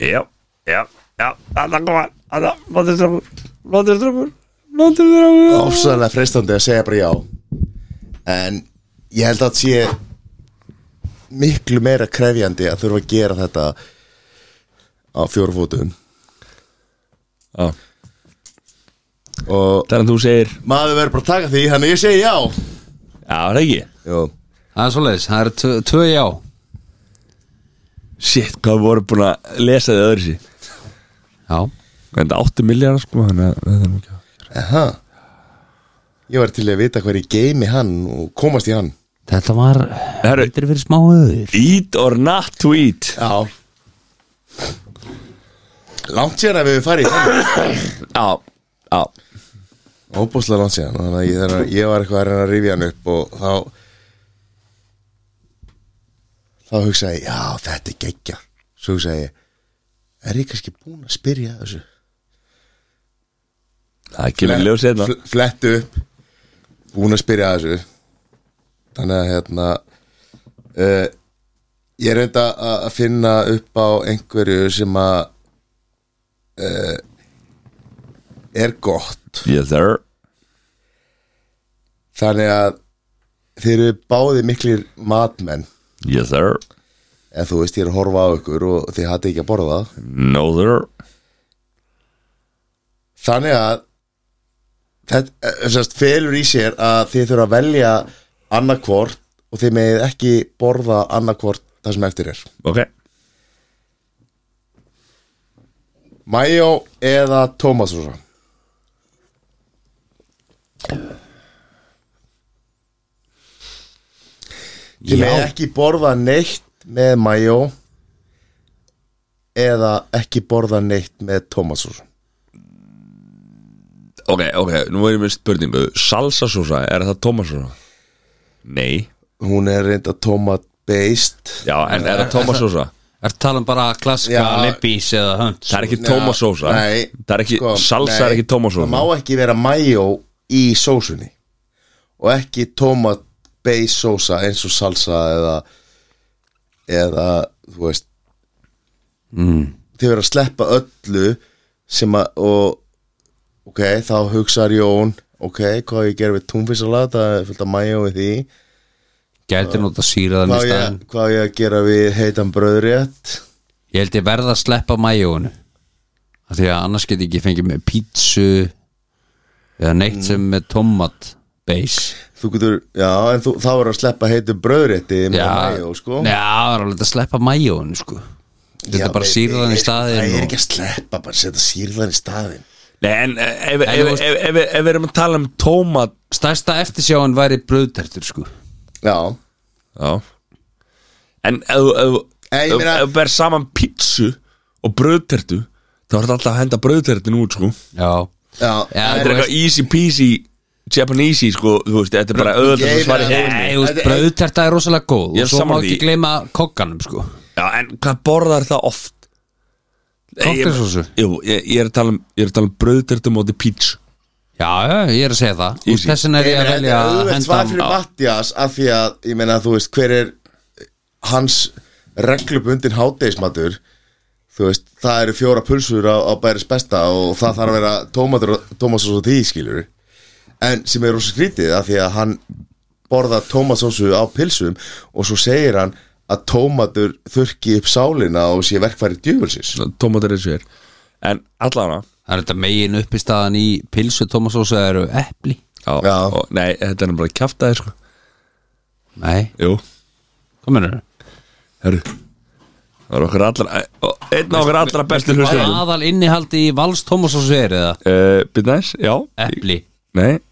Speaker 1: já, já, já það kom hann, það, lóttir strafur lóttir strafur, lóttir strafur
Speaker 3: ofsalega freistandi að segja bara já en ég held að sé miklu meira krefjandi að þurfa að gera þetta á fjóru fótum
Speaker 1: Já.
Speaker 3: og
Speaker 1: þannig að þú segir,
Speaker 3: maður verður bara að taka því þannig ég segi já
Speaker 1: já það er ekki
Speaker 3: Jó.
Speaker 2: Það er svoleiðis, það eru tvö- tvö já
Speaker 1: shit, hvað við vorum búin að lesa þið öðru sér
Speaker 2: Já,
Speaker 1: en það 8 miljardar sko þannig að það er nú ekki
Speaker 3: Aha. ég var til að vita hver ég geimi hann og komast í hann
Speaker 2: þetta var
Speaker 1: Herru.
Speaker 2: Þetta er fyrir smá öður
Speaker 1: eat or not to eat
Speaker 3: já langt síðan að við farið í þannig
Speaker 1: já, já,
Speaker 3: óbúslega langt síðan þannig að ég, þannig að ég var eitthvað að reyna að rifja hann upp og þá þá hugsaði ég já þetta er geggja svo hugsaði ég er ég kannski búin að spyrja að þessu
Speaker 1: það kemur í ljós hérna
Speaker 3: Fl- Flett upp Búin að spyrja að þessu Þannig að hérna uh, Ég reynda að að finna upp á einhverju sem að uh, Er gott
Speaker 1: yes sir
Speaker 3: Þannig að Þeir eru báði miklir matmenn
Speaker 1: yes sir,
Speaker 3: Ef þú veist ég er að horfa á ykkur og þið hatið ekki að borða
Speaker 1: no sir
Speaker 3: Þannig að þetta, sérst, felur í sér að þið þurfa að velja annarkvort og þið megið ekki borða annarkvort það sem eftir er
Speaker 1: ok,
Speaker 3: Mayo eða tómatsósa Þið megið
Speaker 2: Já,
Speaker 3: ekki borða neitt með mayo eða ekki borða neitt með tómatsósa
Speaker 1: ok, ok nú erum við spurningu, salsasósa er það tómasósa? nei
Speaker 3: Hún er reynda tómat based
Speaker 1: já, en <laughs> er það tómasósa?
Speaker 2: er talað um bara klassika,
Speaker 3: Já.
Speaker 2: lippís eða hönd
Speaker 1: það er ekki
Speaker 3: Nei,
Speaker 1: tómasósa
Speaker 3: nei,
Speaker 1: það er ekki,
Speaker 3: sko,
Speaker 1: salsa
Speaker 3: nei,
Speaker 1: er ekki
Speaker 3: það má
Speaker 1: tómasósa
Speaker 3: ekki vera mayo í sósunni og ekki tomat base sósa eins og salsa eða eða þú veist mm.
Speaker 1: Mm.
Speaker 3: þið verður að sleppa öllu sem að og, ok, þá hugsaður Jón ok, hvað ég ger við túnfisalat það er fullt af mayo við því
Speaker 2: Gæti nota síraðan í
Speaker 3: hvað ég,
Speaker 2: staðin
Speaker 3: hvað ég að gera við heitan bröðrétt
Speaker 2: Ég held ég verða að sleppa majónu af Því að annars get ég ekki fengið með pítsu eða neitt sem er með tomat base
Speaker 3: þú getur, já, en þú, þá verður að sleppa heitu bröðrétti með mayo, sko
Speaker 2: Já, það er alveg að sleppa majónu sko Þetta
Speaker 3: Já,
Speaker 2: er bara
Speaker 3: nei,
Speaker 2: síraðan
Speaker 3: nei,
Speaker 2: í staðin
Speaker 3: Það er
Speaker 2: og-
Speaker 3: ekki að sleppa, bara setja sírðan í staðin
Speaker 1: nei, en eh, ef ef-
Speaker 2: En þú
Speaker 1: ef-
Speaker 2: veist-
Speaker 1: ef- ef- ef við erum að tala um tómat
Speaker 2: Stærsta eftirsjáin væri bröðtertur sko
Speaker 3: Já
Speaker 1: já en ef þú- ef þú-
Speaker 3: Nei, ég
Speaker 1: ef-
Speaker 3: meina-
Speaker 1: ef við erum saman pítsu og bröðtertu þá er þetta alltaf að henda bröðtertin út sko
Speaker 2: Já,
Speaker 3: Já,
Speaker 2: Já,
Speaker 3: en-
Speaker 1: Þetta er
Speaker 2: Þú
Speaker 1: eitthvað easy peasy Japanese sko, þú veist, þetta er bara öðvöld að
Speaker 3: Ég
Speaker 1: svara
Speaker 3: meina-
Speaker 1: hérna
Speaker 2: Nei, þú veist,
Speaker 3: Þetta er-
Speaker 2: brauðterta er rosalega góð
Speaker 1: Ég
Speaker 2: og
Speaker 1: er
Speaker 2: svo má
Speaker 1: sammála
Speaker 2: ekki
Speaker 1: því.
Speaker 2: gleyma kokkanum sko
Speaker 1: Já, en hvað borðar það oft? Nei, ég-
Speaker 2: Cocktailsósu.
Speaker 1: Jú, ég, ég er að tala um, ég er að tala um bröðtertum og þetta píts
Speaker 2: Já, já, ég er að segja það Þú veist,
Speaker 1: Easy.
Speaker 2: Þessin er
Speaker 3: Ég
Speaker 2: ég að
Speaker 3: meina,
Speaker 2: velja
Speaker 3: þetta er
Speaker 2: að
Speaker 3: auðvelt
Speaker 2: henda
Speaker 3: svar fyrir Mattias af því að, ég meina, þú veist, hver er hans reglubundin hádegismatur þú veist, það eru fjóra pulsur á, á bæris besta og það þarf að vera tómatur tómasósu því, skilur en sem er rosa skrítið af því að hann borða tómasósu á pilsum og svo segir hann að tómatur þurki upp sálina og sé verkfæri djöfulsins
Speaker 1: Tómatur eins og er En allana
Speaker 2: Það er þetta megin uppi staðan í pilsu Tómasósa eru epli
Speaker 1: já,
Speaker 3: Já.
Speaker 1: Og, Nei, þetta er bara að kjafta þér sko
Speaker 2: Nei,
Speaker 1: Jú,
Speaker 2: hvað mennur
Speaker 1: herru Það er okkur allra og Einn af okkur allra bestu hlustendum
Speaker 2: Aðal innihaldi í vals Tómasósa er eða
Speaker 1: uh, Bitnæs, já
Speaker 3: Eh.
Speaker 2: epli
Speaker 1: Nei,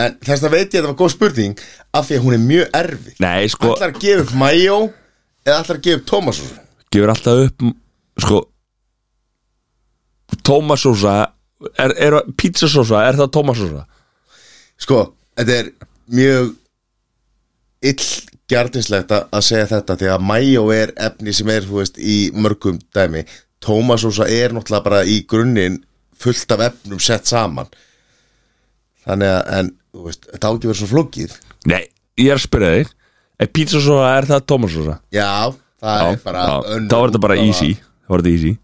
Speaker 3: En þess að veit ég að það var góð spurning af því að hún er mjög erfið
Speaker 1: nei, sko
Speaker 3: Allar gefa upp mayo eða ætlar að gefa upp Tómas sósu
Speaker 1: gefur alltaf upp m- sko tómasósa er, er pizzasósa, er það tómasósa
Speaker 3: Sko, þetta er mjög illgjarnislegt að að segja þetta því að mayo er efni sem er, þú veist, í mörgum dæmi tómasósa er náttúrulega bara í grunninn fullt af efnum sett saman þannig að, en, þú veist, þetta á ekki verið svo flókið
Speaker 1: nei, ég er að spyrja þig er pizzasósa, er það tómasósa
Speaker 3: Já, það er bara önnur
Speaker 1: þá var þetta bara
Speaker 3: útgáfa.
Speaker 1: easy þá var þetta easy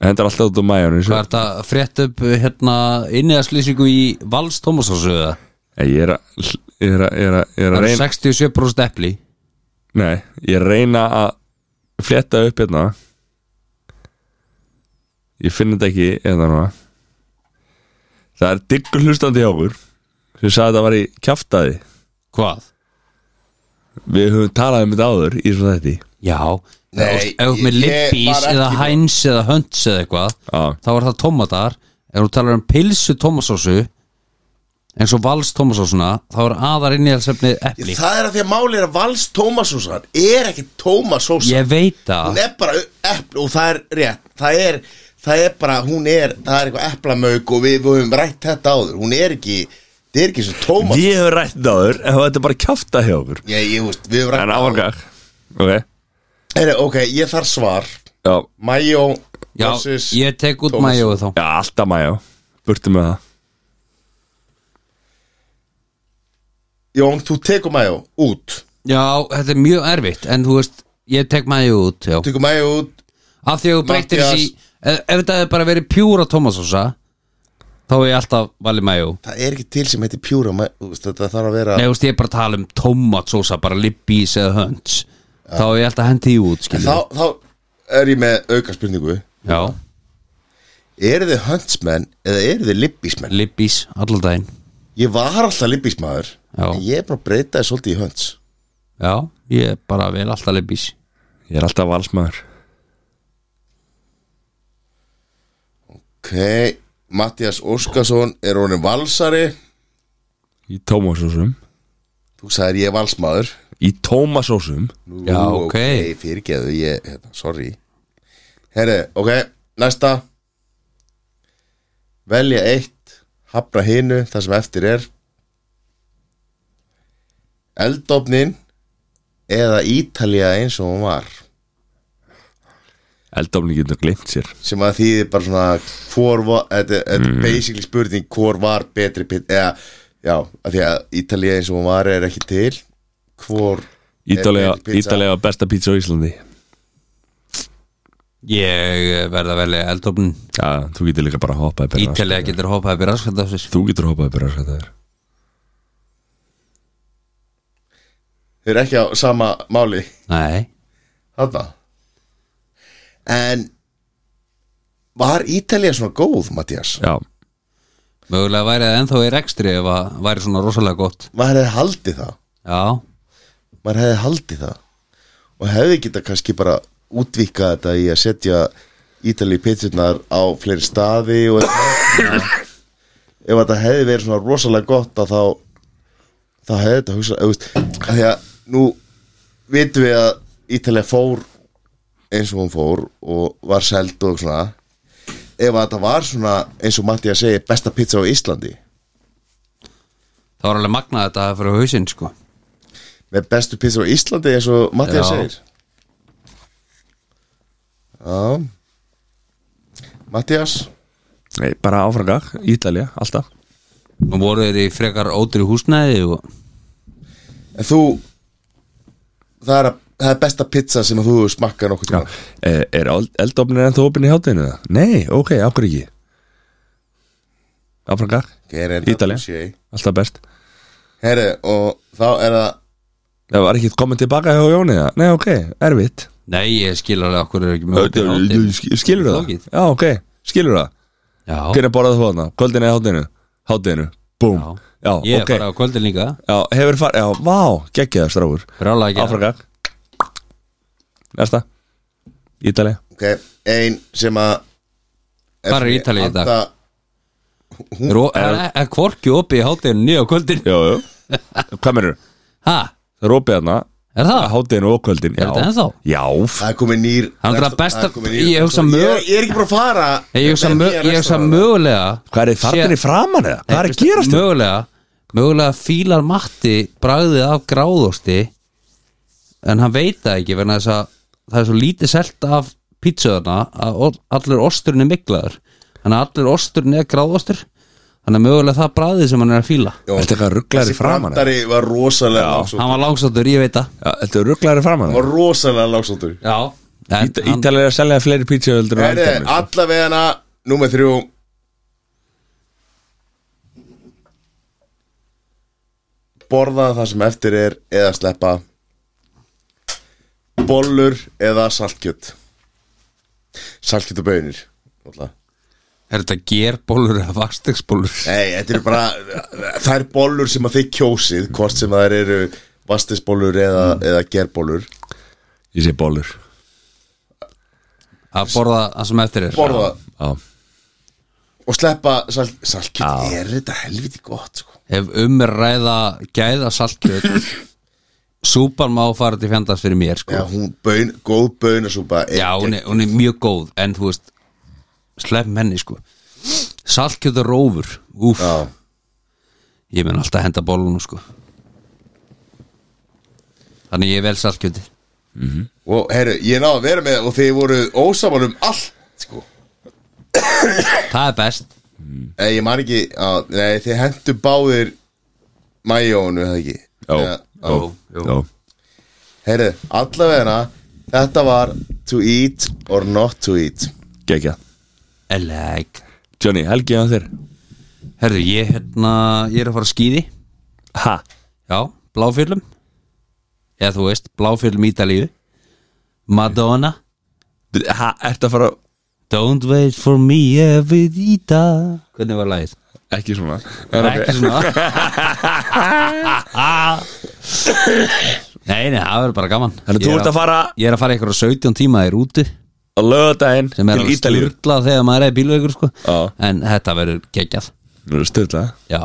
Speaker 1: en þetta er alltaf út á majónu
Speaker 2: Hvað er þetta að frétt upp hérna inniðarslýsingu í Vals Tómasásu eða?
Speaker 1: ég er að ég er að, ég er að, ég er
Speaker 2: Það
Speaker 1: að
Speaker 2: er
Speaker 1: reyna
Speaker 2: 67% epli
Speaker 1: nei, ég er að reyna að fletta upp hérna ég finn þetta ekki hérna núna það er diggur hlustandi hjá okkur sem sagði að þetta var í kjaftaði
Speaker 2: Hvað?
Speaker 1: við höfum talað um þetta áður í þessu þætti
Speaker 2: Já
Speaker 3: Nei,
Speaker 2: Ef þú
Speaker 3: ég-
Speaker 2: með
Speaker 3: ég
Speaker 2: lippís
Speaker 3: var
Speaker 2: eða
Speaker 3: ekki-
Speaker 2: hæns eða hönds eða eitthvað
Speaker 1: Já.
Speaker 2: þá er það tómatar Ef þú talar um pilsu tómasásu eins og Vals Tómasásuna þá er aðar inniðarsefni epli
Speaker 3: Það er að því að máli er að vals tómasósan er ekki tómasósa
Speaker 2: Ég veit
Speaker 3: hún
Speaker 2: að
Speaker 3: er bara epl og það er rétt það er, það er bara, hún er það er eitthvað eplamauk og við, við höfum rætt þetta áður hún er ekki, það er ekki svo tómas
Speaker 1: við höfum rætt þetta áður en þetta er bara kjaftaði hjá okkur
Speaker 3: ég, ég veist, við höfum
Speaker 1: en
Speaker 3: rætt
Speaker 1: áfangag ok,
Speaker 3: Heri, ok, ég þarf svar
Speaker 1: já
Speaker 3: Majó
Speaker 2: Já,
Speaker 3: versus
Speaker 2: ég tek út
Speaker 3: Tómas.
Speaker 2: mæjóðu þá
Speaker 1: Já, alltaf maður, burtu með það
Speaker 3: Jón, þú tekur Majó út
Speaker 2: Já, þetta er mjög erfitt En þú veist, ég tek maður út já.
Speaker 3: Þú tekur Majó út
Speaker 2: Af því að þú breytir
Speaker 3: Matthías.
Speaker 2: þessi Ef ef þetta hefði bara verið pjúra Tómasósa Þá er ég alltaf valið maður
Speaker 3: það er ekki til sem heitir pjúra Mayo, þú veist, þetta þarf að vera
Speaker 2: Nei, þú veist, ég er bara að tala um tómatsósa Bara lippís eða hönds Þá er ég alltaf að hendi því út,
Speaker 3: En
Speaker 2: skilur
Speaker 3: þá, þá er ég með auka spurningu
Speaker 2: Já,
Speaker 3: eru þið huntsmenn eða eru þið lippísmenn
Speaker 2: lippís, allan daginn
Speaker 3: ég var alltaf lippísmaður
Speaker 2: Já.
Speaker 3: en ég er bara að breyta þið svolítið í hunts
Speaker 2: Já, ég er bara vel alltaf lippís
Speaker 1: Ég er alltaf valsmaður
Speaker 3: Ok, Mattias Óskarsson er honum valsari
Speaker 1: Í tómasósum
Speaker 3: Þú sagðir ég er valsmaður
Speaker 1: Í tómasósum
Speaker 3: Nú,
Speaker 2: Já, ok.
Speaker 3: Fyrirgeðu, ég, hérna, sorry Herri, ok, næsta Velja eitt Hafna hinu, það sem eftir er Eldofnin Eða Ítalía eins og hún var
Speaker 1: Eldofni getur glimt sér
Speaker 3: sem að þýðir bara svona hvor var, þetta er- þetta er basically spurning hvor var betri pit, eða, já, af því að Ítalía eins og hún var er ekki til hvor
Speaker 1: Ítalega,
Speaker 3: betri pizza?
Speaker 1: Ítalega var besta pizza á Íslandi
Speaker 2: Ég eh, verða velið eldofn
Speaker 1: Já, þú getur líka bara að hoppa yfir
Speaker 2: Ítalega getur hoppaði byrja raskandafsins
Speaker 1: Þú getur að hoppa yfir raskatafir
Speaker 3: þau eru ekki á sama máli
Speaker 2: Nei,
Speaker 3: þarna en var Ítalía svona góð, Mattias?
Speaker 1: Já,
Speaker 2: mögulega væri það ennþá í rekstri Ef að væri svona rosalega gott
Speaker 3: maður hefði haldið það
Speaker 2: Já,
Speaker 3: maður hefði haldið það og hefði geta kannski bara útvikað þetta í að setja Ítali pitsurnar á fleiri staði og ef þetta hefði verið svona rosalega gott að þá þá hefði þetta hugsað eða, veist, af því að nú vitum við að Ítalið fór eins og hún fór og var seld og svona ef að þetta var svona eins og Matti að segja besta pizza á Íslandi
Speaker 2: það var alveg magnað þetta að fyrir hausinn sko
Speaker 3: með bestu pizza á Íslandi eins og Mattias
Speaker 2: Já.
Speaker 3: segir Já Mattias
Speaker 1: Nei, bara áfrangag, Ítalega, alltaf
Speaker 2: Nú voru þeir í frekar ódri húsnæði og
Speaker 3: en þú það er, að, það er besta pizza sem þú hefur smakkað nokkuð tíma
Speaker 1: Eh, Er eldofnin ennþá opinn í hátinu það? Nei, ok, ákvör ekki Áfrangag, Ítalega, alltaf best
Speaker 3: Herri, og þá er það
Speaker 1: Það Eh, var ekki komin tilbaka hjá Jóni það Nei, ok, erfitt
Speaker 2: Nei, ég skil alveg okkur er ekki með opið hátíð.
Speaker 1: Skilur það?
Speaker 2: Flókið.
Speaker 1: Já, ok, skilur það?
Speaker 2: Já,
Speaker 1: Hvernig borðað þú þarna? Kvöldinu eða hátinu? Hátinu, búm
Speaker 2: Já.
Speaker 1: Já,
Speaker 2: ég er
Speaker 1: ok
Speaker 2: bara á kvöldin líka
Speaker 1: Já, hefur farið, já, vá, geggjaður strákur
Speaker 2: Rálega ekki
Speaker 1: Áfraka Næsta Ítalja
Speaker 3: okay, ein sem að
Speaker 2: Hvar er Ítalía í dag?
Speaker 3: Anda-
Speaker 2: Ró- Það er- er kvorki opið í hátinn nýja á kvöldin
Speaker 1: Jú, jú Hvað mennur?
Speaker 2: Ha,
Speaker 1: Það er opið þarna
Speaker 2: Er það?
Speaker 1: Hátteginu og kvöldin
Speaker 2: Ah. Er
Speaker 1: já.
Speaker 2: þetta ennþá?
Speaker 1: Já, f-
Speaker 3: Það er komið nýr
Speaker 2: Það er það besta- ég hugsa
Speaker 3: ég,
Speaker 2: mög-
Speaker 3: ég er ekki bara að fara
Speaker 2: Ég hugsa
Speaker 3: með
Speaker 2: mö-
Speaker 3: nýja
Speaker 2: ég hugsa
Speaker 3: restaurant.
Speaker 2: mögulega
Speaker 1: Hvað er þið farnir í framan eða? Hvað er að gerast hérna? þið?
Speaker 2: Mögulega, mögulega fílar Matti bragðið af gráðosti en hann veit það ekki vegna þess að það er svo lítið selt af pítsuðarna að o- allur osturinn er miklaður þannig að allur osturinn er gráðostur þannig að mögulega það bragðið sem hann er að fíla
Speaker 3: Jó,
Speaker 1: Þetta er eitthvað rugglaður í
Speaker 3: Þessi
Speaker 1: framan eða?
Speaker 3: brandari var rosalega langsóttur
Speaker 2: hann var langsáttur, ég veit það
Speaker 1: Já, Þetta er rugglaður í framan
Speaker 3: Hann
Speaker 1: eða?
Speaker 3: var rosalega langsóttur
Speaker 2: Já, en
Speaker 1: Ít-
Speaker 2: hann,
Speaker 1: Ítalir er að selja fleiri pítsuöldur
Speaker 3: Það er allavega hana Númer þrjú Borða það sem eftir er Eða sleppa Bollur eða saltkjöt Saltkjöt og baunir Náttúrulega
Speaker 2: er þetta gerbólur eða vastegsbólur?
Speaker 3: Nei, þetta eru bara þær bollur sem að þið kjósið hvort sem þær eru vastisbollur eða, eða gerbollur
Speaker 1: Ég sé bólur
Speaker 2: Að borða það sem eftir er
Speaker 3: borða
Speaker 1: Já,
Speaker 3: og sleppa salt, saltkjöt
Speaker 1: Já.
Speaker 3: er þetta helviti gott sko.
Speaker 2: Ef um umræða gæða saltkjöt Súpan má fara til fjandast fyrir mér sko.
Speaker 3: Já, hún baun, góð baunasúpa er
Speaker 2: Já, hún
Speaker 3: gegn-
Speaker 2: er, hún er mjög góð En þú veist, slepp menni sko. Saltkjöt og rófur Úf,
Speaker 3: Já.
Speaker 2: ég mun alltaf henda bólunum sko. Þannig ég vel saltkjöti
Speaker 3: og herru, ég náði að vera með og þið voru ósamal um allt sko.
Speaker 2: Það er best
Speaker 3: Nei, ég man ekki að, nei, þið hendu báðir majónu, eða ekki
Speaker 1: já,
Speaker 3: Eða-
Speaker 1: já, já
Speaker 3: Herru, allavega þetta var to eat or not to eat
Speaker 1: Gekja
Speaker 2: Eleg
Speaker 1: Johnny, helgi á þér
Speaker 2: Herðu, ég, hérna, ég er að fara að skýði
Speaker 1: Ha,
Speaker 2: Já, bláfjöllum Eða þú veist, bláfjöllum ítalíu Madonna
Speaker 1: ha ertu að fara
Speaker 2: Don't wait for me Evita Hvernig var lagið?
Speaker 1: Ekki svona
Speaker 2: Það
Speaker 1: Er
Speaker 2: er ekki
Speaker 1: ok.
Speaker 2: <laughs> svona Ah. Nei, nei, það verður bara gaman
Speaker 1: Þannig að
Speaker 2: Ég
Speaker 1: þú
Speaker 2: er
Speaker 1: ert að fara
Speaker 2: Ég er að fara ykkur á 17 tíma í rútu
Speaker 1: á lögadaginn
Speaker 2: sem er
Speaker 1: til
Speaker 2: alveg
Speaker 1: Ítalíu
Speaker 2: sturglað þegar maður er bílveikur sko.
Speaker 1: Já.
Speaker 2: en þetta verður geggjað
Speaker 1: Nú er styrla
Speaker 2: Já,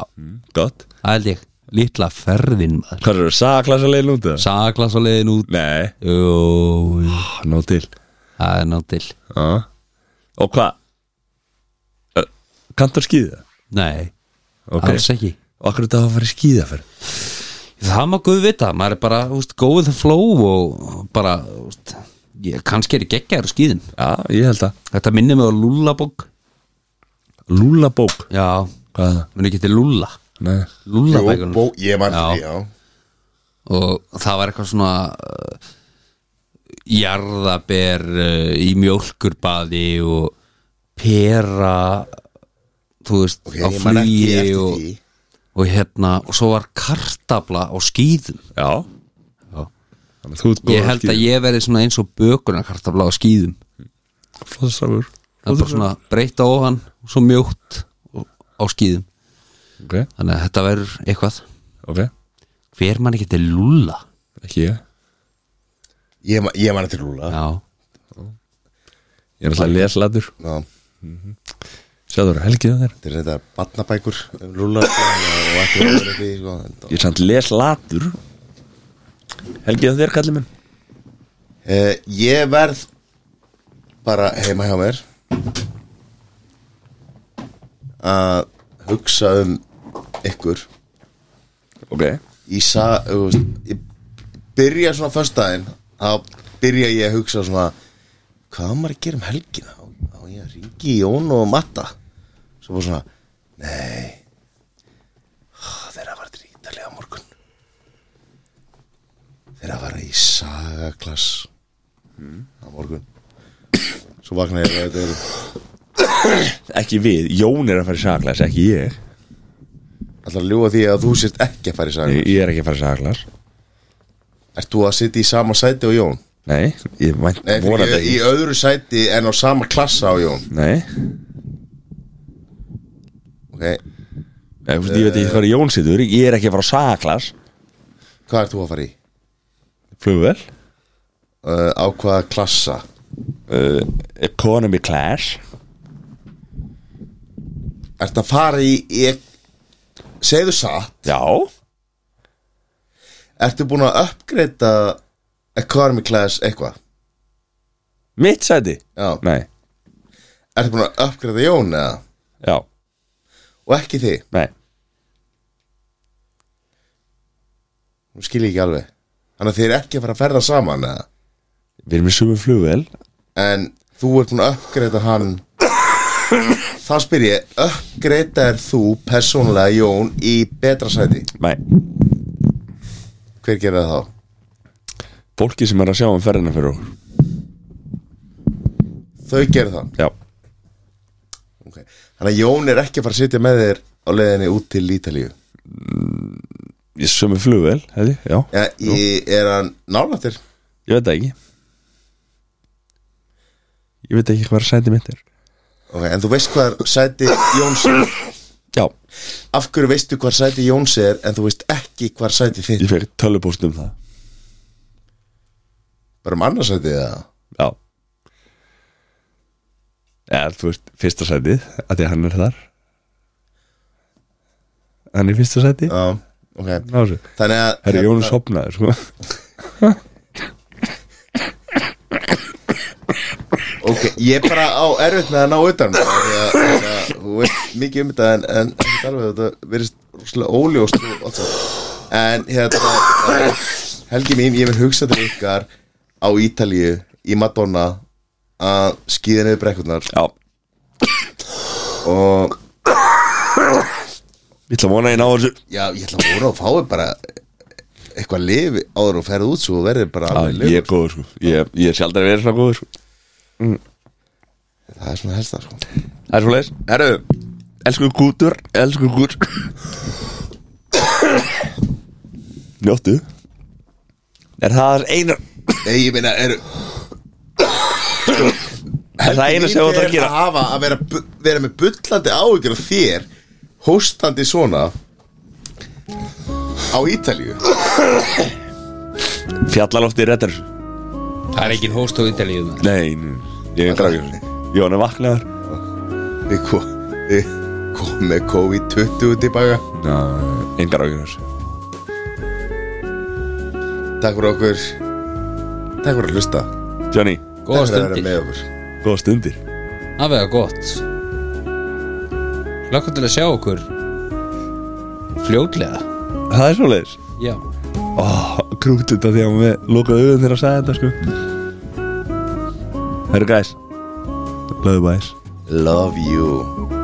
Speaker 1: Gott
Speaker 2: það held ég Lítla ferðin maður
Speaker 1: Hvað eru, sagklasa leiðin út eða?
Speaker 2: Saglas á leiðin út
Speaker 1: Nei,
Speaker 2: Jú, jú,
Speaker 1: ah, ná til
Speaker 2: það er ná til
Speaker 1: ah. Og hvað? Ö, Kanntu að skýða?
Speaker 2: Nei,
Speaker 1: Ok
Speaker 2: alls ekki
Speaker 1: Og akkur þetta að fara í skýða fyrir?
Speaker 2: Það má guð vita, maður er bara úst, go with the flow og bara úst, ég, kannski er ég geggjaður á skýðum
Speaker 1: Já, ég held að
Speaker 2: Þetta minnir mig á lullabók
Speaker 1: Lúla bók
Speaker 2: Já,
Speaker 1: Hvað er það?
Speaker 2: muni ekki til lulla
Speaker 1: Nei
Speaker 2: Lulla
Speaker 3: Jú, bó, ég man
Speaker 2: Já.
Speaker 3: því, já
Speaker 2: Og það var eitthvað svona uh, jarðaber uh, í mjólkurbaði og pera þú veist,
Speaker 3: Ok,
Speaker 2: á
Speaker 3: ég man ekki
Speaker 2: flugi
Speaker 3: eftir
Speaker 2: og,
Speaker 3: því.
Speaker 2: og hérna, og svo var kartabla á skýðum
Speaker 1: Já
Speaker 2: Já.
Speaker 1: Þannig að þú ert góð
Speaker 2: Ég held að ég verði svona eins og bökunarkartabla á skýðum
Speaker 1: Flóðsafur
Speaker 2: það er bara svona breyta ofan og svo mjótt og- á skýðum
Speaker 1: Ok,
Speaker 2: þannig að þetta verður eitthvað
Speaker 1: ok
Speaker 2: hver mann ekki til lulla
Speaker 1: Ekki ég
Speaker 3: Ég, man- ég man eftir Lúla já.
Speaker 2: já,
Speaker 1: Ég er alltaf að lesa latur
Speaker 3: Þetta
Speaker 1: Sjáður, helgið það þér
Speaker 3: er þetta batnabækur um Lúla og ekki verður því sko. en-
Speaker 1: Ég er samt les latur Helgið það þér, kallið minn
Speaker 3: Eh, Ég verð bara heima hjá mér að hugsa um ykkur
Speaker 1: Ok
Speaker 3: í sa, þú veist, ég byrja svona föstudaginn þá byrja ég að hugsa svona hvað á maður að gera um helgina á, á ég að ringi í Jón og Matta svo bara svona nei Ah, þeir að fara til Ítalið á morgun þeir að fara í sagaklass á morgun svo vakna ég að þetta eru
Speaker 1: Ekki við, Jón er að fara í saglas, ekki ég
Speaker 3: allar að ljúga því að þú sért ekki að fara í
Speaker 1: Ég,
Speaker 3: sagaklass
Speaker 1: ég er ekki að fara í saglas
Speaker 3: ert þú að sitja í sama sæti og Jón?
Speaker 1: Nei, ég vænt
Speaker 3: Nei, fyrir,
Speaker 1: vonandi
Speaker 3: ég, í
Speaker 1: ekki
Speaker 3: öðru sæti en á sama klassa á Jón
Speaker 1: Nei,
Speaker 3: Ok,
Speaker 1: ég, veist, ég veit ekki hvað Jón situr Ég er ekki að fara á saglas
Speaker 3: hvað ert þú að fara í?
Speaker 1: Flugvel
Speaker 3: Uh, á hvaða klassa?
Speaker 1: uh, Economy class
Speaker 3: Ert e- að fara í, í segðu satt,
Speaker 1: Já
Speaker 3: Ertu búin að uppgreita economy class eitthvað?
Speaker 1: Mitt sæti?
Speaker 3: Já.
Speaker 1: Nei,
Speaker 3: Ertu búin að uppgreita Jón eða?
Speaker 1: já,
Speaker 3: Og ekki þig?
Speaker 1: nei
Speaker 3: Nú skil ég ekki alveg Þannig að þið er ekki að fara að ferða saman eða?
Speaker 1: Við erum í sumu flugvel
Speaker 3: En þú ert búin að uppgreita hann Það spyr ég Uppgreita er þú persónulega Jón í betra sæti
Speaker 1: Nei,
Speaker 3: Hver gerir það þá?
Speaker 1: fólki sem er að sjá um ferðina fyrir okkur
Speaker 3: Þau gerir það
Speaker 1: Já,
Speaker 3: okay. Þannig að Jón er ekki að fara að sitja með þér á leiðinni út til Ítalíu
Speaker 1: í sumu flugvel, hefði, já
Speaker 3: ja, ég, Er hann nálættir?
Speaker 1: Ég veit það ekki Ég veit ekki hvað sæti mitt er
Speaker 3: Okay, en þú veist hvað sæti Jóns er?
Speaker 1: Já,
Speaker 3: Af hverju veistu hvað sæti Jóns er en þú veist ekki hvað sæti þitt
Speaker 1: ég fekk tölupóst um það
Speaker 3: Bara um annarsæti eða?
Speaker 1: Já Já, þú veist, fyrsta sætið að því að hann er þar Hann er í fyrsta sæti
Speaker 3: Já, ok
Speaker 1: Ná þessu
Speaker 3: Þannig að
Speaker 1: Herri, Jón er sopnaður, sko
Speaker 3: Ok, ég er bara á erfitt með að ná utan af því að- af því að Þú veist mikið um þetta en, en ekkert alveg þetta verðist rosalega óljóst og allt saman. En hérna eh, Helgi mín, ég vil hugsa til ykkar á Ítalíu, í Madonna að skýða niður brekkurnar
Speaker 1: Já,
Speaker 3: og
Speaker 1: ég ætla að vona að ég ná þessu
Speaker 3: Já, ég ætla að voru að fái bara eitthvað lifi áður og ferð út svo og verði bara alveg
Speaker 1: Já, ég er góður, sko Ég, ég er sjaldar verið svona góður, sko
Speaker 3: Það er svona helsta sko
Speaker 1: Það er svo leiðis Herru, elsku gútur, elsku gúr Njóttu Er það eina
Speaker 3: Nei, ég meina, er
Speaker 1: Er það eina sem þú ætlar að
Speaker 3: að
Speaker 1: gera
Speaker 3: hafa að vera, bu- vera með bullandi áhyggjur af þér hóstandi svona á Ítalíu
Speaker 1: Fjallalofti reddar
Speaker 2: Það er engin hóst á ítalíu
Speaker 1: Nei, nei, ég er krakkur Ég var hann vaknaður
Speaker 3: Við ko- við komum með COVID-20 tilbaka
Speaker 1: Já, Hérna, engar ágjur þessu
Speaker 3: Takk fyrir okkur Takk fyrir að hlusta
Speaker 1: Johnny,
Speaker 2: Góða
Speaker 3: Takk fyrir að vera með
Speaker 2: stundir
Speaker 3: okkur
Speaker 1: góða stundir
Speaker 2: Það verða gott Lakka til að sjá okkur Fljótlega
Speaker 1: Það er svoleiðis
Speaker 2: Já
Speaker 1: Krútt þetta því að hún við lokaði auðvitað þegar að sagði þetta sko Herru gæs Blöðu bæs
Speaker 3: Love you